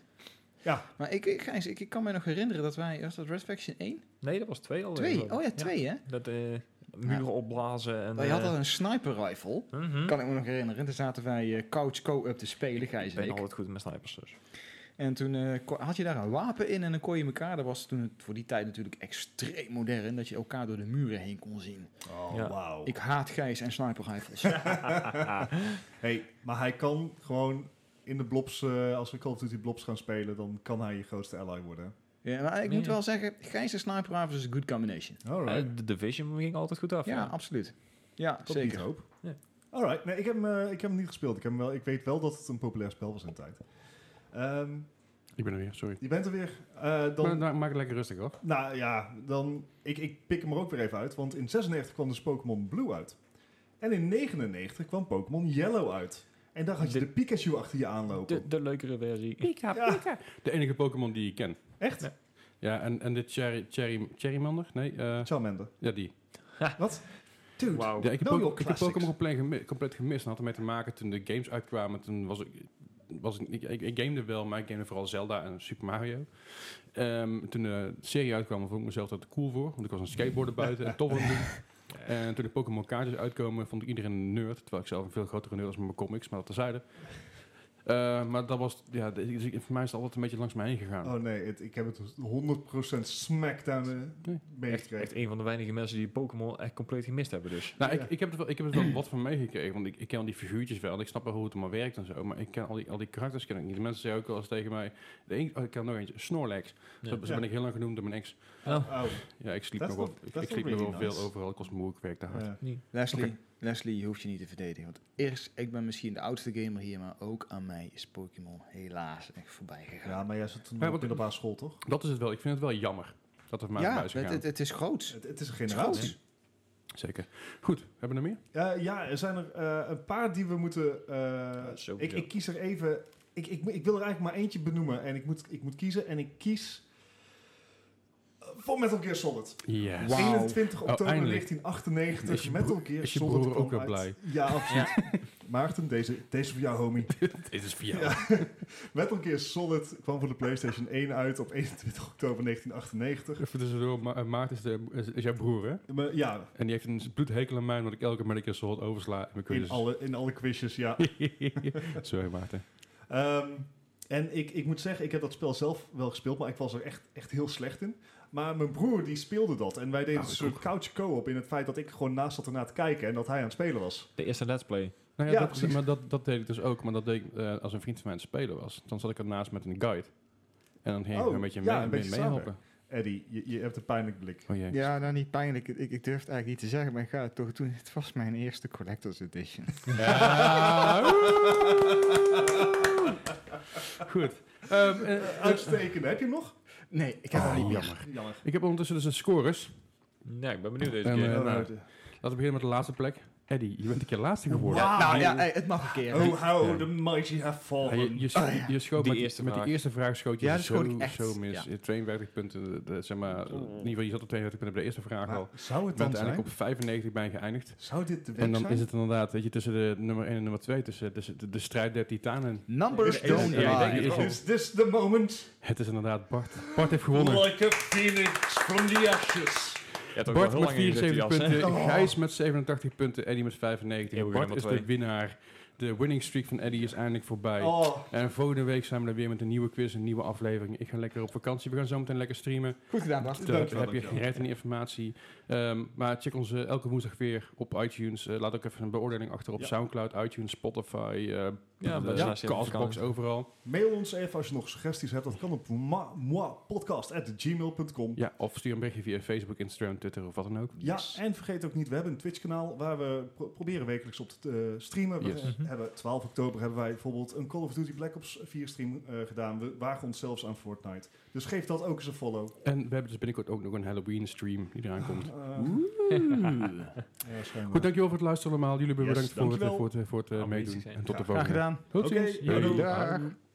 [SPEAKER 2] Ja.
[SPEAKER 4] Maar ik, ik, Gijs, ik, ik kan me nog herinneren dat wij... Was dat Red Faction 1?
[SPEAKER 3] Nee, dat was twee al.
[SPEAKER 4] 2? Oh ja, 2 hè?
[SPEAKER 3] Dat eh, muren opblazen en...
[SPEAKER 4] je had
[SPEAKER 3] eh,
[SPEAKER 4] al een sniper rifle.
[SPEAKER 3] mhm.
[SPEAKER 4] Kan ik me nog herinneren. Toen zaten wij eh, couch co-up te spelen,
[SPEAKER 3] Ik
[SPEAKER 4] Gijs en
[SPEAKER 3] ben
[SPEAKER 4] ik.
[SPEAKER 3] altijd goed met snipers dus.
[SPEAKER 4] En toen eh, ko- had je daar een wapen in en dan kon je elkaar... Dat was toen het, voor die tijd natuurlijk extreem modern... dat je elkaar door de muren heen kon zien.
[SPEAKER 2] Oh,
[SPEAKER 3] Ja.
[SPEAKER 2] wauw.
[SPEAKER 4] Ik haat Gijs en sniper rifles.
[SPEAKER 2] Hey, maar hij kan gewoon in de blobs, eh, als we Call of Duty blobs gaan spelen, dan kan hij je grootste ally worden.
[SPEAKER 4] ja, maar ik moet
[SPEAKER 3] Nee.
[SPEAKER 4] wel zeggen... Gijs en sniper rifles is een good combination.
[SPEAKER 2] Alright.
[SPEAKER 3] Eh, de Division ging altijd goed af.
[SPEAKER 4] Ja,
[SPEAKER 3] hè?
[SPEAKER 4] absoluut. Ja,
[SPEAKER 2] Tot niet
[SPEAKER 4] zeker.
[SPEAKER 2] hoop.
[SPEAKER 3] Ja.
[SPEAKER 2] Alright. Nee, ik heb, hem, eh, ik heb hem niet gespeeld. Ik, heb hem wel, ik weet wel dat het een populair spel was in de tijd. Ehm,
[SPEAKER 1] Ik ben er weer, sorry.
[SPEAKER 2] je bent er weer. Eh, dan,
[SPEAKER 1] Maar, nou, maak het lekker rustig hoor.
[SPEAKER 2] Nou ja, dan, ik, ik pik hem er ook weer even uit. Want in 96 kwam dus Pokémon Blue uit. En in 99 kwam Pokémon Yellow uit. En daar had je de,
[SPEAKER 3] De-
[SPEAKER 2] Pikachu achter je aanlopen.
[SPEAKER 3] De, de leukere versie.
[SPEAKER 2] Ja.
[SPEAKER 1] De enige Pokémon die ik ken.
[SPEAKER 2] Echt?
[SPEAKER 3] Ja.
[SPEAKER 1] Ja, en, en dit Cherry, Cherry, Cherrymander? Nee, eh,
[SPEAKER 2] Charmander.
[SPEAKER 1] ja die.
[SPEAKER 2] Wat? Dude.
[SPEAKER 3] Wauw.
[SPEAKER 1] Ja, ik heb
[SPEAKER 2] Know
[SPEAKER 1] Pokémon-
[SPEAKER 2] your
[SPEAKER 1] ik heb
[SPEAKER 2] classics.
[SPEAKER 1] Pokémon compleet, gemi- compleet gemist. En had ermee te maken toen de games uitkwamen. Toen was ik... Was ik, ik, ik, ik gamede wel, maar ik gamede vooral Zelda en Super Mario. Ehm, toen de serie uitkwam, vond ik mezelf dat cool voor. Want ik was een skateboarder buiten en tof aan het doen. En toen de Pokémon kaartjes uitkomen, vond ik iedereen een nerd. Terwijl ik zelf een veel grotere nerd was met mijn comics, maar dat terzijde. Eh maar dat was... Ja, dus ik- voor mij is het altijd een beetje langs mij heen gegaan.
[SPEAKER 2] Oh nee, het- ik heb het 100% smackdown eh,
[SPEAKER 1] Nee.
[SPEAKER 3] Echt,
[SPEAKER 2] meegekregen.
[SPEAKER 3] echt een van de weinige mensen die Pokémon echt compleet gemist hebben dus.
[SPEAKER 1] Nou,
[SPEAKER 2] Ja.
[SPEAKER 1] ik, ik, heb het wel, ik heb het wel wat van meegekregen, want ik, ik ken al die figuurtjes wel en ik snap wel hoe het allemaal werkt en zo, maar ik ken al die, al die karakters ken ik niet. De mensen zeggen ook wel eens tegen mij, de een, oh, ik ken nog eentje, Snorlax. Zo,
[SPEAKER 3] Ja.
[SPEAKER 1] zo
[SPEAKER 2] Ja.
[SPEAKER 1] ben ik heel lang genoemd door mijn ex.
[SPEAKER 2] Oh,
[SPEAKER 1] Ja, ik sliep
[SPEAKER 2] Dat
[SPEAKER 1] nog
[SPEAKER 2] is
[SPEAKER 1] wel,
[SPEAKER 2] wel-
[SPEAKER 1] ik,
[SPEAKER 2] dat
[SPEAKER 1] ik
[SPEAKER 2] is
[SPEAKER 1] sliep
[SPEAKER 2] wel
[SPEAKER 1] nog wel
[SPEAKER 2] really
[SPEAKER 1] veel
[SPEAKER 2] nice.
[SPEAKER 1] overal, ik was moe, ik werkte hard.
[SPEAKER 2] ja.
[SPEAKER 4] Leslie, Leslie, je hoeft je niet te verdedigen. Want eerst, ik ben misschien de oudste gamer hier, maar ook aan mij is Pokémon helaas echt voorbij gegaan.
[SPEAKER 2] ja, maar jij zat toen
[SPEAKER 1] Ja,
[SPEAKER 2] op
[SPEAKER 1] want-
[SPEAKER 2] middelbare school, toch?
[SPEAKER 1] Dat is het wel, ik vind het wel jammer dat het maar
[SPEAKER 4] Ja,
[SPEAKER 1] voorbij is
[SPEAKER 4] het,
[SPEAKER 1] gegaan.
[SPEAKER 4] het, het is groots.
[SPEAKER 2] Het, het is een generatie.
[SPEAKER 1] Zeker. Goed, hebben we er meer?
[SPEAKER 2] Eh, ja, er zijn er eh, een paar die we moeten... eh,
[SPEAKER 3] zo,
[SPEAKER 2] ik,
[SPEAKER 3] ja.
[SPEAKER 2] ik kies er even... Ik, ik, ik wil er eigenlijk maar eentje benoemen. En ik moet, ik moet kiezen. En ik kies... eh, Voor Metal Gear Solid.
[SPEAKER 1] Yes.
[SPEAKER 4] Wauw.
[SPEAKER 2] 21
[SPEAKER 1] Oh,
[SPEAKER 2] oktober
[SPEAKER 1] eindelijk.
[SPEAKER 2] 1998.
[SPEAKER 1] Is je
[SPEAKER 2] Metal
[SPEAKER 1] broer-
[SPEAKER 2] Gear
[SPEAKER 1] is je
[SPEAKER 2] Solid
[SPEAKER 1] broer
[SPEAKER 2] kwam
[SPEAKER 1] ook wel
[SPEAKER 2] uit.
[SPEAKER 1] blij?
[SPEAKER 2] Ja, absoluut. Maarten, deze, deze voor jou, homie.
[SPEAKER 1] Dit is via.
[SPEAKER 2] Ja. Metal Gear Solid kwam voor de PlayStation 1 uit op 21 oktober 1998.
[SPEAKER 1] Even tussendoor, Ma eh, Maarten is, de, is, is jouw broer, hè?
[SPEAKER 2] Maar ja,
[SPEAKER 1] En die heeft een bloedhekel aan mij, omdat ik elke Metal Gear Solid oversla. En mijn
[SPEAKER 2] in
[SPEAKER 1] quizzes.
[SPEAKER 2] alle, in alle quizjes, ja.
[SPEAKER 1] Sorry, Maarten.
[SPEAKER 2] Ehm, en ik, ik moet zeggen, ik heb dat spel zelf wel gespeeld, maar ik was er echt, echt heel slecht in. Maar mijn broer die speelde dat. En wij deden
[SPEAKER 1] Nou,
[SPEAKER 2] een
[SPEAKER 1] ik
[SPEAKER 2] soort couch co-op in het feit dat ik gewoon naast zat ernaar te kijken en dat hij aan het spelen was.
[SPEAKER 3] De eerste Let's Play.
[SPEAKER 1] Nou ja,
[SPEAKER 2] Ja,
[SPEAKER 1] dat,
[SPEAKER 2] precies.
[SPEAKER 1] maar dat, dat deed ik dus ook. Maar dat deed ik eh, als een vriend van mij aan het spelen was. Dan zat ik ernaast met een guide. En dan ging ik
[SPEAKER 2] Oh,
[SPEAKER 1] een beetje
[SPEAKER 2] ja,
[SPEAKER 1] mee,
[SPEAKER 2] een
[SPEAKER 1] mee-
[SPEAKER 2] beetje
[SPEAKER 1] meehelpen.
[SPEAKER 2] Eddie, je, je hebt een pijnlijk blik.
[SPEAKER 1] Oh jee.
[SPEAKER 4] Ja, nou niet pijnlijk. Ik, ik durf het eigenlijk niet te zeggen, maar ik ga het toch doen. Het was mijn eerste Collector's Edition.
[SPEAKER 1] Goed. Ehm, eh,
[SPEAKER 2] Uitstekend, heb je hem nog?
[SPEAKER 4] Nee, ik heb het niet meer.
[SPEAKER 1] Oh, jammer.
[SPEAKER 2] Jammer.
[SPEAKER 1] Ik heb ondertussen dus de scores.
[SPEAKER 3] Nee, ik ben benieuwd deze
[SPEAKER 1] En,
[SPEAKER 3] keer.
[SPEAKER 1] eh,
[SPEAKER 2] Oh,
[SPEAKER 1] nou,
[SPEAKER 2] de-
[SPEAKER 1] laten we beginnen met de laatste plek. Eddie, je bent een keer laatste geworden.
[SPEAKER 2] Wauw.
[SPEAKER 4] Nou ja, hey, het mag een keer.
[SPEAKER 2] Oh, how
[SPEAKER 1] Ja.
[SPEAKER 2] the mighty have
[SPEAKER 1] Ja,
[SPEAKER 2] fallen.
[SPEAKER 1] je, je, scho- je schoot
[SPEAKER 3] Die
[SPEAKER 1] met,
[SPEAKER 3] eerste
[SPEAKER 1] met die
[SPEAKER 3] vraag.
[SPEAKER 1] eerste vraag schoot je dus
[SPEAKER 4] Ja, die
[SPEAKER 1] zo,
[SPEAKER 4] schoot ik echt,
[SPEAKER 1] zo mis.
[SPEAKER 4] ja.
[SPEAKER 1] 52 punten, de- de- zeg maar, in ieder geval je zat op 52 punten bij de eerste vraag
[SPEAKER 2] Maar
[SPEAKER 1] al.
[SPEAKER 2] zou
[SPEAKER 1] Ik
[SPEAKER 2] het
[SPEAKER 1] ben
[SPEAKER 2] dan zijn?
[SPEAKER 1] uiteindelijk op 95 bij geëindigd.
[SPEAKER 2] Zou dit de weg
[SPEAKER 1] En dan
[SPEAKER 2] zijn?
[SPEAKER 1] is het inderdaad, weet je, tussen de nummer 1 en nummer 2, tussen, tussen de, de strijd der titanen.
[SPEAKER 4] Numbers
[SPEAKER 3] Ja, ik-
[SPEAKER 4] don't
[SPEAKER 3] ja, ik denk
[SPEAKER 4] lie.
[SPEAKER 3] het wel.
[SPEAKER 2] Is this the moment?
[SPEAKER 1] Het is inderdaad Bart. Bart heeft gewonnen.
[SPEAKER 2] Like a phoenix from the ashes.
[SPEAKER 3] hebt ook al
[SPEAKER 1] Bart
[SPEAKER 3] heel
[SPEAKER 1] met
[SPEAKER 3] lang in je
[SPEAKER 1] 74
[SPEAKER 3] zittenjas, hè?
[SPEAKER 1] punten,
[SPEAKER 2] Oh.
[SPEAKER 1] Gijs met 87 punten, Eddie met 95.
[SPEAKER 3] Ja, we gaan
[SPEAKER 1] Bart
[SPEAKER 3] maar
[SPEAKER 1] is de
[SPEAKER 3] twee.
[SPEAKER 1] winnaar. De winning streak van Eddie is eindelijk voorbij.
[SPEAKER 2] Oh,
[SPEAKER 1] En volgende week zijn we er weer met een nieuwe quiz, een nieuwe aflevering. Ik ga lekker op vakantie. We gaan zo meteen lekker streamen.
[SPEAKER 4] Goed gedaan, Bart.
[SPEAKER 1] Dan heb
[SPEAKER 2] dankjewel,
[SPEAKER 1] je
[SPEAKER 2] dankjewel.
[SPEAKER 1] gereed aan die informatie. Ehm, maar check ons eh, elke woensdag weer op iTunes. Eh, laat ook even een beoordeling achter op
[SPEAKER 2] Ja.
[SPEAKER 1] Soundcloud, iTunes, Spotify, eh
[SPEAKER 3] Ja,
[SPEAKER 1] eh,
[SPEAKER 3] bij de laatste
[SPEAKER 1] Castbox,
[SPEAKER 3] vakantie.
[SPEAKER 1] overal.
[SPEAKER 2] Mail ons even als je nog suggesties hebt. Dat kan op moi- moipodcast.gmail.com.
[SPEAKER 1] Ja, of stuur een berichtje via Facebook, Instagram, Twitter of wat dan ook.
[SPEAKER 2] Ja, en vergeet ook niet, we hebben een Twitch-kanaal waar we pro- proberen wekelijks op te eh, streamen. We
[SPEAKER 1] Yes.
[SPEAKER 2] eh, hebben 12 oktober hebben wij bijvoorbeeld een Call of Duty Black Ops 4 stream eh, gedaan. We wagen ons zelfs aan Fortnite. Dus geef dat ook eens een follow.
[SPEAKER 1] En we hebben dus binnenkort ook nog een Halloween stream die eraan komt.
[SPEAKER 2] Eh, ja, schijnbaar.
[SPEAKER 1] Goed, dankjewel voor het luisteren allemaal. Jullie
[SPEAKER 2] Yes,
[SPEAKER 1] bedankt voor, het,
[SPEAKER 2] dankjewel.
[SPEAKER 1] voor het, voor het eh,
[SPEAKER 3] Aanwezig
[SPEAKER 1] meedoen.
[SPEAKER 3] zijn.
[SPEAKER 1] En tot de
[SPEAKER 2] Ja,
[SPEAKER 1] volgende.
[SPEAKER 4] gedaan.
[SPEAKER 1] Tot
[SPEAKER 2] Oké,
[SPEAKER 1] ziens.
[SPEAKER 2] doei.
[SPEAKER 1] Doei.
[SPEAKER 4] Dag.